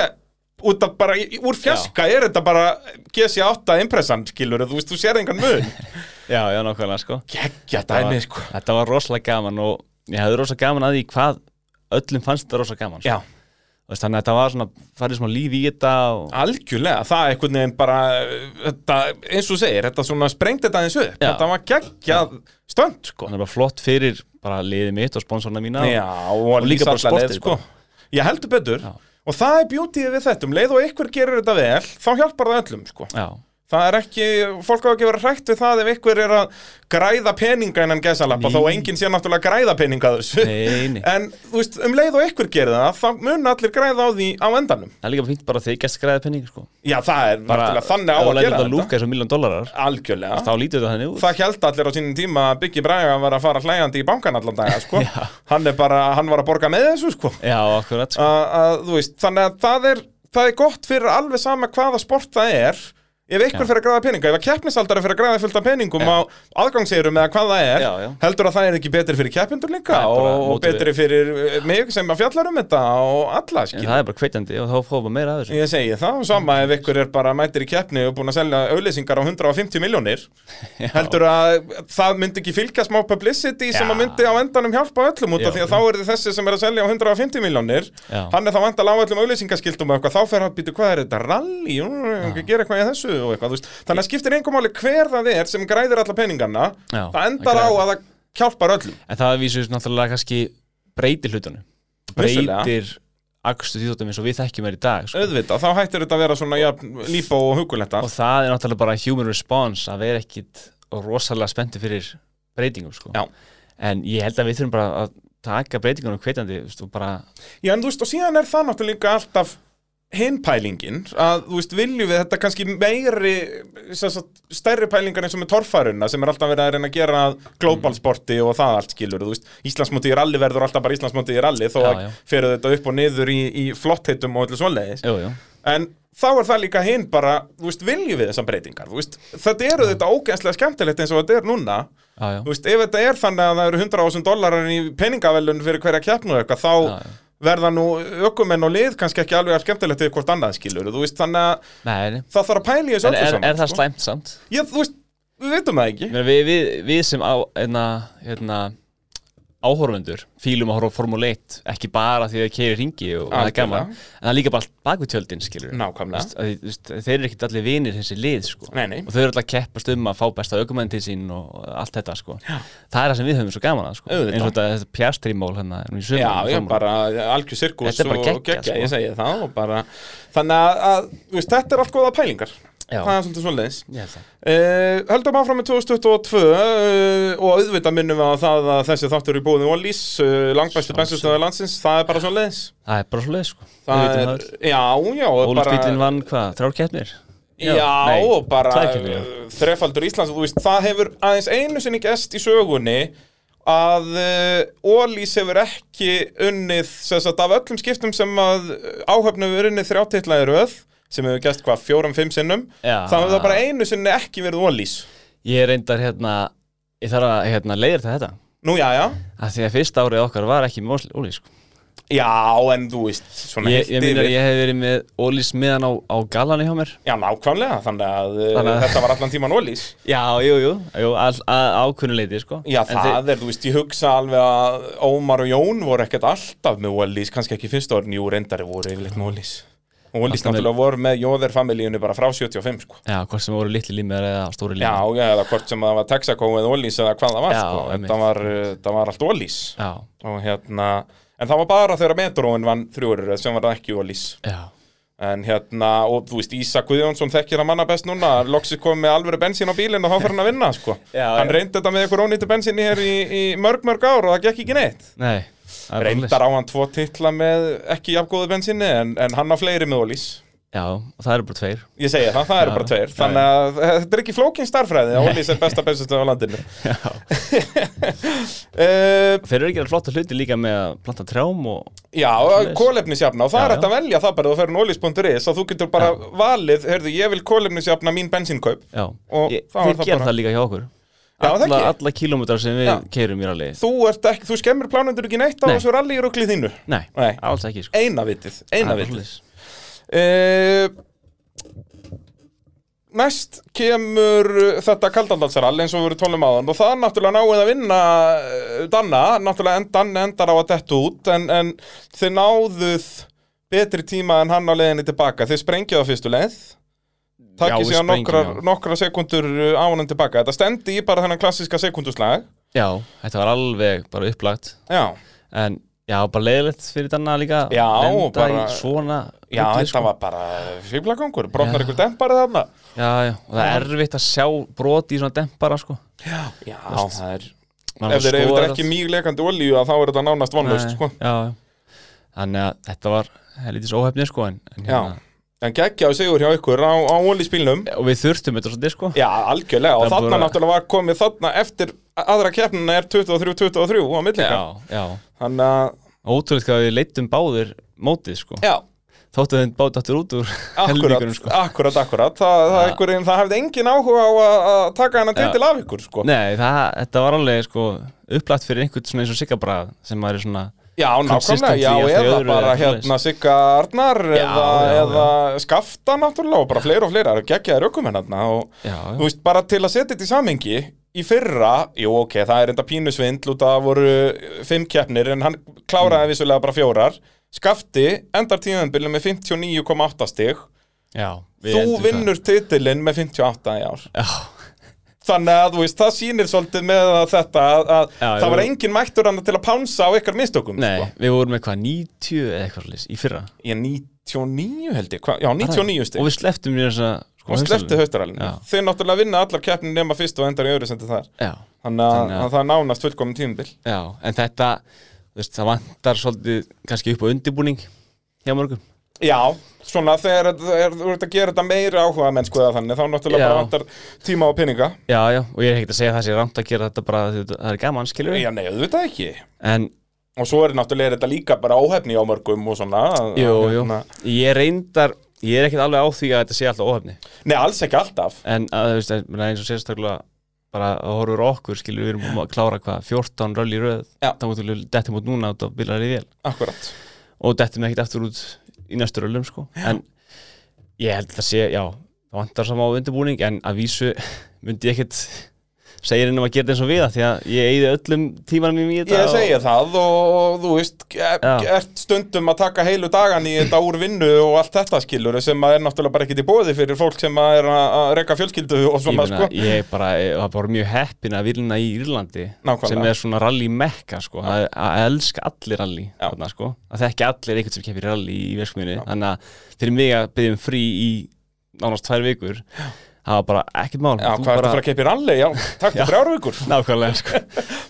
Speaker 1: út af bara, í- úr fjarska er þetta bara GC8 impressan, skilur, þú veist, þú sér engan mun.
Speaker 2: já, já, nákvæmlega sko
Speaker 1: Gekkja
Speaker 2: var-
Speaker 1: dæmi, sko.
Speaker 2: Þetta var rosalega gaman og ég hefði rosalega gaman að því hvað öllum fannst þetta rosalega gaman sko.
Speaker 1: Já.
Speaker 2: Þú veist, Þannig að þetta var svona, farið smá líf í þetta og
Speaker 1: Algjörlega, það er einhvern veginn bara uh, þetta, eins og þú segir, þetta svona sprengt þetta eins upp,
Speaker 2: Já.
Speaker 1: þetta var geggjað stönd, sko
Speaker 2: þannig að bara flott fyrir bara liðið mitt og sponsorna mína
Speaker 1: Já, og,
Speaker 2: og líka
Speaker 1: lýsa
Speaker 2: bara
Speaker 1: alla leið,
Speaker 2: sportið
Speaker 1: sko. Ég heldur betur
Speaker 2: Já.
Speaker 1: og það er bjútið við þetta, um leið og ykkur gerir þetta vel þá hjálpar það öllum, sko
Speaker 2: Já,
Speaker 1: Það er ekki, fólk á ekki verið hrætt við það ef ykkur er að græða peninga innan gesalappa,
Speaker 2: Nei.
Speaker 1: þó enginn sé náttúrulega að græða peninga af þessu
Speaker 2: neini
Speaker 1: En, þú veist, um leið og ykkur gerir það þá mun allir græða á því á endanum
Speaker 2: Það er líka fínt bara að þykjast græða penning sko.
Speaker 1: Já, það er náttúrulega þannig á að gera
Speaker 2: þetta
Speaker 1: þetta
Speaker 2: lúka eins og miljón dólarar
Speaker 1: Algjörlega
Speaker 2: þá lítur þetta þannig út
Speaker 1: það held allir á sínum tíma að Biggi Braga var að fara hlægjandi í bankan allan daga sko. hann er bara, hann var að borga með þessu sko.
Speaker 2: já, akkurat, sko.
Speaker 1: að, að, þú veist, þannig að það er það er gott fyrir alveg sama hvaða sport það er ef
Speaker 2: Já.
Speaker 1: ykkur fyrir að græða peninga ef að keppnisaldari fyrir að græða fullt af peningum á aðgangsegurum eða hvað það er
Speaker 2: Já, já.
Speaker 1: heldur að það er ekki betri fyrir keppindur líka
Speaker 2: Það er bara
Speaker 1: og, og
Speaker 2: mótivið.
Speaker 1: betri fyrir eh, mig sem að fjallar um þetta og alla
Speaker 2: en
Speaker 1: skil
Speaker 2: það er bara kveitjandi og þá fóðum við meira að þessu
Speaker 1: Ég segi það, sama ef ykkur er bara mætir í keppni og búin að selja auðlýsingar á 150 miljónir heldur að það myndi ekki fylgja smá publicity sem
Speaker 2: Já.
Speaker 1: að myndi á endanum hjálpa öllum út af
Speaker 2: Já.
Speaker 1: því að þá er þið þessi sem er að selja á 150 miljónir
Speaker 2: Já.
Speaker 1: hann er þá vandal á öllum auðlýsingaskildum og eitthvað, þá fer hann býtu hvað er þetta, rally Jú, ekki gera eitthvað í þessu og eitthvað, þú veist þannig að skiptir engum máli hver það er sem græðir alla peningana
Speaker 2: Já,
Speaker 1: það
Speaker 2: það
Speaker 1: endar á
Speaker 2: græðir.
Speaker 1: að það hjálpar öllum
Speaker 2: en það vísur náttúrulega kannski breytir hlutunum
Speaker 1: Vissulega.
Speaker 2: breytir akstu tíðóttum eins og við þekkjum er í dag sko.
Speaker 1: auðvitað, þá hættir þetta að vera svona jafn, lípa og huguletta
Speaker 2: og það er náttúrulega bara human response að vera ekkit rosalega spennti fyrir breytingum sko.
Speaker 1: Já.
Speaker 2: en ég held að við þurfum bara að taka breytingunum kveitjandi þú veist, og bara,
Speaker 1: Já, en þú veist, og síðan er það náttúrulega líka alltaf hinn pælingin að, þú veist, viljum við þetta kannski meiri sem sagt, stærri pælingar eins og með torfaruna sem er alltaf verið að reyna að gera að global
Speaker 2: Mhm.
Speaker 1: sporti og það allt skilur, þú veist Íslandsmóti í rally verður alltaf bara Íslandsmóti í rally þó
Speaker 2: Já,
Speaker 1: að
Speaker 2: já.
Speaker 1: fyrir þetta upp og niður í, í flottheitum og öllu svoleiðis
Speaker 2: jú, jú,
Speaker 1: en þá er það líka hinn bara, þú veist, viljum við þessar breytingar, þú veist, þetta eru þetta ógænslega skemmtilegt eins og þetta er núna
Speaker 2: já, já.
Speaker 1: þú veist, ef þetta er þannig að það eru 100.000 dólarar í peningavellun fyrir hverja keppnu eitthvað, þá
Speaker 2: Já, já.
Speaker 1: verða nú ökumenn og lið kannski ekki alveg að skemmtilegt við hvort annað skilur, þú veist, þannig að
Speaker 2: Nei, nei.
Speaker 1: það þarf að pæla í þessu
Speaker 2: en
Speaker 1: öllu
Speaker 2: er,
Speaker 1: saman
Speaker 2: er það
Speaker 1: sko.
Speaker 2: slæmt samt?
Speaker 1: Ég, þú veist, við veitum það ekki
Speaker 2: Ég meina, við, við, við sem á, hérna, hérna, áhorfendur fílum að horfa á Formule 1 ekki bara því að keiri ringi og það er
Speaker 1: Algjörlega.
Speaker 2: gaman en það er líka bara allt bak við tjöldin skilur
Speaker 1: nákvæmlega,
Speaker 2: Að því, þú veist, þeir eru ekkert allir vinir þessi lið sko.
Speaker 1: Nei, nei.
Speaker 2: og þau eru alltaf að keppast um að fá besta aukumenn til sín og og allt þetta sko. það er það sem við höfum svo gaman að sko.
Speaker 1: Auðvitað.
Speaker 2: eins og þetta, þetta pjastrímál hérna, nú í sumar
Speaker 1: já,
Speaker 2: í
Speaker 1: já,
Speaker 2: Formúlu.
Speaker 1: bara algjör sirkus
Speaker 2: Þetta er bara
Speaker 1: og
Speaker 2: geggjað,
Speaker 1: geggja,
Speaker 2: sko.
Speaker 1: ég segi það og bara, þannig að, að þú veist, þetta er allt góða pælingar
Speaker 2: Já.
Speaker 1: það er svolítið svolítið
Speaker 2: Ég held það.
Speaker 1: Uh, höldum áfram með 2022 uh, og auðvitað minnum við á það að þessi þáttur er í búinu Ólís, uh, langbæstu
Speaker 2: Sjálfsögðu.
Speaker 1: bensistöðu landsins, það er bara svo leiðis
Speaker 2: það er bara svo leið sko.
Speaker 1: Það er, já, já og bara-
Speaker 2: Ólfsbílinn vann hvað, þrjár keppnir
Speaker 1: Já,
Speaker 2: nei,
Speaker 1: og bara
Speaker 2: tvær keppnir, já.
Speaker 1: uh, þrefaldur Íslands og þú veist, það hefur aðeins einu sinni gest í sögunni að uh, Ólís hefur ekki unnið sem sagt, af öllum skiptum sem að áhöfnum hefur unnið þrjátitla í röð sem hefur gest hvað, fjórum, fimm sinnum
Speaker 2: Já.
Speaker 1: þannig að það bara einu sinni ekki verið Ólís
Speaker 2: Ég reyndar hérna, ég þarf að hérna, leiðir þetta
Speaker 1: Nú, já, já
Speaker 2: að því að fyrsta árið okkar var ekki með Óli sko.
Speaker 1: Já, en þú veist, svona
Speaker 2: ég,
Speaker 1: heilt
Speaker 2: ég meina
Speaker 1: yfir
Speaker 2: að ég hef verið með Ólis meðan á, á galanni hjá mér
Speaker 1: Já, nákvæmlega, þannig að,
Speaker 2: Þannig
Speaker 1: þannig
Speaker 2: að-
Speaker 1: þetta var allan tíman ólís
Speaker 2: Já, jú, jú, jú ákunnu leiti sko.
Speaker 1: Já,
Speaker 2: En
Speaker 1: það
Speaker 2: þið-
Speaker 1: er, þú veist, ég hugsa alveg að Ómar og Jón voru ekkert alltaf með ólís kannski ekki fyrst orðin, jú, reyndari voru yfirleitt með ólís Ólís
Speaker 2: Alltaf með-
Speaker 1: náttúrulega voru með Jóðer-familíunni bara frá 75, sko
Speaker 2: Já, hvort sem voru litli límið eða stóri límið
Speaker 1: Já, já, eða hvort sem það var Texaco eða ólís eða hvað það var,
Speaker 2: Mm. Já,
Speaker 1: sko en
Speaker 2: einmitt.
Speaker 1: það var, uh, það var allt ólís
Speaker 2: já,
Speaker 1: og hérna, en það var bara þegar Metroin vann þrjúrur sem var ekki ólís
Speaker 2: já.
Speaker 1: En hérna, og þú veist, Ísa Guðjónsson þekkir að manna best núna, loksist komið með alvöru bensín á bílinn og þá fyrir hann að vinna, sko.
Speaker 2: Já,
Speaker 1: hann
Speaker 2: já.
Speaker 1: reyndi þetta með ykkur ónýttu bensinni hér í, í mörg, mörg ár og það gekk ekki neitt.
Speaker 2: Nei, það er bara svoleiðis.
Speaker 1: Reyndar á hann tvo titla með ekki jafngóðu bensinni en, en hann á fleiri með ólís.
Speaker 2: Já, og það eru bara tveir
Speaker 1: Ég segi það, það eru
Speaker 2: Já,
Speaker 1: bara tveir.
Speaker 2: já,
Speaker 1: Þannig að eh, þetta er ekki flókin starfræði, að ólís er besta bensinstöð á landinu.
Speaker 2: Já.
Speaker 1: Uh,
Speaker 2: Þeir eru að gera flotta hluti líka með að planta trjám og
Speaker 1: Já,
Speaker 2: Svoleiðis.
Speaker 1: kólefnisjafna og það
Speaker 2: Já,
Speaker 1: er
Speaker 2: já.
Speaker 1: hægt að velja það bara þú ferur nólis.is að þú getur bara valið, heyrðu, ég vil kólefnisjafna mín bensinkaup
Speaker 2: Já,
Speaker 1: Og
Speaker 2: ég,
Speaker 1: þá er
Speaker 2: þeir
Speaker 1: það
Speaker 2: gera
Speaker 1: bara-
Speaker 2: það líka hjá okkur
Speaker 1: Já, það
Speaker 2: Alla,
Speaker 1: ekki.
Speaker 2: alla kilómetrar sem við
Speaker 1: Já.
Speaker 2: keirum í rally
Speaker 1: þú, ert ekki, þú skemmir plánundur ekki neitt á
Speaker 2: Nei.
Speaker 1: þessu rally ruglið þínu
Speaker 2: Nei,
Speaker 1: Nei.
Speaker 2: alls ekki sko.
Speaker 1: eina vitið,
Speaker 2: Það
Speaker 1: eina
Speaker 2: er bara
Speaker 1: vitið
Speaker 2: svoleiðis.
Speaker 1: uh, næst kemur uh, þetta kaldandalsarall eins og við vorum tólum áðan og það náttúrulega náið að vinna uh, Danna, náttúrulega en, Danna endar á að detta út en, en þið náðuð betri tíma en hann á leiðinni tilbaka þið sprengjuð á fyrstu leið
Speaker 2: Já,
Speaker 1: takkið
Speaker 2: við
Speaker 1: síðan
Speaker 2: sprengjum,
Speaker 1: nokkrar,
Speaker 2: já.
Speaker 1: nokkrar sekundur á hann tilbaka þetta stendi í bara þennan klassiska sekundurslag
Speaker 2: Já, þetta var alveg bara upplagt
Speaker 1: já
Speaker 2: En já, bara leiðilegt fyrir þannig líka
Speaker 1: Já,
Speaker 2: Lenda
Speaker 1: og bara-
Speaker 2: í svona
Speaker 1: Já,
Speaker 2: rugli,
Speaker 1: þetta
Speaker 2: sko.
Speaker 1: var bara fíblagangur, brotnar
Speaker 2: Já.
Speaker 1: ykkur dempari þarna
Speaker 2: Já, já, og það er erfitt að sjá brot í svona dempara sko
Speaker 1: Já, það er
Speaker 2: Maður
Speaker 1: Ef þeir eru
Speaker 2: skoðar
Speaker 1: ekki
Speaker 2: það.
Speaker 1: mýgleikandi olíu að þá er þetta nánast vonlaust,
Speaker 2: Nei,
Speaker 1: sko
Speaker 2: Já, já Þannig að þetta var helítið svo óhefnið sko en, en
Speaker 1: Já, en geggja og sigur hjá ykkur á, á olíspílnum
Speaker 2: Og við þurftum þetta svolítið sko
Speaker 1: Já, algjörlega, og
Speaker 2: Það
Speaker 1: þarna
Speaker 2: bara-
Speaker 1: náttúrulega var komið þarna eftir aðra keppnina er 23-23 á millika
Speaker 2: já, já.
Speaker 1: Þannig að,
Speaker 2: Ótrúlega hvað við leittum báðir mótið sko
Speaker 1: já,
Speaker 2: Þóttu þeim báðið áttur út úr
Speaker 1: akkurat,
Speaker 2: helmingunum sko
Speaker 1: akkurat, akkurat Það, það,
Speaker 2: Já.
Speaker 1: einhver, það hefði engin áhuga á að, að taka hennar
Speaker 2: Já.
Speaker 1: titil af ykkur, sko
Speaker 2: Nei, það, þetta var alveg sko upplagt fyrir einhvern svona eins og siggabrað sem maður er svona
Speaker 1: Já, nákvæmlega,
Speaker 2: Consistently
Speaker 1: já,
Speaker 2: eftir
Speaker 1: eða
Speaker 2: öðru
Speaker 1: bara
Speaker 2: eða svoleiðis.
Speaker 1: hérna Sigga Arnar eða,
Speaker 2: já,
Speaker 1: eða Skafta náttúrulega og bara fleira og fleira það eru geggjaðir ökumenn hérna og
Speaker 2: Já, já.
Speaker 1: þú veist, bara til að setja þetta í samhengi í fyrra, jú ok, það er enda pínusvindl út að það voru uh, fimm keppnir en hann
Speaker 2: Mm.
Speaker 1: kláraði vissulega bara fjórar Skafti endar tíðanbyrlu með 59,8 stig
Speaker 2: já við
Speaker 1: Þú
Speaker 2: endum það.
Speaker 1: vinnur titilinn með 58 í ár
Speaker 2: Já,
Speaker 1: Þannig að þú veist, það sýnir svolítið með að þetta að, að
Speaker 2: Já,
Speaker 1: það var
Speaker 2: jú.
Speaker 1: engin mættur hann til að pánsa á ykkar mistökum
Speaker 2: Nei,
Speaker 1: sko.
Speaker 2: við vorum eitthvað 90 eða eitthvað slis í fyrra
Speaker 1: Ég 99 held ég, hva? já 99
Speaker 2: Og
Speaker 1: stig
Speaker 2: við sleftum mér þess að sko,
Speaker 1: og sleppti haustaralinu
Speaker 2: Já.
Speaker 1: þeir náttúrulega vinna allar keppnin nema fyrst og endar í öðru sendi þar
Speaker 2: Já,
Speaker 1: þannig að,
Speaker 2: Þannig að-
Speaker 1: að það er nánast fullkomin tímabil
Speaker 2: já, en þetta, þú veist, það vantar svolítið kannski upp á undirbúning hjá mörgum
Speaker 1: Já, svona þegar þetta- þegar þú ert að gera þetta meira áhuga menn sko eða þannig þá náttúrulega
Speaker 2: Já.
Speaker 1: bara vantar tíma og peninga
Speaker 2: Já, já, og ég er ekkert að segja það sé rámt að gera þetta bara því þetta- það er gaman, skilur við
Speaker 1: Já, nei, auðvitað ekki
Speaker 2: En,
Speaker 1: og svo er náttúrulega þetta líka bara óhefni á mörgum og svona að-
Speaker 2: jú,
Speaker 1: að-
Speaker 2: jú,
Speaker 1: hérna-
Speaker 2: ég reyndar, ég er ekkert alveg á því að þetta sé alltaf óhefni
Speaker 1: Nei, alls ekki alltaf
Speaker 2: En, að, þú veist, að, meina, eins og sérstaklega bara að horfur á okkur, skilur við erum búin að klára hvað, 14 röll í röð
Speaker 1: Já.
Speaker 2: þá mútum við dettum út núna út á bilar í vél
Speaker 1: Akkurat
Speaker 2: og dettum ekkert aftur út í næstu röllum, sko En ég held að það sé, já, það vantar saman á undirbúning en að vísu myndi ég ekkert segja henni um að gera þetta eins og við það því að ég eyði öllum tímanum mínum í þetta
Speaker 1: Ég
Speaker 2: og-
Speaker 1: segja það og þú veist, e-
Speaker 2: Já.
Speaker 1: ert stundum að taka heilu dagan í þetta úr vinnu og allt þetta skilur sem að er náttúrulega bara ekkert í bóði fyrir fólk sem að er að að reka fjölskyldu og
Speaker 2: Ég,
Speaker 1: svona
Speaker 2: meina,
Speaker 1: sko.
Speaker 2: ég bara, ég var bara mjög heppin að vilna í Írlandi
Speaker 1: Nákvæmlega.
Speaker 2: sem er svona rally mekka sko, að, að elska allir rally
Speaker 1: Já.
Speaker 2: þarna, sko. að þekki allir einhvern sem keppir rally í verksmiðinu þannig að fyrir mig að byrja um frí í nánast tvær vikur það var bara ekkert mál
Speaker 1: Já, hvað er
Speaker 2: Þú
Speaker 1: þetta
Speaker 2: bara-
Speaker 1: að fara að keipa í ralli? Já, takk
Speaker 2: Já.
Speaker 1: til þrjár vikur.
Speaker 2: Nákvæmlega, sko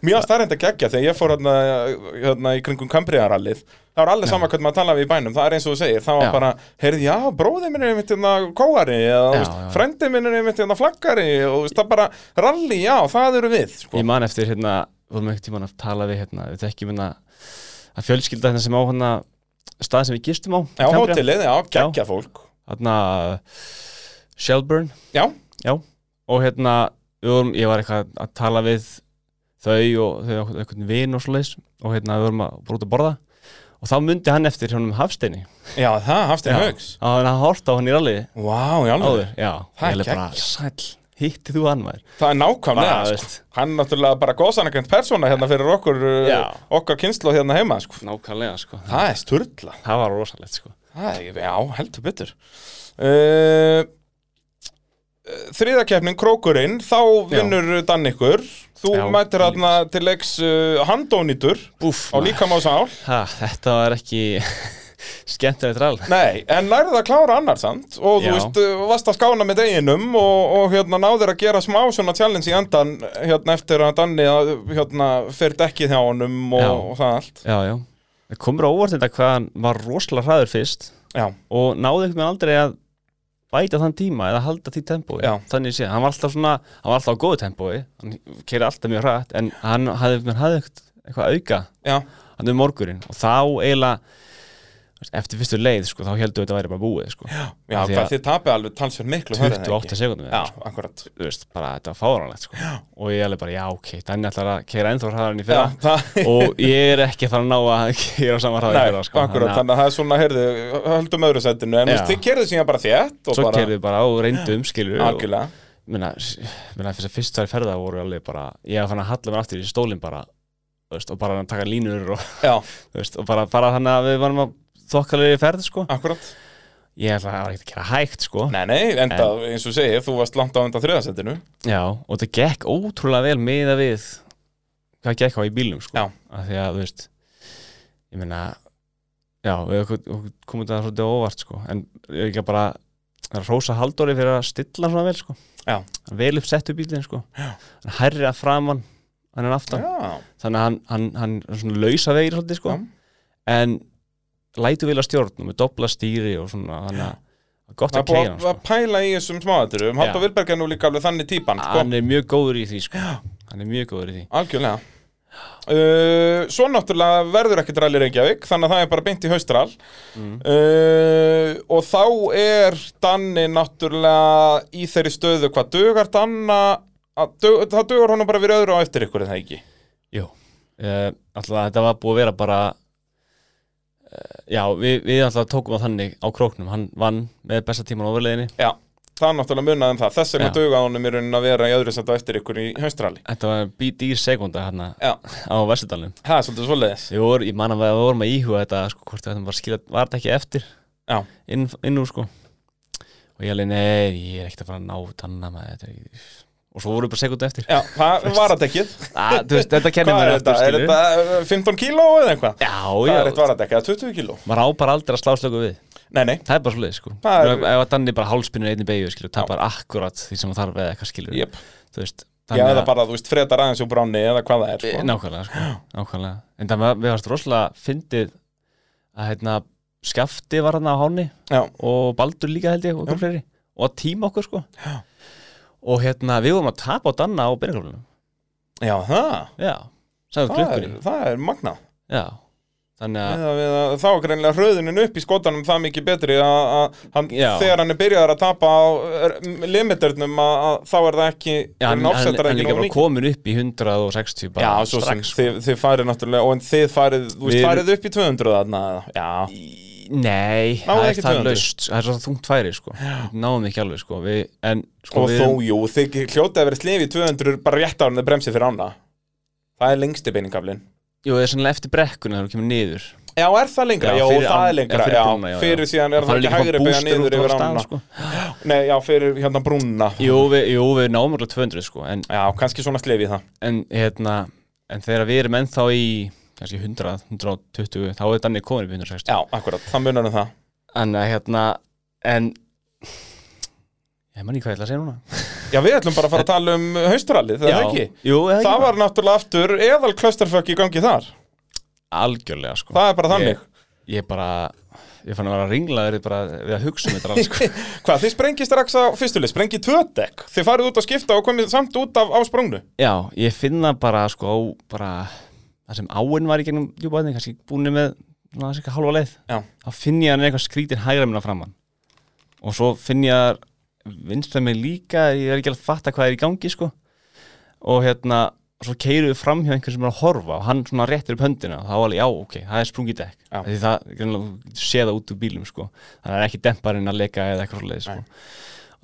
Speaker 1: Mjög starrend að gegja þegar ég fór hérna, hérna í kringum Kambriðarallið Það var allir sama hvernig maður talaði við í bænum Það er eins og þú segir, það var
Speaker 2: Já.
Speaker 1: bara heyrði, já, bróði minn er einmitt hérna kóari eða,
Speaker 2: Já,
Speaker 1: þú veist,
Speaker 2: já.
Speaker 1: frendi minn er einmitt hérna flaggari og þú veist, það bara, rally, já, það eru við sko.
Speaker 2: Ég man eftir hérna, vorum einhvern tímann að tala við hérna, við tekjum hérna að fjölskylda hérna sem á hérna stað sem við gistum á
Speaker 1: Já, hótelið, já, gegja fólk
Speaker 2: Hérna Shelburne
Speaker 1: Já,
Speaker 2: og hérna, við vorum, ég var eitthvað að tala við þau og þau áttu einhvern vin og svoleiðis og hérna við vorum að vorum út að borða og þá myndi hann eftir hjónum Hafsteini
Speaker 1: já, það, hafstir
Speaker 2: Já.
Speaker 1: högs
Speaker 2: og hann hort á hann í rallið
Speaker 1: Vá, já,
Speaker 2: áður, já,
Speaker 1: Það er
Speaker 2: Ég bara, sæll, hitti þú hann maður
Speaker 1: það er nákvæmlega
Speaker 2: Bara,
Speaker 1: sko.
Speaker 2: veist.
Speaker 1: Hann náttúrulega bara góðsanakent persóna hérna fyrir okkur, uh,
Speaker 2: Já.
Speaker 1: okkar kynslu hérna heima sko.
Speaker 2: Nákvæmlega, sko
Speaker 1: Það er sturla
Speaker 2: Það var rosalegt, sko
Speaker 1: Það er, já, heldur betur uh, Þriðakeppnin Krókurinn Þá vinnur Dannikur Þú
Speaker 2: Já,
Speaker 1: mætir hann til leiks uh, handónýtur
Speaker 2: Búff,
Speaker 1: á líkamásál
Speaker 2: Ha, þetta var ekki skemmtilegt rall
Speaker 1: Nei, en lærið að klára annar samt og þú
Speaker 2: Já.
Speaker 1: veist, uh, varst að skána með deginum og, og hérna náðir að gera smá svona challenge í endan hérna eftir að Danni að, hérna, fer dekkið hjá honum og,
Speaker 2: Já.
Speaker 1: og það allt
Speaker 2: Já, já Það komur á óvart þetta hvað hann var rosalega hraður fyrst
Speaker 1: Já,
Speaker 2: og náði einhvern veginn aldrei að bæta þann tíma eða halda því tempói
Speaker 1: Já.
Speaker 2: Þannig sé, hann var alltaf svona, hann var alltaf á góðu tempói hann keiri alltaf mjög hratt en hann hafði, hann hafði eitthvað, eitthvað auka
Speaker 1: já,
Speaker 2: hann um morgunin og þá eiginlega þú veist, eftir fyrstu leið, sko, þá heldum við þetta væri bara búið, sko Já,
Speaker 1: já
Speaker 2: Því
Speaker 1: hvað
Speaker 2: að-
Speaker 1: þið tapið alveg talsverð miklu hörðu það
Speaker 2: 28 sekundum
Speaker 1: Já, akkurat
Speaker 2: þú veist, bara þetta var fáranlegt sko. og ég alveg bara, já ok, Danni ætlar að keira ennþá hraðar en í
Speaker 1: Já,
Speaker 2: fyrra
Speaker 1: það
Speaker 2: og ég er ekki að fara að ná að keira á sama hraði
Speaker 1: Nei,
Speaker 2: í fyrra sko.
Speaker 1: akkurat, þannig
Speaker 2: Þannig að
Speaker 1: að það er svona, heyrðu, höldum öðru setinu En þú
Speaker 2: Já.
Speaker 1: veist, þið kerðu síðan bara þétt og
Speaker 2: svo
Speaker 1: bara,
Speaker 2: keirðu bara á reyndum skilur og,
Speaker 1: algjörlega
Speaker 2: minna, minna, fyrst, fyrst tvær ferða voru alveg bara ég var fann að halla mér aftur í stólinn bara þú veist, og bara að taka línur og,
Speaker 1: Já,
Speaker 2: þú veist, og bara, bara þannig að við varum að þokkalegi ferð sko.
Speaker 1: akkurat
Speaker 2: ég ætla að það var ekkert að kera hægt sko.
Speaker 1: Nei, nei, enda, eins og segir, þú varst langt á enda þriðasettinu
Speaker 2: já, og þetta gekk ótrúlega vel meða við hvað gekk á í bílnum sko.
Speaker 1: Já.
Speaker 2: af því að þú veist ég meina já, við okkur- okkur komum þetta svolítið á óvart sko. en ég er ekki að bara það er að Rósa Halldóri fyrir að stilla svona vel sko.
Speaker 1: Já.
Speaker 2: Hann er vel uppsettu bílinn sko. hann er hærri að framann hann er aftan,
Speaker 1: Já,
Speaker 2: þannig að hann, hann, hann er svona lausa vegir svolítið sko.
Speaker 1: Já.
Speaker 2: en lætu vilja stjórn og með dobla stýri og svona þannig að gott
Speaker 1: það
Speaker 2: að
Speaker 1: er búið
Speaker 2: keira hann
Speaker 1: að-
Speaker 2: sko.
Speaker 1: að pæla í þessum smáðaturum Haldur
Speaker 2: Já.
Speaker 1: Vilberg er nú líka alveg þannig típan sko.
Speaker 2: hann er mjög góður í því sko. hann er mjög góður í því
Speaker 1: Algjörlega Uh, svo náttúrulega verður ekkert rally Reykjavík þannig að það er bara beint í haustral Mm. uh, og þá er Danni náttúrulega í þeirri stöðu hvað dugar Danna að, dug, það dugar honum bara fyrir öðru á eftir ykkur er það ekki
Speaker 2: Jú, uh, alltaf þetta var búið að vera bara uh, Já, við, við alltaf tókum á þannig á króknum Hann vann með besta tíman á overleginni
Speaker 1: Já, það er náttúrulega munaðum það þess vegna
Speaker 2: Já.
Speaker 1: dugar honum í raunin að vera í öðru sætt á eftir ykkur í haustrali
Speaker 2: Þetta var bítýr sekunda hérna
Speaker 1: Já,
Speaker 2: á Vestudalum
Speaker 1: það er svolítið svoleiðis
Speaker 2: Við vorum, ég man að við vorum að íhuga þetta sko, hvort þetta var skilja, var þetta ekki eftir
Speaker 1: Já,
Speaker 2: inn, inn úr sko og ég alveg, nei, ég er ekkert að fara að ná tanna með þetta er ekki- og svo vorum við bara sekunda eftir
Speaker 1: já það var að dekkið
Speaker 2: ah, veist, Þetta kennir
Speaker 1: Hvað er
Speaker 2: maður
Speaker 1: þetta?
Speaker 2: eftir
Speaker 1: Er
Speaker 2: skilur.
Speaker 1: þetta uh, 15 kíló eða eitthvað?
Speaker 2: Já,
Speaker 1: Það er eitt
Speaker 2: já,
Speaker 1: varadekki, eða 20 kíló
Speaker 2: maður á bara aldrei að slá slöku við
Speaker 1: Nei, nei,
Speaker 2: Það er bara svolítið sko
Speaker 1: Það er-
Speaker 2: Ef- Ef að Danni bara hálspinnur einni beigju skilur, tapar akkurat því sem hann þarf eða eitthvað skilur
Speaker 1: jöp
Speaker 2: Þú veist
Speaker 1: Já, eða bara, þú veist, fredar aðeins úr bráni eða hvað það er,
Speaker 2: sko.
Speaker 1: sko.
Speaker 2: Nákvæmlega sko Nákvæmlega En það við varst rosalega fyndið að hérna skafti var hann á háni
Speaker 1: Já,
Speaker 2: og Baldur líka held ég og okkur fleiri og að tíma okkur sko Já Og hérna við vorum að tapa á Danna á byrjarklubunum
Speaker 1: já, það,
Speaker 2: Já Sæðum
Speaker 1: það er,
Speaker 2: klukkunni
Speaker 1: það er magna.
Speaker 2: Já Þannig að
Speaker 1: Eða, eða, þá er greinlega hröðunin upp í skotanum það mikið betri að að hann,
Speaker 2: Já.
Speaker 1: þegar hann er byrjaður að tapa á er, limiternum að, að þá er það ekki,
Speaker 2: Já, hann, hann,
Speaker 1: offsetar
Speaker 2: hann,
Speaker 1: það
Speaker 2: líka
Speaker 1: nógu
Speaker 2: bara
Speaker 1: mikið.
Speaker 2: komin upp í 160 bara
Speaker 1: Já, svo sem,
Speaker 2: strax, sko.
Speaker 1: þið, þið farið náttúrulega, og en þið farið, þú veist,
Speaker 2: Við-
Speaker 1: farið upp í 200 þarna, eða- já,
Speaker 2: Í-
Speaker 1: Náðu
Speaker 2: Nei, það er
Speaker 1: ekki
Speaker 2: það
Speaker 1: 200?
Speaker 2: laust Það er svo þungt færi, sko Við Náðum ekki alveg, sko við, En, sko,
Speaker 1: og
Speaker 2: við
Speaker 1: þó, jú, þið hljótið að vera slið í 200 bara rétt ára en þið bremsið fyrir ána. Það er lengsti beiningaflin.
Speaker 2: Jú, það er sennilega eftir brekkuna þegar þú kemur niður
Speaker 1: Já, er það lengra?
Speaker 2: Já,
Speaker 1: Já, það
Speaker 2: fyrir
Speaker 1: er
Speaker 2: ám-
Speaker 1: lengra,
Speaker 2: já, fyrir
Speaker 1: já,
Speaker 2: brúna, já, já.
Speaker 1: fyrir síðan er
Speaker 2: Það
Speaker 1: það
Speaker 2: er
Speaker 1: ekki
Speaker 2: líka
Speaker 1: hægri
Speaker 2: bara
Speaker 1: beina
Speaker 2: bústur
Speaker 1: niður
Speaker 2: út á
Speaker 1: yfir
Speaker 2: stað,
Speaker 1: ána
Speaker 2: sko
Speaker 1: Nei, já, fyrir hérna brúna
Speaker 2: Jú, við, jú, við náum alveg 200, sko En,
Speaker 1: Já, kannski svona slefið það
Speaker 2: en hérna, en þegar við erum ennþá í kannski 100, 120 Þá er Danni komin upp í 160 eh,
Speaker 1: Já, akkurat, það munar um það
Speaker 2: En, að, hérna, en ég man ekki hvað ég ætla að segja núna
Speaker 1: Já, við ætlum bara að fara að tala um haustrallið, það er ekki
Speaker 2: Jú, eða ekki
Speaker 1: Það var náttúrulega aftur eðal clusterfuck í gangi þar
Speaker 2: Algjörlega, sko
Speaker 1: Það er bara þannig
Speaker 2: Ég, ég bara, ég fann að vera ringlaður bara við að hugsa um þetta alls, sko
Speaker 1: Hvað, þið sprengið strax á fyrstuleg, sprengið tvö dekk Þið farið út að skipta og komið samt út af á sprungnu
Speaker 2: Já, ég finna bara, sko, á, bara það sem áinn var í gegnum djúbaðni kannski búinni með, ná, þessi ekki halva leið
Speaker 1: Já,
Speaker 2: þá finn ég hann eitthvað skrítin hægra minna framann og svo finn ég að vinstra mig líka, ég er ekki alveg að fatta hvað er í gangi sko og hérna, svo keiru við fram hjá einhver sem er að horfa og hann svona réttir upp höndina og þá alveg, já, ok, það er sprungið dekk
Speaker 1: Já.
Speaker 2: því það, greinlega, sé það út úr bílum sko þannig að það er ekki demparinn að leka eða eitthvað svoleiðis sko.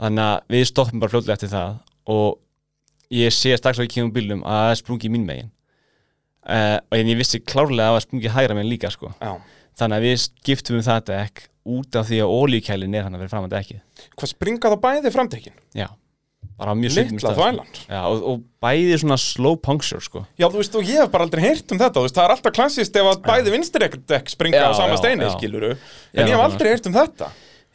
Speaker 2: þannig að við stoppum bara fljótlega eftir það og ég sé strax á ekki um bílum að það er sprungið mín megin uh, en ég vissi klárlega að það var sprungið hægra megin líka sko
Speaker 1: já
Speaker 2: þannig að við skiptum um það dekk út af því að ólíkælin er hann að vera fram að dekkið
Speaker 1: Hvað springa þá bæði framtekin?
Speaker 2: já, bara á mjög svipnum
Speaker 1: Litla þvælan
Speaker 2: já, og, og bæði svona slow puncture sko.
Speaker 1: Já, þú veist, og ég hef bara aldrei heyrt um þetta, þú veist, það er alltaf klassist ef að bæði vinstri dekk springa
Speaker 2: Já,
Speaker 1: á sama
Speaker 2: já,
Speaker 1: steini,
Speaker 2: já.
Speaker 1: skiluru
Speaker 2: Já,
Speaker 1: En ég hef
Speaker 2: nákvæmlega.
Speaker 1: aldrei heyrt um þetta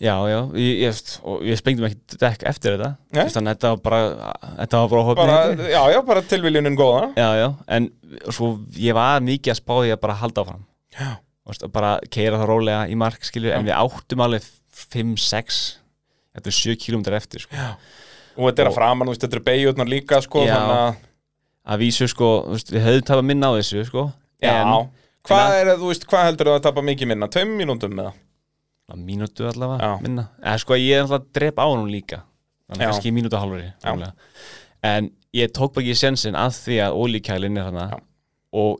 Speaker 2: já, já, ég, ég, og ég spengdum ekki dekk eftir þetta
Speaker 1: Nei.
Speaker 2: Þú veist, þannig að þetta var bara þetta var bara,
Speaker 1: bara,
Speaker 2: hópið
Speaker 1: Já, já, bara tilviljunin góða
Speaker 2: já, já, en svo ég var mikið að spá því að bara halda áfram
Speaker 1: Já.
Speaker 2: Þú veist, að bara keira það rólega í mark skilju, en við áttum alveg 5-6 þetta er 7 km eftir sko.
Speaker 1: Og þetta er að
Speaker 2: Og-
Speaker 1: framan, þú veist, þetta er beigjötnar líka, sko,
Speaker 2: Já.
Speaker 1: þannig að
Speaker 2: að vísu, sko, þú veist, við höfðum tapað minna á þessu sko, en
Speaker 1: Já, hvað er, þú veist, hvað heldur þú að tapa mikið minna? Tveim mínúndum með það?
Speaker 2: að mínútu
Speaker 1: Já.
Speaker 2: allavega minna eða sko ég er alltaf að drepa á hún líka þannig
Speaker 1: Já.
Speaker 2: kannski mínútu og hálfri rúmlega. en ég tók bara ekki sjensin að því að ólíkælin er þarna
Speaker 1: Já.
Speaker 2: og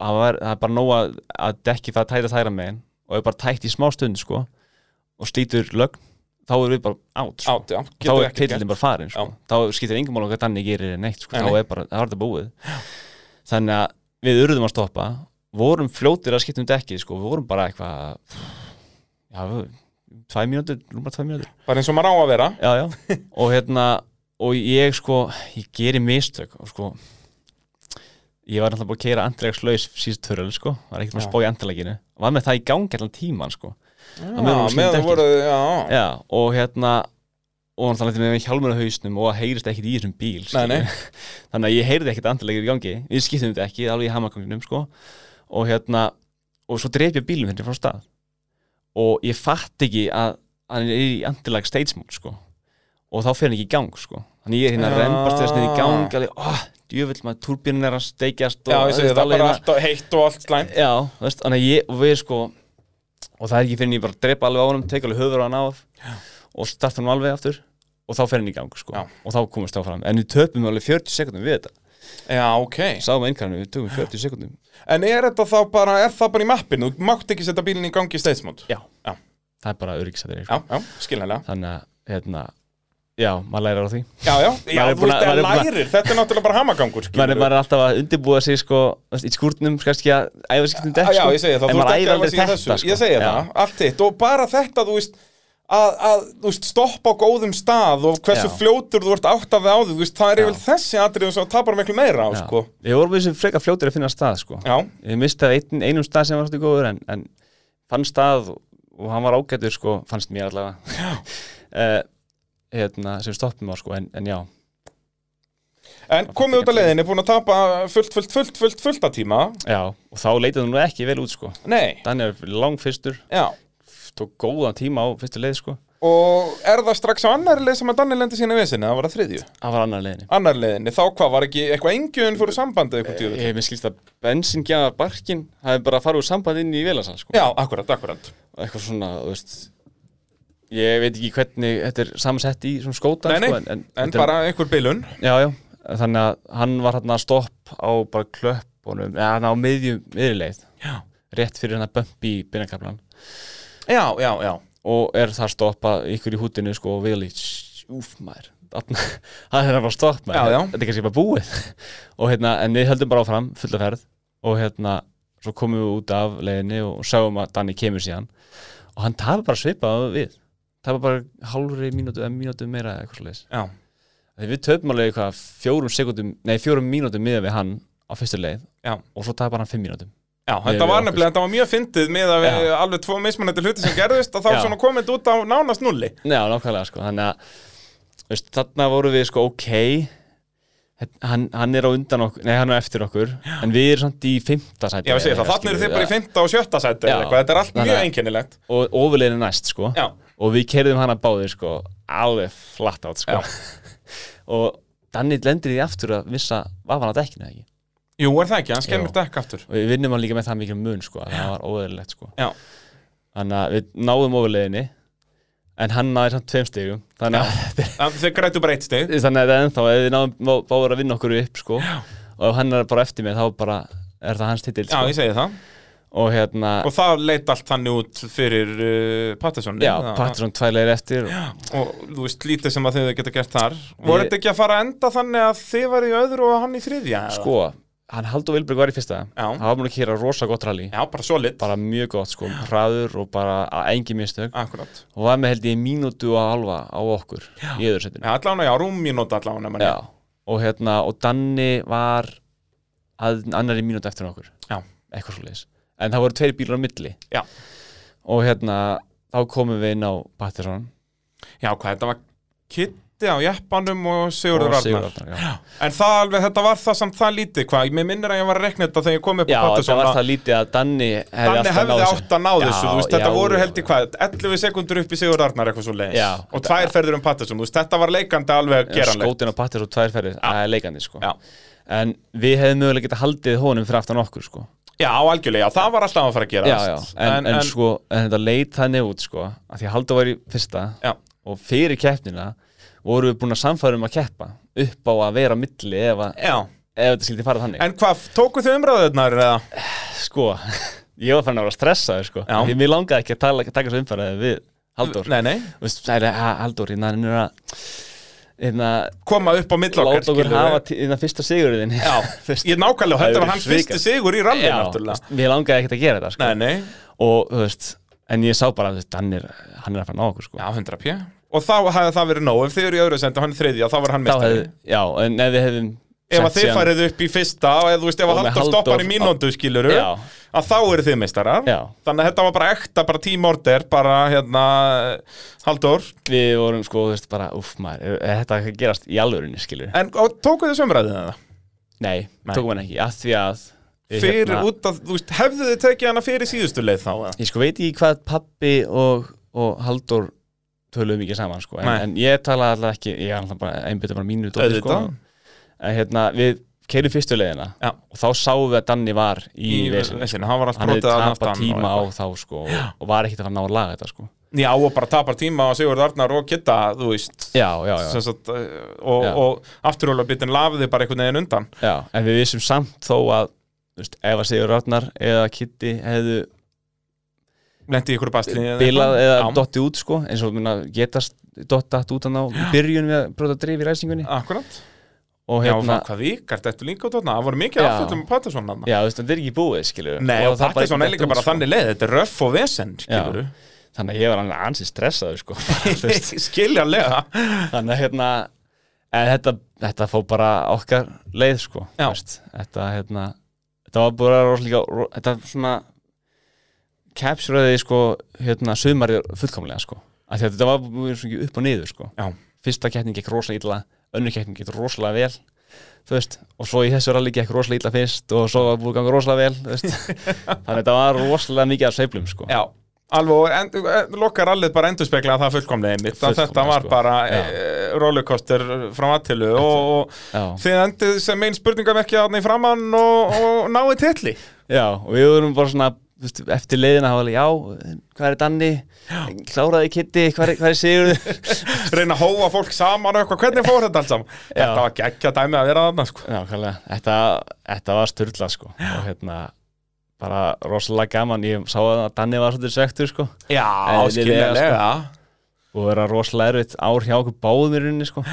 Speaker 2: það, var, það er bara nóg að, að dekki það tæta þæra megin og er bara tætt í smá stund sko og slítur lögn þá erum við bara át sko.
Speaker 1: Át, já,
Speaker 2: þá
Speaker 1: getur
Speaker 2: er
Speaker 1: ekki gert
Speaker 2: tillin bara farin sko.
Speaker 1: Já.
Speaker 2: þá skiptir engum mál hvað danni gerir eða neitt sko.
Speaker 1: Nei,
Speaker 2: þá
Speaker 1: nei.
Speaker 2: er bara, það var þetta búið þannig að við urðum að stoppa vorum fljótir að skipta um dekkið sko. við vorum bara eitthvað já, við, tvæ mínútur, rúmar tvæ mínútur
Speaker 1: Bara eins og maður á að vera
Speaker 2: já, já. og hérna og ég sko, ég geri mistök og sko ég var náttúrulega búin að keira andregaslaus síðust törul sko, var ekkert
Speaker 1: Já.
Speaker 2: maður að spá í andreleginu var með það í gangi allan tíman sko
Speaker 1: Já,
Speaker 2: meðan
Speaker 1: meðan
Speaker 2: hún skildi
Speaker 1: þú voru, já,
Speaker 2: Já, og hérna og náttúrulega með hjálmur á hausnum og það heyrist ekkit í þessum bíl
Speaker 1: Nei, nei.
Speaker 2: skilur. þannig að ég heyrði ekkit andilegir í gangi við skiptum þetta ekki, alveg í hamaganginum sko. og hérna og svo dreip ég bílum hérna frá stað og ég fatt ekki að að hann er í andileg stage mode sko. og þá fer hann ekki í gang sko. þannig ég er hérna
Speaker 1: Já.
Speaker 2: að rembast þess niður í gang alveg, oh, djöfull maður, turbinin er að steikjast
Speaker 1: já, ég segi það
Speaker 2: alveg
Speaker 1: bara
Speaker 2: hérna-
Speaker 1: allt og heitt og allt slæmt
Speaker 2: Já, þú veist, þannig að ég og við sko og það er ekki fyrir en ég bara drepa alveg á honum teka alveg höfur á hann af og starta hann alveg aftur og þá fer hann í gang sko
Speaker 1: Já.
Speaker 2: og þá komast þá fram en við töpum alveg 40 sekundum við þetta
Speaker 1: Já, ok
Speaker 2: sáum einhverjum, við tökum 40 sekundum
Speaker 1: En er þetta þá bara, er það bara í mappinu? Þú mátt ekki setja bílinn í gangi í steinsmót
Speaker 2: Já,
Speaker 1: Já.
Speaker 2: það er bara öryggisættir
Speaker 1: Já, já, skiljanlega
Speaker 2: þannig að, hérna, já, maður lærir á því
Speaker 1: Já, já, já,
Speaker 2: Maður er
Speaker 1: þú
Speaker 2: búin
Speaker 1: veist, það
Speaker 2: að- maður er búin að-
Speaker 1: lærir Þetta er náttúrulega bara hamagangur,
Speaker 2: maður,
Speaker 1: skilurðu.
Speaker 2: maður er alltaf að undirbúa sig sko þú veist, í skúrnum, kannski að æfa sig skiptum dekk
Speaker 1: Já,
Speaker 2: sko,
Speaker 1: ég segi það,
Speaker 2: en
Speaker 1: þú ert
Speaker 2: maður
Speaker 1: ekki
Speaker 2: æfa
Speaker 1: alveg
Speaker 2: aldrei
Speaker 1: að segja
Speaker 2: þetta
Speaker 1: þessu
Speaker 2: sko.
Speaker 1: Ég segi
Speaker 2: Já.
Speaker 1: það, allt hitt Og bara þetta, þú veist að, að þú veist, stoppa á góðum stað og hversu
Speaker 2: Já.
Speaker 1: fljótur þú ert átt af það á því þú veist, það er
Speaker 2: Já.
Speaker 1: yfir þessi atriðum sem þú tapar miklu meira á,
Speaker 2: Já.
Speaker 1: sko
Speaker 2: Við vorum þessu frekar fljótir að finna stað sko
Speaker 1: Já,
Speaker 2: ég mistaði ein, einum stað sem var svolítið góður en, en fann stað og, og hann var ágætur sko, fannst mér allavega uh, hérna, sem stoppum á sko, en, en já,
Speaker 1: en komið út af leiðinni, búin að tapa fullt, fullt, fullt, fullt, fullt að tíma
Speaker 2: já og þá leitaði hún nú ekki vel út sko
Speaker 1: Nei,
Speaker 2: Daniel er langfyrstur,
Speaker 1: já
Speaker 2: tók góðan tíma á fyrstu leið sko,
Speaker 1: Og er það strax á annar leið sem að Danni lendi sína vesinni, það var að þriðju
Speaker 2: hann var annar leiðinni
Speaker 1: Annar leiðinni, þá hvað, var ekki eitthvað engjöðun fyrir sambandið eitthvað tjóður?
Speaker 2: ég, mér skilst að bensingjaðar barkin hafi bara farið úr samband inn í vélasann sko
Speaker 1: Já, akkurat, akkurat
Speaker 2: eitthvað svona, þú veist ég veit ekki hvernig þetta er samsett í svona skóta
Speaker 1: Nei, nei,
Speaker 2: sko,
Speaker 1: en,
Speaker 2: þetta er-
Speaker 1: bara einhver bilun
Speaker 2: Já, já, þannig að hann var hann að stopp á bara klöppunum eða hann á miðjum miðurleið
Speaker 1: Já,
Speaker 2: rétt fyrir hann að bömpi í byrnakaflan
Speaker 1: já, já, já
Speaker 2: og er það stoppa ykkur í hútinu sko og viðli, úf maður þarna- það er bara stopp maður
Speaker 1: Já, já.
Speaker 2: þetta er kannski bara búið og hérna, en við höldum bara áfram fulla ferð og hérna, svo komum við út af leiðinni og sáum að Danni kemur síðan og hann tapar bara svipað við tapar bara hálfri mínútu eða mínútu meira eða eitthvað slags
Speaker 1: Já,
Speaker 2: Þegar við töfum alveg eitthvað fjórum sekundum, nei fjórum mínútum miða við hann á fyrstu leið
Speaker 1: Já.
Speaker 2: og svo tapar hann fimm mínútum.
Speaker 1: já
Speaker 2: Miðað
Speaker 1: þetta
Speaker 2: við
Speaker 1: var
Speaker 2: okkur.
Speaker 1: nefnilega, þetta var mjög fyndið með að við
Speaker 2: Já.
Speaker 1: alveg tvo mismunandi hluti sem gerðist og þá
Speaker 2: Já.
Speaker 1: svona komið þetta út á nánast nulli
Speaker 2: Já, nákvæmlega sko, þannig að veist, þarna voru við sko ok þetta- hann, hann er á undan okkur nei hann er á eftir okkur en við erum samt í fimmta sæti
Speaker 1: Já, ég segi það, þannig eru þið bara í 5. og 7. sæti eða
Speaker 2: Já.
Speaker 1: eitthvað, þetta er allt
Speaker 2: Þannig
Speaker 1: mjög
Speaker 2: að-
Speaker 1: einkennilegt.
Speaker 2: og ofurlegin er næst sko
Speaker 1: Já,
Speaker 2: og við kerðum hana báðir sko alveg flatt átt sko og Danni lendir í því aftur að missa vafan á dekkinu eða ekki
Speaker 1: jú, er það ekki, hann skemmir
Speaker 2: Jú.
Speaker 1: dekk aftur.
Speaker 2: og við vinnum hann líka með það mikil mun sko að það var óðurlegt sko
Speaker 1: Já.
Speaker 2: þannig að við náðum ofurleginni en hann náði samt tveim stigum þannig að
Speaker 1: Það- Þið grætu bara eitt stig.
Speaker 2: þannig að það er ennþá ef við náðum bá- báður að vinna okkur upp sko, og ef hann er bara eftir mig þá bara er það hans titill
Speaker 1: Já,
Speaker 2: sko.
Speaker 1: ég segi það.
Speaker 2: og hérna
Speaker 1: Og það leit allt þannig út fyrir uh, Patterson.
Speaker 2: já, Patron tvæleir eftir og,
Speaker 1: Og þú veist, lítið sem að þið geta gert þar. Voru þetta ekki að fara að enda þannig að þið var í öðru og hann í þriðja? eða?
Speaker 2: sko, hann Haldur Vilberg var í fyrsta
Speaker 1: Já.
Speaker 2: hann var múin að kýra rosa gott rally
Speaker 1: Já, bara svo lit.
Speaker 2: bara mjög gott sko, hraður og bara að engi mistök
Speaker 1: Akkurát.
Speaker 2: og var með held ég mínútu og halva á okkur í öðursettinu
Speaker 1: Já, allána, já, rúmínóta allána, mann.
Speaker 2: já. og hérna, og Danni var að annari mínúti eftir en okkur
Speaker 1: Já.
Speaker 2: eitthvað svo en það voru tveir bílar á milli
Speaker 1: Já.
Speaker 2: og hérna, þá komum við inn á Patterson
Speaker 1: Já, hvað, þetta var Kitti á Jeppanum og Sigurður
Speaker 2: og
Speaker 1: Arnar.
Speaker 2: Sigurðardar já.
Speaker 1: En það alveg, þetta var það samt það lítið, hvað, mér minnir að ég var að rekna þetta þegar ég kom upp
Speaker 2: já,
Speaker 1: á Patterson.
Speaker 2: það var
Speaker 1: að-
Speaker 2: það lítið að Danni hefði
Speaker 1: Danni
Speaker 2: alltaf
Speaker 1: hefði
Speaker 2: náð þessu.
Speaker 1: átt að ná þessu,
Speaker 2: Já,
Speaker 1: þú veist, þetta
Speaker 2: já,
Speaker 1: voru
Speaker 2: já.
Speaker 1: held í hvað, 11 sekundur upp í Sigur Arnar eitthvað svo leiðis
Speaker 2: Já.
Speaker 1: og tvær ferður um Patterson, þú veist, þetta var leikandi alveg geranlegt.
Speaker 2: skótin á Patterson tvær ferðir, það er leikandi sko.
Speaker 1: Já.
Speaker 2: en við hefðum mögulega getað haldið honum fyrir aftan okkur sko.
Speaker 1: Já, algjörlega, já, það var alltaf að fara að gera
Speaker 2: já, já. En, en, sko, en þetta leit þannig út sko, að því að Haldur var í fyrsta
Speaker 1: Já.
Speaker 2: og fyrir keppnina vorum við búin að samfæra um að keppa upp á að vera á milli ef, að,
Speaker 1: já,
Speaker 2: ef þetta skildi fara þannig
Speaker 1: en hvað, tókuð þið umræðunar eða?
Speaker 2: sko, ég var fann að vera stressaður sko.
Speaker 1: Já.
Speaker 2: því mér langaði ekki að tala, taka svo umfæraði við Haldur
Speaker 1: Nei, nei,
Speaker 2: Haldur, hérna hann er að hérna,
Speaker 1: koma upp á millokkar,
Speaker 2: láta okkur hafa tí- hérna fyrsta sigurðin
Speaker 1: Já, ég nákvæmlega, þetta
Speaker 2: Það hefur
Speaker 1: var hann
Speaker 2: verið
Speaker 1: fyrsti
Speaker 2: svikað.
Speaker 1: Sigur í rallið, náttúrulega.
Speaker 2: mér langaði ekkert að gera þetta sko.
Speaker 1: Nei, nei,
Speaker 2: og þú veist en ég sá bara að hann er, hann er að fara að ná okkur sko.
Speaker 1: já, 100 pjö. Og þá hefði það verið nóg, ef þið eru í öðru sendi og hann er þriðja, þá var hann
Speaker 2: Þá
Speaker 1: mistari.
Speaker 2: hefði, já, en ef við hefðum
Speaker 1: Ef að
Speaker 2: sett
Speaker 1: þið
Speaker 2: síðan-
Speaker 1: farið upp í fyrsta, eða þú veist, ef
Speaker 2: Og
Speaker 1: að
Speaker 2: með
Speaker 1: Halldór
Speaker 2: Halldór
Speaker 1: stoppar í
Speaker 2: á-
Speaker 1: mínúndu, skiluru,
Speaker 2: Já.
Speaker 1: að þá eru þið meistarar.
Speaker 2: Já.
Speaker 1: Þannig að þetta var bara ekta, bara tímorder, bara, hérna, Halldór.
Speaker 2: við vorum sko, þú veist, bara, uff maður, er- er þetta að gerast í alvörunni, skilur?
Speaker 1: En og tókuð þið sömræðið það?
Speaker 2: Nei,
Speaker 1: Nei.
Speaker 2: tókum hann ekki, að því að við hérna-
Speaker 1: Fyrir, út að, þú veist, hefðu þið tekið hana fyrir síðustu leið þá, eða?
Speaker 2: Ég sko veit ekki hvað pappi og, og Halldór töluðum ekki saman, sko, en,
Speaker 1: Nei.
Speaker 2: en ég talaði alltaf ekki, ég er alltaf bara einbytta bara mínu dóti, sko,
Speaker 1: Auðvitað.
Speaker 2: en hérna, við keirum fyrstu leiðina
Speaker 1: Já.
Speaker 2: og þá sáum við að Danni var í, í vesinu,
Speaker 1: vesinu, hann var allt
Speaker 2: hann hefði
Speaker 1: brotið að
Speaker 2: tapað tíma á þá, sko, og, og var ekkert að ná að laga þetta, sko.
Speaker 1: Já, og bara tapar tíma á Sigurð Arnar og Kitta, þú veist,
Speaker 2: Já, já, já.
Speaker 1: sem sagt, eh, og,
Speaker 2: Já.
Speaker 1: og afturhjólabitin lafiði bara einhvern veginn undan.
Speaker 2: Já, en við vissum samt þó að þú veist, ef að Sigur Arnar eða Kitty hefðu
Speaker 1: Lendi í ykkur bastli.
Speaker 2: bilað eða dotti út sko, eins og minna, getast dotti allt út hann á byrjun við að brota drif í ræsingunni
Speaker 1: Akkurat.
Speaker 2: og
Speaker 1: Já,
Speaker 2: hérna,
Speaker 1: það- hvað vikart, þetta líka út þarna Það voru mikið
Speaker 2: Já.
Speaker 1: afföllum með Patterson þarna
Speaker 2: já, þú veist, þetta er ekki búið skilur
Speaker 1: Nei, og Patterson er líka bara
Speaker 2: sko.
Speaker 1: þannig leið Þetta er röff og vesen, skilur
Speaker 2: þannig að ég var alveg ansið stressaður sko Þú veist,
Speaker 1: Skiljanlega
Speaker 2: þannig að hérna en þetta, þetta fó bara okkar leið sko
Speaker 1: Já.
Speaker 2: þú veist. þetta hérna þetta var bara rosalega ro- þetta svona capsuraði sko hérna sumarið fullkomlega sko af því að þetta var mjög svo ekki upp og niður sko
Speaker 1: Já.
Speaker 2: fyrsta keppning gekk rosalega illa önnur keppning gekk rosalega vel þú veist og svo í þessu rally gekk rosalega illa fyrst og svo var búið að ganga rosalega vel þú veist þannig að þetta var rosalega mikið af sveiflum sko
Speaker 1: Já, alveg og end, eh, lokar allir bara endurspeklaði það fullkomlega mitt að
Speaker 2: Fullkomlega,
Speaker 1: Þetta var
Speaker 2: sko.
Speaker 1: bara
Speaker 2: Já.
Speaker 1: e, rollercoaster frá aðtilu og, og
Speaker 2: Já.
Speaker 1: þið endið sem einn spurningamerki þarna í framann og, og náið tilli
Speaker 2: Já, og við vorum bara svona þú veist, eftir leiðina hafa alveg, já, hvað er Danni kláraði Kitty, hvað er, hvað er Sigurður
Speaker 1: Reyna að hóa fólk saman og eitthvað Hvernig fór þetta alls saman?
Speaker 2: Já.
Speaker 1: Þetta var geggja dæmi að vera þarna sko.
Speaker 2: Já, kallega, þetta, þetta var styrla sko, og hérna bara rosalega gaman, ég sá að Danni var svolítið svektur sko,
Speaker 1: Já,
Speaker 2: Eðlilega,
Speaker 1: skiljanlega
Speaker 2: og vera rosalega erfitt ár hjá okkur báðum í rauninni sko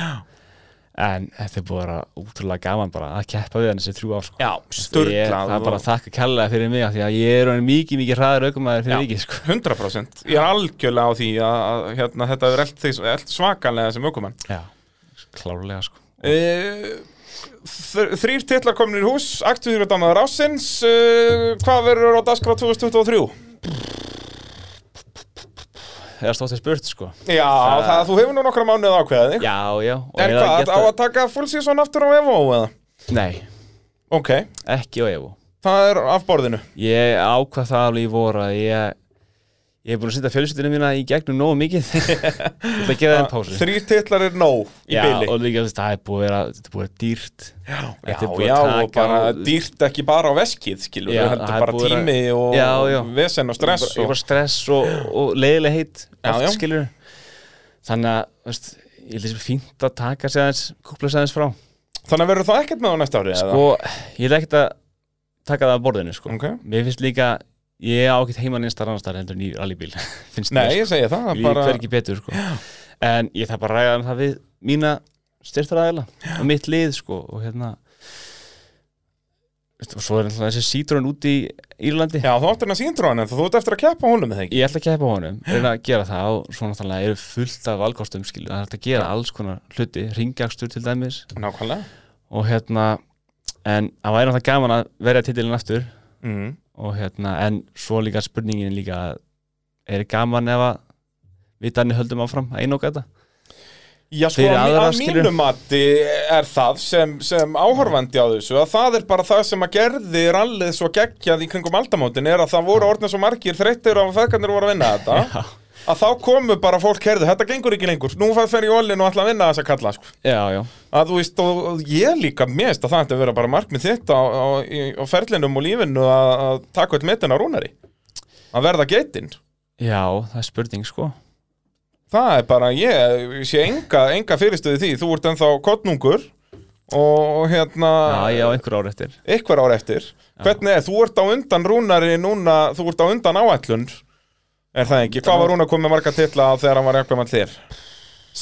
Speaker 2: en þetta er búið að vera útrúlega gaman bara að keppa við hann þessi þrjú ár sko
Speaker 1: Já,
Speaker 2: Ég,
Speaker 1: sturglað
Speaker 2: það er bara að þakka kærlega fyrir mig af því að ég er orðinn mikið, mikið hraður aukumæður fyrir
Speaker 1: Já.
Speaker 2: vikið sko
Speaker 1: 100% Ég er algjörlega á því að, að hérna, þetta er allt, allt svakalega sem aukumann
Speaker 2: Já, klárlega sko
Speaker 1: uh, Þrýr titlar komin í hús eh, Aktuður og damaður ásins uh, Hvað verður á dagskrá 2023?
Speaker 2: eða stótt til spurt sko
Speaker 1: Já, það, þú hefur nú nokkra mánuð ákveðið þig.
Speaker 2: Já, já og
Speaker 1: En
Speaker 2: ég hafði
Speaker 1: hvað,
Speaker 2: gert
Speaker 1: á að taka full season aftur á Evo eða?
Speaker 2: Nei,
Speaker 1: Ok,
Speaker 2: ekki á Evo
Speaker 1: það er af borðinu
Speaker 2: Ég ákvað það alveg í voru að ég Ég hef búin að setja fjölskyldinu mína í gegnum nógu mikið Það gera þeim pásu
Speaker 1: Þrýr titlar er nóg í
Speaker 2: Já,
Speaker 1: byli
Speaker 2: og líka þú veist, það er búið að vera, þetta er búið að vera dýrt
Speaker 1: Já,
Speaker 2: þetta er
Speaker 1: já,
Speaker 2: búið að
Speaker 1: og
Speaker 2: taka
Speaker 1: bara
Speaker 2: á-
Speaker 1: dýrt ekki bara á veskið skilur
Speaker 2: Já,
Speaker 1: já, heldur
Speaker 2: það er
Speaker 1: bara
Speaker 2: búið að-
Speaker 1: tími og
Speaker 2: Já, já.
Speaker 1: vesen og stress
Speaker 2: Ég
Speaker 1: og...
Speaker 2: var stress og, og leiðileg heitt
Speaker 1: Já,
Speaker 2: oft
Speaker 1: já.
Speaker 2: skilur Þannig að, veist, ég held þessi fínt að taka sér aðeins, kúpla sér aðeins frá
Speaker 1: Þannig að verður það ekkert með á næsta ári eða?
Speaker 2: Og ég held ekkert að taka það að borðinu, sko
Speaker 1: Ok.
Speaker 2: Mér finnst líka, ég á ekkert heimann einstar annars þar heldur en í rallybíl Finnst
Speaker 1: Nei,
Speaker 2: mér,
Speaker 1: ég segi það
Speaker 2: Ég
Speaker 1: það
Speaker 2: bara...
Speaker 1: bara...
Speaker 2: hvergi betur sko. en ég þarf bara að ræða um það við mína styrtaræðila og mitt lið sko, og hérna Veistu, og svo er alltaf þessi sítrón út í Írlandi
Speaker 1: Já, þú áttir hann að síndróin en þú ert eftir að keppa honum með þig
Speaker 2: ég ætla að keppa á honum, reyna að gera það og svo náttúrulega eru fullt af valkostum skilu, það er hægt að gera alls konar hluti ringjakstur til dæmis
Speaker 1: Nákvæmlega
Speaker 2: og hérna, en það væri náttúrulega gaman að verja titilin aftur
Speaker 1: mm.
Speaker 2: og hérna, en svo líka spurningin líka að er gaman ef að við þannig höldum áfram að einoka þetta
Speaker 1: Já, sko,
Speaker 2: Fyrir
Speaker 1: að,
Speaker 2: aðra,
Speaker 1: að
Speaker 2: skilur.
Speaker 1: mínu mati er það sem, sem áhorfandi á þessu að það er bara það sem að gerði rallið svo geggjað í kringum aldamótin er að það voru orðnir svo margir þreyttir af að feðgarnir voru að vinna þetta að þá komu bara fólk herðu, þetta gengur ekki lengur nú fer- fer í ólinn og ætla að vinna þess að kalla sko.
Speaker 2: já, já,
Speaker 1: að þú veist, og, og ég líka mest að það ætti að vera bara markmið þitt á, á, í- á ferlinum og lífinu að, að taka eitt metin á rúnari að verða geitinn
Speaker 2: Já, það er spurning sko
Speaker 1: Það er bara, ég sé enga, enga fyrirstöði því, þú ert ennþá kottnungur og hérna
Speaker 2: Já, ég á einhver ár eftir
Speaker 1: eitthvað ár eftir Hvernig er, þú ert á undan rúnari núna, þú ert á undan áætlun Er það ekki? Hvað var rúnar komið marga titla þegar hann var jakkum all þér?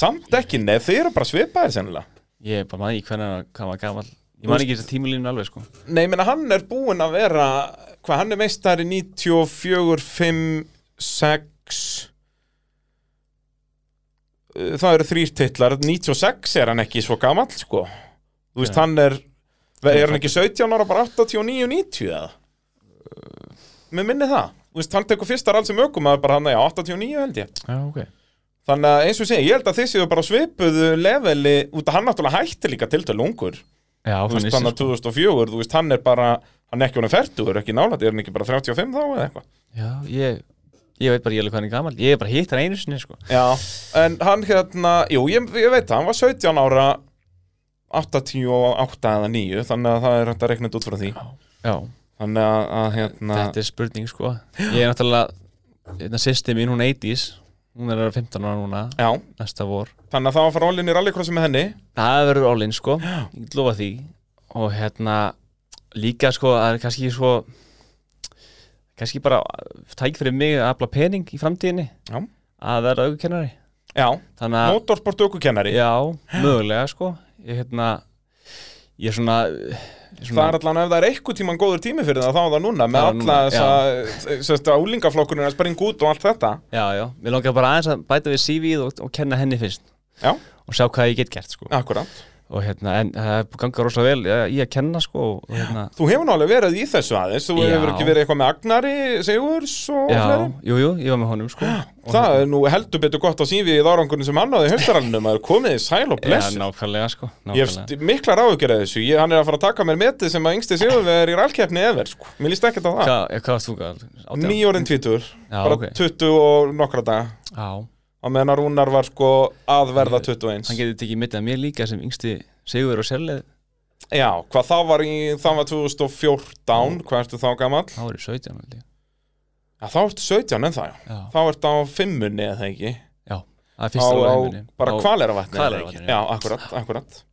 Speaker 1: Samt ekki, nei, þið eru bara svipaðir sennilega
Speaker 2: Ég er bara maður í hvernig hvað var gamal Ég man ekki þess að tímulínu alveg sko
Speaker 1: Nei, ég meina, hann er búinn að vera, hvað, hann er meistari 94, 5, 6 Uh, Það eru þrýr titlar, 96 er hann ekki svo gamall, sko Þú veist,
Speaker 2: Nei.
Speaker 1: hann er, er hann ekki 17 ára, bara 89, 90 eða? Mér minni það Þú veist, hann tekur fyrsta alls sem ökum að bara hann, já, 89 held ég
Speaker 2: Já, ok
Speaker 1: Þannig að eins og segja, ég held að þið séu bara á svipuðu leveli Út að hann náttúrulega hætti líka til til ungur
Speaker 2: Já,
Speaker 1: þú
Speaker 2: þannig
Speaker 1: veist, hann
Speaker 2: sem
Speaker 1: er 2004, þú veist, hann er bara hann er ekki honum fertugur, ekki nálægt, er hann ekki bara 35 þá eða eitthvað?
Speaker 2: Já, ég, ég veit bara ég alveg hvað hann er gamal Ég er bara hitt hann einu sinni sko
Speaker 1: Já. En hann hérna, jú, ég, ég veit það, hann var 17 ára 88 eða 9, þannig að það er hægt að reikna þetta út frá því.
Speaker 2: Já,
Speaker 1: Þannig að, að hérna,
Speaker 2: þetta er spurning sko Ég er náttúrulega Þetta sýsti mín, hún 80s Hún er að vera 15 ára núna
Speaker 1: já,
Speaker 2: Næsta vor
Speaker 1: þannig að það var að fara allin í rallycrossi með henni.
Speaker 2: Það verður all-in sko Ég get lofa því Og hérna Líka sko Það er kannski svo Kannski bara Tæk fyrir mig að afla pening í framtíðinni
Speaker 1: Já.
Speaker 2: Að verða aukennari
Speaker 1: Já,
Speaker 2: Þannig að
Speaker 1: motorsport aukukennari.
Speaker 2: Já, mögulega sko Ég hérna Ég svona, ég
Speaker 1: Það
Speaker 2: svona
Speaker 1: er allan, ef það er eitthvað tíman góður tími fyrir það, þá er það núna, með
Speaker 2: Það er
Speaker 1: alla
Speaker 2: núna,
Speaker 1: þess að, sérst, að úlingaflokkurinn er að springa út og allt þetta.
Speaker 2: Já, já, mér langar bara aðeins að bæta við CV-ið og, og kenna henni fyrst
Speaker 1: Já.
Speaker 2: Og sjá hvað ég get gert sko
Speaker 1: Akkurat.
Speaker 2: Og hérna, en það er búið að ganga rosalega vel eh, í að kenna sko og, og hérna
Speaker 1: Þú hefur nálega verið í þessu aðeins, þú
Speaker 2: Já.
Speaker 1: hefur ekki verið eitthvað með Agnari, Sigurs og
Speaker 2: Já,
Speaker 1: fleiri.
Speaker 2: jú, jú, ég var með honum sko Og
Speaker 1: Það er nú heldur betur gott að sífi í árangurinn sem hann náði í haustarallinum að komið í sæl og
Speaker 2: Já,
Speaker 1: bless.
Speaker 2: nákvæmlega sko
Speaker 1: Ég hef
Speaker 2: nákvæmlega.
Speaker 1: st- miklar áhugjur af þessu, ég, hann er að fara að taka mér metið sem að yngsti sigurvegar í rallkeppni efer, sko. Mér líst ekkert á það.
Speaker 2: Hvað, eh, hvað varst þú gæl?
Speaker 1: Nýjórinn tvítur,
Speaker 2: Já,
Speaker 1: bara
Speaker 2: ok.
Speaker 1: 20 og nokkra daga.
Speaker 2: Já,
Speaker 1: Á meðan að Rúnar var sko að verða 21.
Speaker 2: hann getið tekið mitt að mér líka sem yngsti Sigur og Selið
Speaker 1: Já, hvað það var í, það var 2014, hvað ertu þá gamall?
Speaker 2: Þá er ég 17 held ég.
Speaker 1: Já, þá ertu 17 en það, já.
Speaker 2: Já,
Speaker 1: Þá ertu á fimmunni eða ekki?
Speaker 2: já,
Speaker 1: á,
Speaker 2: það er fyrsta
Speaker 1: á
Speaker 2: lag í heiminum.
Speaker 1: bara
Speaker 2: Á-
Speaker 1: kvaleravatni já.
Speaker 2: Hvaleyrarvatni, já.
Speaker 1: já, akkurat, akkurat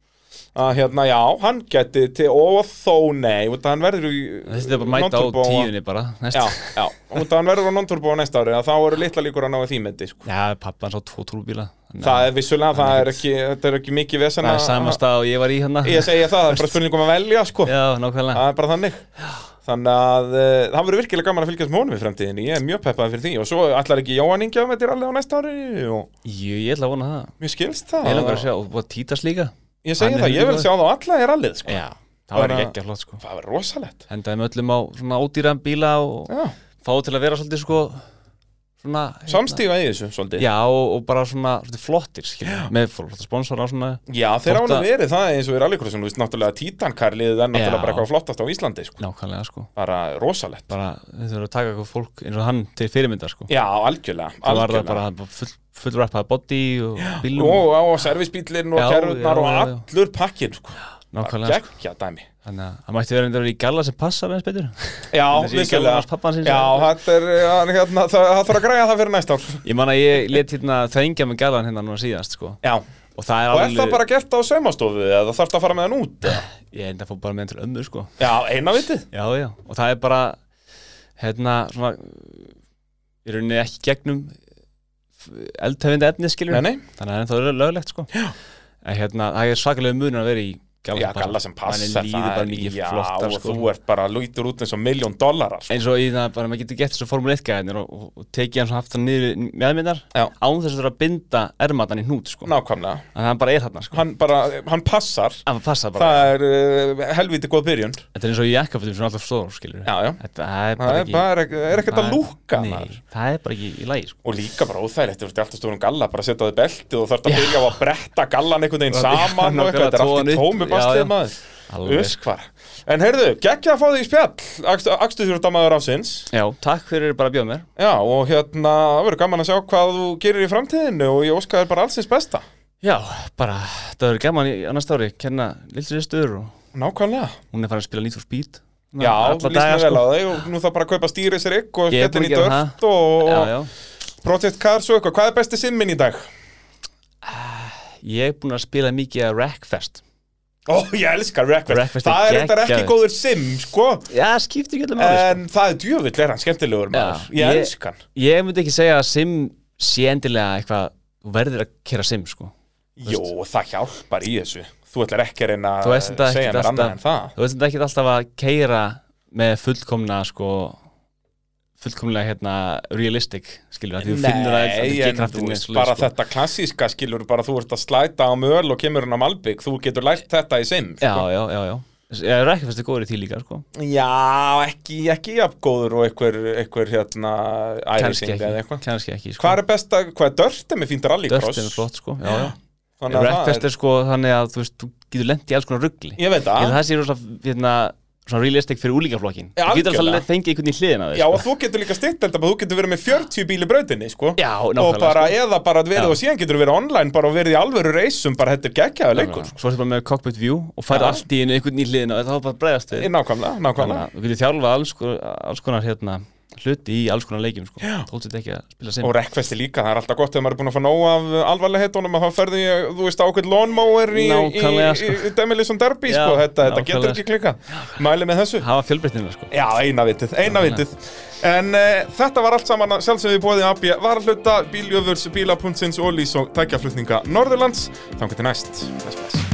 Speaker 1: að hérna, já, hann geti til og þó nei, út að hann verður í
Speaker 2: Þetta er bara að mæta á
Speaker 1: non-turbo-
Speaker 2: tíunni bara
Speaker 1: já,
Speaker 2: næsta.
Speaker 1: já, út að hann verður á non-turbo á næsta ári að þá eru litla líkur að ná því myndi sko.
Speaker 2: Já, pappa hans á tvo trúbíla þannig að
Speaker 1: það er vissulega, það er ekki þetta er ekki mikið vesen
Speaker 2: Það
Speaker 1: að-
Speaker 2: er sama stað og ég var í hérna
Speaker 1: ég segja það, það er bara spurningum að velja sko.
Speaker 2: Já, nákvæmlega
Speaker 1: það er bara þannig Þannig að uh, það verður virkilega gaman að fylgjast með honum í fremtíðinni, ég er mjög peppaði fyrir því og svo ætlar ekki Jóhann Ingi að með þér alveg á næsta ári og
Speaker 2: Jú, ég ætla að vona það
Speaker 1: mér skilst það
Speaker 2: Ég langar að sjá, og búið að títast líka
Speaker 1: Ég segi
Speaker 2: Hann er
Speaker 1: það, ég vil
Speaker 2: huldufólk.
Speaker 1: sjá það á alla í rallið sko.
Speaker 2: Já, það var
Speaker 1: Bara-
Speaker 2: ekki ekki flott sko
Speaker 1: Það verður rosalegt
Speaker 2: Hendaði með öllum á svona ódýran bíla og
Speaker 1: Já,
Speaker 2: fá til að vera svolítið sko svona hérna-
Speaker 1: Samstíga í þessu, svolítið
Speaker 2: Já, og, og bara svona, svona flottir skilur, með fólk, þetta sponsora á svona
Speaker 1: Já, þeir
Speaker 2: Þótt
Speaker 1: án að
Speaker 2: að-
Speaker 1: verið það eins og er alveg þú veist, náttúrulega títankarliðið er náttúrulega
Speaker 2: Já.
Speaker 1: bara eitthvað flottast á Íslandi, sko
Speaker 2: nákvæmlega sko
Speaker 1: bara rosalett
Speaker 2: bara við þurfum að taka eitthvað fólk eins og hann til fyrirmyndar sko
Speaker 1: Já, algjörlega,
Speaker 2: það var það
Speaker 1: algjörlega
Speaker 2: bara hann bara full, fullrappaði body og bílum
Speaker 1: og, og servisbílinn og
Speaker 2: Já,
Speaker 1: kerrurnar
Speaker 2: já,
Speaker 1: og
Speaker 2: já, já.
Speaker 1: allur pakkin sko.
Speaker 2: nákvæmlega sko.
Speaker 1: geggja dæmi
Speaker 2: þannig að hann mætti vera endur í galla sem passar eins betur
Speaker 1: já,
Speaker 2: Þessi í galla hans
Speaker 1: vissulega
Speaker 2: pappan sinns
Speaker 1: já, þetta er, hann, hérna, það, það þarf að græja það fyrir næsta ár
Speaker 2: ég man að ég let hérna þengja með gallan hérna núna síðast sko
Speaker 1: já,
Speaker 2: og það er
Speaker 1: og er
Speaker 2: alveg
Speaker 1: það bara gert á saumastofu eða þarfst að fara með hann út eða?
Speaker 2: ég enda að fór bara með hann til ömmu sko
Speaker 1: já, eina vitið
Speaker 2: já já og það er bara hérna svona í rauninni ekki gegnum eldhefindi efni skilur
Speaker 1: nei, nei,
Speaker 2: þannig að það er löglegt sko já. en hérna, það er svakalega munur að vera í
Speaker 1: já, galla sem passa
Speaker 2: manni líður bara mikið
Speaker 1: já,
Speaker 2: flottar
Speaker 1: og
Speaker 2: sko
Speaker 1: þú ert bara lútur út eins og miljón dollarar sko.
Speaker 2: eins og í það bara maður getur gett þessu formule 1 gæðinir og, og, og tekið hann svo haft hann niður meðmyndar
Speaker 1: Já.
Speaker 2: án þess að þurfa að binda ermatan í hnút sko
Speaker 1: nákvæmlega,
Speaker 2: þannig að hann bara er þarna sko
Speaker 1: hann bara, hann passar
Speaker 2: hann passa bara,
Speaker 1: það er uh, helviti góð byrjun já,
Speaker 2: þetta er eins og í jakkafutum sem er alltaf stór skilur
Speaker 1: já,
Speaker 2: þetta það er
Speaker 1: það er,
Speaker 2: bara ekki
Speaker 1: bara, er ekkert að
Speaker 2: það-
Speaker 1: lúka maður.
Speaker 2: nei, það er bara ekki í lagi sko
Speaker 1: Og líka bara óþægilegt, þú ert í alltaf stórum galla, bara setja á þig beltið og þarf að byrja á að bretta gallan einhvern veginn saman og eitthvað, þetta er allt í tómi bastlið maður.
Speaker 2: alveg
Speaker 1: Uskvar. En heyrðu, geggja að fá þig í spjall, axtu þjóttamæður afsins.
Speaker 2: já, takk fyrir bara að bjóða mér
Speaker 1: Já, og hérna, það verður gaman að sjá hvað þú gerir í framtíðinu og ég óska þér bara allsins besta.
Speaker 2: já, bara, það verður gaman í annars ári kenna lillri stöður og
Speaker 1: Nákvæmlega.
Speaker 2: hún er farin að spila Need for Speed
Speaker 1: Já,
Speaker 2: Alla
Speaker 1: þú líst
Speaker 2: daga, sko.
Speaker 1: mér vel á þig og nú þarf bara að kaupa stýris rigg og
Speaker 2: Ég er búin
Speaker 1: skellin
Speaker 2: að
Speaker 1: í
Speaker 2: gera
Speaker 1: dörft og
Speaker 2: já,
Speaker 1: og
Speaker 2: já.
Speaker 1: Project Cars og eitthvað. Hvað er besti simmin í dag?
Speaker 2: Ég er búin að spila mikið að Wreckfest
Speaker 1: Ó, ég elskar Wreckfest.
Speaker 2: Wreckfest er
Speaker 1: Það er reyndar ekki
Speaker 2: geggjaður.
Speaker 1: góður sim, sko.
Speaker 2: Já, skiptir ekki allir máli sko.
Speaker 1: En það er djöfull er hann skemmtilegur maður
Speaker 2: Já,
Speaker 1: Ég
Speaker 2: ég-
Speaker 1: elsk hann
Speaker 2: Ég myndi ekki segja að sim sé endilega eitthvað Þú verður að kera sim sko
Speaker 1: Jó, það hjálpar í þessu Þú ætlar ekki að reyna
Speaker 2: Þú
Speaker 1: að
Speaker 2: veist þetta
Speaker 1: segja
Speaker 2: ekkert
Speaker 1: mér annað
Speaker 2: alltaf-
Speaker 1: en það
Speaker 2: Þú veist þetta ekki alltaf að keira með fullkomna sko fullkomlega hérna realistic skilur að því þú finnur að
Speaker 1: Nei, en
Speaker 2: þetta
Speaker 1: þú
Speaker 2: G-kraftin er
Speaker 1: veist,
Speaker 2: svoleiðis,
Speaker 1: bara
Speaker 2: sko.
Speaker 1: þetta klassíska skilur bara þú ert að slæta á möl og kemur hann á Malbygg þú getur lært þetta í sim
Speaker 2: Já,
Speaker 1: sko.
Speaker 2: já, já, já Ég er ekki fyrst að góður í því líka sko
Speaker 1: Já, ekki, ekki jafngóður og einhver, einhver hérna
Speaker 2: Kannski
Speaker 1: ærising eða
Speaker 2: ekki,
Speaker 1: eitthvað
Speaker 2: kannski ekki sko.
Speaker 1: Hvað er besta, hvað er dörft með fínt rallycross?
Speaker 2: Dörtin er flott sko Já, já
Speaker 1: Þannig að það
Speaker 2: Wreckfest er sko þannig að þú veist þú getur lent í alls konar ruggli
Speaker 1: Ég veit
Speaker 2: Ég held
Speaker 1: það
Speaker 2: að það sé rosa hérna, svona realistic fyrir úlíkaflokkin
Speaker 1: Já,
Speaker 2: Þú getur
Speaker 1: algjörlega.
Speaker 2: alltaf fengið einhvern í hliðina á þér
Speaker 1: Já,
Speaker 2: sko.
Speaker 1: og þú getur líka styrt þetta, þú getur verið með 40 bíl í brautinni, sko
Speaker 2: Já,
Speaker 1: og
Speaker 2: nákvæmlega
Speaker 1: bara,
Speaker 2: sko.
Speaker 1: eða bara verið
Speaker 2: Já.
Speaker 1: og síðan getur verið online bara og verið í alvöru reysum, bara þetta er geggjaðu leikur
Speaker 2: Svo ertu bara með cockpit view og færð
Speaker 1: Já.
Speaker 2: allt í einu einhvern í hliðina og það var bara bregðast við
Speaker 1: Í Nákvæmlega, nákvæmlega
Speaker 2: að þú getur þjálfað alls, ko- alls konar hérna, hluti í alls konar leikjum sko. Þóttið ekki að spila sinn
Speaker 1: Og rekvesti líka, það er alltaf gott þegar maður er búin að fá nóg af alvarlega heitunum að það ferði, í, þú veist, ákveð lawnmower í, í,
Speaker 2: Nákvæmlega,
Speaker 1: í,
Speaker 2: sko.
Speaker 1: í Demilisson Derby,
Speaker 2: Já,
Speaker 1: sko, þetta, þetta
Speaker 2: nákvæmlega,
Speaker 1: getur ekki klika Mæli með þessu
Speaker 2: Hafa fjölbreytnina sko.
Speaker 1: Já, eina vitið, eina vitið En uh, þetta var allt saman að sjálfsögðu bóðið AB Varhluta, bíljöfurs, bíla.sins, ólís og tækjaflutninga Norðurlands Þannig til næst, bless, bless